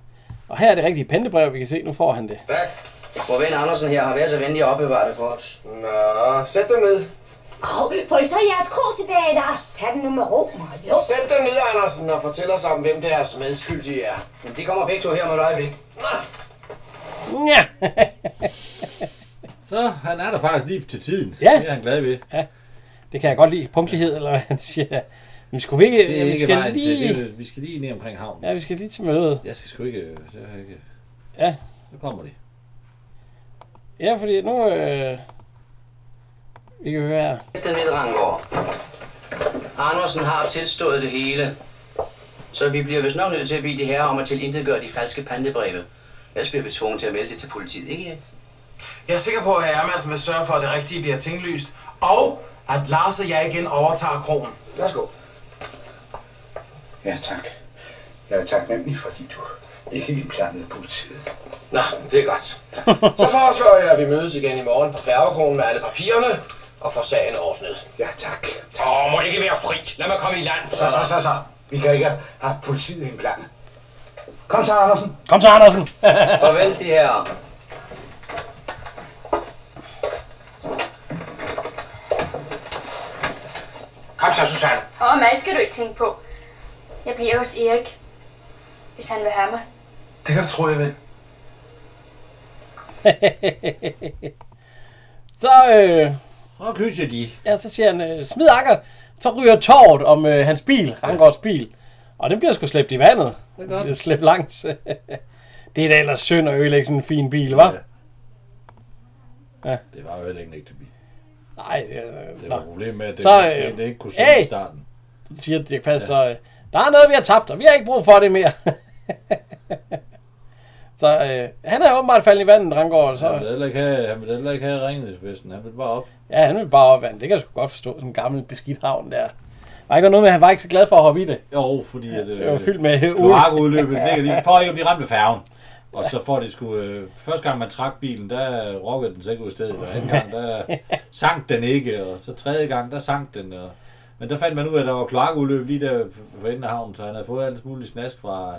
Og her er det rigtige pendebrev, vi kan se, nu får han det.
Hvor ven Andersen her har været så venlig at opbevare det for os.
Nå, sæt dig ned.
Åh, oh, får I så jeres krog tilbage, Lars? Tag den nu med ro, Mario.
Sæt dig ned, Andersen, og fortæl os om, hvem deres medskyldige er. Men de kommer begge to her med et øjeblik.
Ja.
så han er der faktisk lige til tiden.
Ja.
Det er han glad ved.
Ja. Det kan jeg godt lide. Punktlighed, eller hvad han siger. Men skulle vi ikke...
Det er
vi
ikke
skal
vejen til.
lige...
Det er, vi skal lige ned omkring havnen.
Ja, vi skal lige til møde.
Jeg skal sgu ikke... Det har jeg ikke...
Ja.
Så kommer de.
Ja, fordi nu... Øh, vi kan høre her.
Den ved Rangård. Andersen har tilstået det hele. Så vi bliver vist nok nødt til at bede de herrer om at tilintetgøre de falske pantebreve. Ellers bliver vi tvunget til at melde det til politiet, ikke?
Jeg er sikker på, at herre Hermansen vil sørge for, at det rigtige bliver tinglyst. Og at Lars og jeg igen overtager kronen.
Værsgo. Ja, tak. Jeg er taknemmelig, fordi du ikke indblandede politiet.
Nå, det er godt. Så foreslår jeg, at vi mødes igen i morgen på færgekronen med alle papirerne og får sagen ordnet.
Ja, tak.
Åh, må ikke være fri. Lad mig komme i land.
Så, så, så, så. Vi kan ikke have politiet indblandet. Kom så, Andersen.
Kom så, Andersen.
Farvel, de herrer.
Kom så, Susanne.
Og mig skal du ikke tænke på. Jeg bliver hos Erik, hvis han vil have mig.
Det kan du tro, jeg vil.
så, øh...
Og kysser de.
Ja, så siger han, øh, smid akker. Så ryger tårt om øh, hans bil, Rangårds bil. Og den bliver sgu slæbt i vandet.
Det er
Den
godt.
bliver slæbt langs. det er da ellers synd at ødelægge sådan en fin bil, hva'? Ja.
Det var jo heller ikke en ægte bil.
Nej, øh,
det var
nå.
problemet med, at det,
Så,
så,
øh,
det, det, ikke kunne synge
hey!
i starten.
siger Dirk Passer, så øh, der er noget, vi har tabt, og vi har ikke brug for det mere. så øh, han er åbenbart faldet i vandet, Rangård. Så,
Han vil heller ikke have, han vil heller ikke have ringningsvesten. Han vil bare op.
Ja, han vil bare op i vandet. Det kan jeg sgu godt forstå. Sådan en gammel beskidt havn der. Var ikke noget med, at han var ikke så glad for at hoppe i det?
Jo, fordi at, øh,
det var fyldt med øh, olie.
kloakudløbet. Det ligger lige for ikke at blive ramt af færgen. Og så får de sgu... Øh, første gang man trak bilen, der rokkede den sig ikke ud af stedet. Og anden gang, der sank den ikke. Og så tredje gang, der sank den. Og, men der fandt man ud af, at der var kloakudløb lige der for enden af havnen, så han havde fået alt muligt snask fra...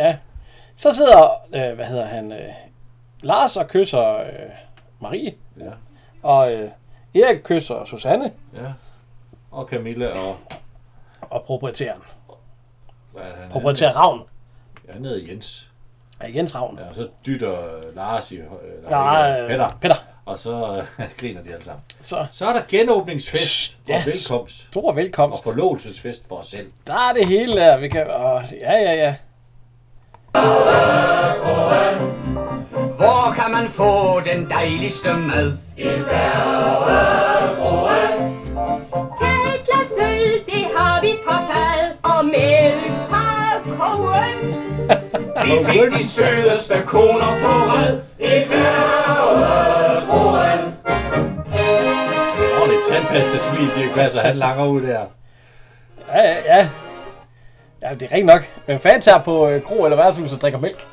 Ja. Så sidder, øh, hvad hedder han, øh, Lars og kysser øh, Marie.
Ja.
Og øh, Erik kysser Susanne.
Ja. Og Camilla og...
Og proprietæren.
Hvad er det, han er?
Proprietær Ravn.
Ja, han hedder Jens.
Ja, Jens Ravn.
Ja, og så dytter øh, Lars i... Øh,
Nej,
nej,
øh,
Peter.
Peter.
Og så øh, griner de alle sammen.
Så,
så er der genåbningsfest og
Ja,
velkomst.
Stor velkomst.
Og forlovelsesfest for os selv.
Der er det hele der, vi kan... Åh, ja, ja, ja.
Hvor kan man få den dejligste mad? I Færøbroen.
Tag et glas øl, det har vi fra fad. Og mælk fra kogen.
Vi fik de sødeste koner på rad i Færøbroen.
Og lidt tandpasta smil, det passer han langer ud der.
Ja, ja, ja. Ja, det er rigtigt nok. Men fanden tager på øh, kro eller værtshus og drikker mælk?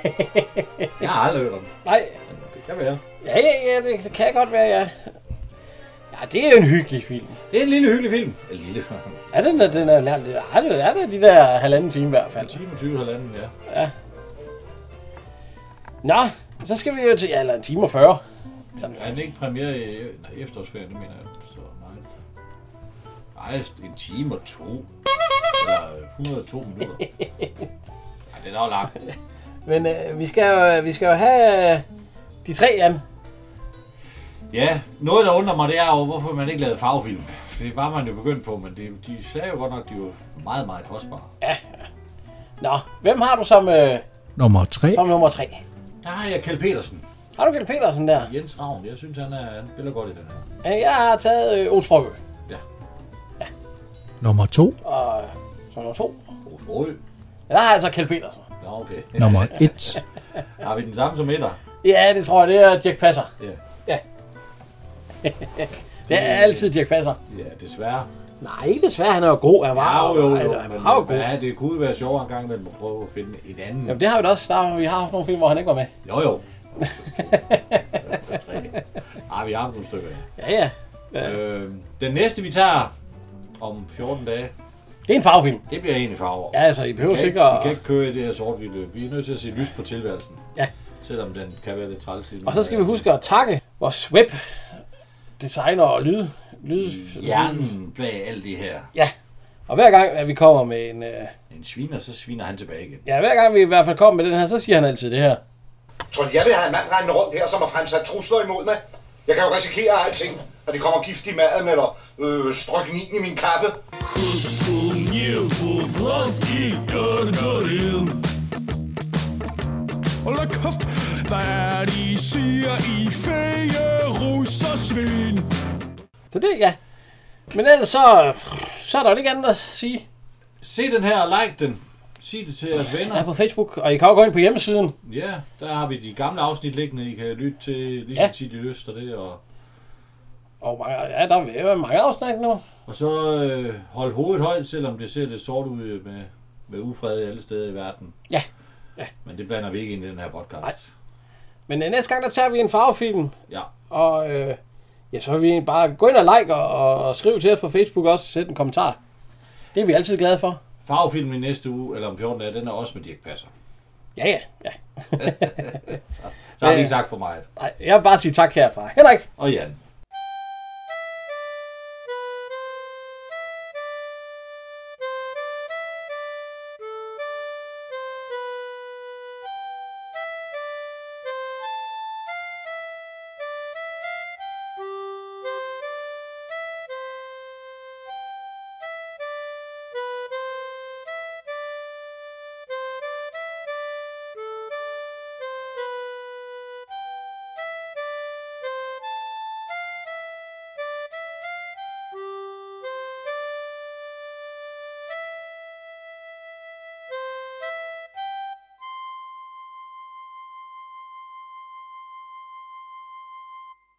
Jeg har aldrig hørt om det.
Nej.
Det kan være.
Ja, ja, ja, det kan godt være, ja. Ja, det er jo en hyggelig film.
Det er en lille hyggelig film. En lille.
Er den, der- den er, den er, er, det, er det de der halvanden time i hvert fald? En
time og 20 halvanden, ja.
Ja. Nå, så skal vi jo til, ja, eller en time og 40.
Men er den ikke premiere i nej, efterårsferien, det mener jeg. Så nej. Nej, en time og to. Eller øh, 102 minutter. Ej, det er nok langt.
Men øh, vi, skal jo, vi skal jo have øh, de tre, Jan.
Ja, noget der undrer mig, det er jo, hvorfor man ikke lavede farvefilm. Det var man jo begyndt på, men det, de sagde jo godt nok, at de var meget, meget kostbare.
Nå, hvem har du som, øh,
Nummer 3.
som nummer tre?
Der har jeg Kjeld Petersen.
Har du Kjell Petersen der?
Jens Ravn, jeg synes, han, er, han spiller godt i den her.
Øh, Jeg har taget øh, Otrø.
Nummer 2.
Og så nummer to. Otrø. Ja, der har jeg så Kjell Petersen.
Nå, okay.
Nummer 1.
Har vi den samme som etter?
Ja, det tror jeg, det er Dirk Passer.
Ja.
Ja. det er altid Dirk Passer.
Ja, desværre.
Nej, ikke desværre. Han er jo god. Han var
jo, jo, jo.
han- Han
men-
var jo god.
Ja, det kunne jo være sjovere en gang, men man prøve at finde et andet.
Jamen, det har vi da også. Der, vi har haft nogle film, hvor han ikke var med.
Jo, jo. Ej, vi har haft nogle stykker.
Ja,
ja. Øh, den næste, vi tager om 14 dage.
Det er en farvefilm.
Det bliver en i farver.
Ja, altså, I
Vi
behøver
kan ikke-
sikkert-
Vi kan ikke køre i det her sort -hvide. Vi er nødt til at se lys på tilværelsen.
Ja.
Selvom den kan være lidt træls lige nu.
Og så skal vi huske at takke vores web designer og lyd. lyd
Hjernen bag alt det her.
Ja. Og hver gang, at vi kommer med en... Øh,
En sviner, så sviner han tilbage igen.
ja, hver gang vi i hvert fald kommer med den her, så siger han altid det her.
Tror du, jeg vil have en mand rendende rundt her, som har fremsat trusler imod mig? Jeg kan jo risikere alting, og det kommer gift i maden, eller øh, stryknin i min kaffe.
Hold da kæft, hvad er det, I siger, I fæge rus og svin?
Så det, ja. Men ellers så, så er der jo ikke andet at sige.
Se den her og like den. Sig det til jeres venner.
Ja, på Facebook. Og I kan også gå ind på hjemmesiden.
Ja, der har vi de gamle afsnit liggende, I kan lytte til lige så
Ja.
tit I lyster det. Og,
Og mange, ja, der vil være mange afsnit nu.
og så øh, hold hovedet højt, selvom det ser lidt sort ud øh, med, med ufred alle steder i verden.
Ja. ja.
Men det blander vi ikke ind i den her podcast.
Nej. Men øh, næste gang, der tager vi en farvefilm.
Ja.
Og øh, ja, så vil vi egentlig bare gå ind og like og, og, og skrive til os på Facebook også. Sæt en kommentar. Det er vi altid glade for.
Farvefilmen i næste uge, eller om 14 dage, den er også med Dirk Passer.
Ja, ja, ja.
Så har vi
Ja.
ikke sagt for meget.
Nej, jeg vil bare sige tak herfra. Henrik.
Og Jan.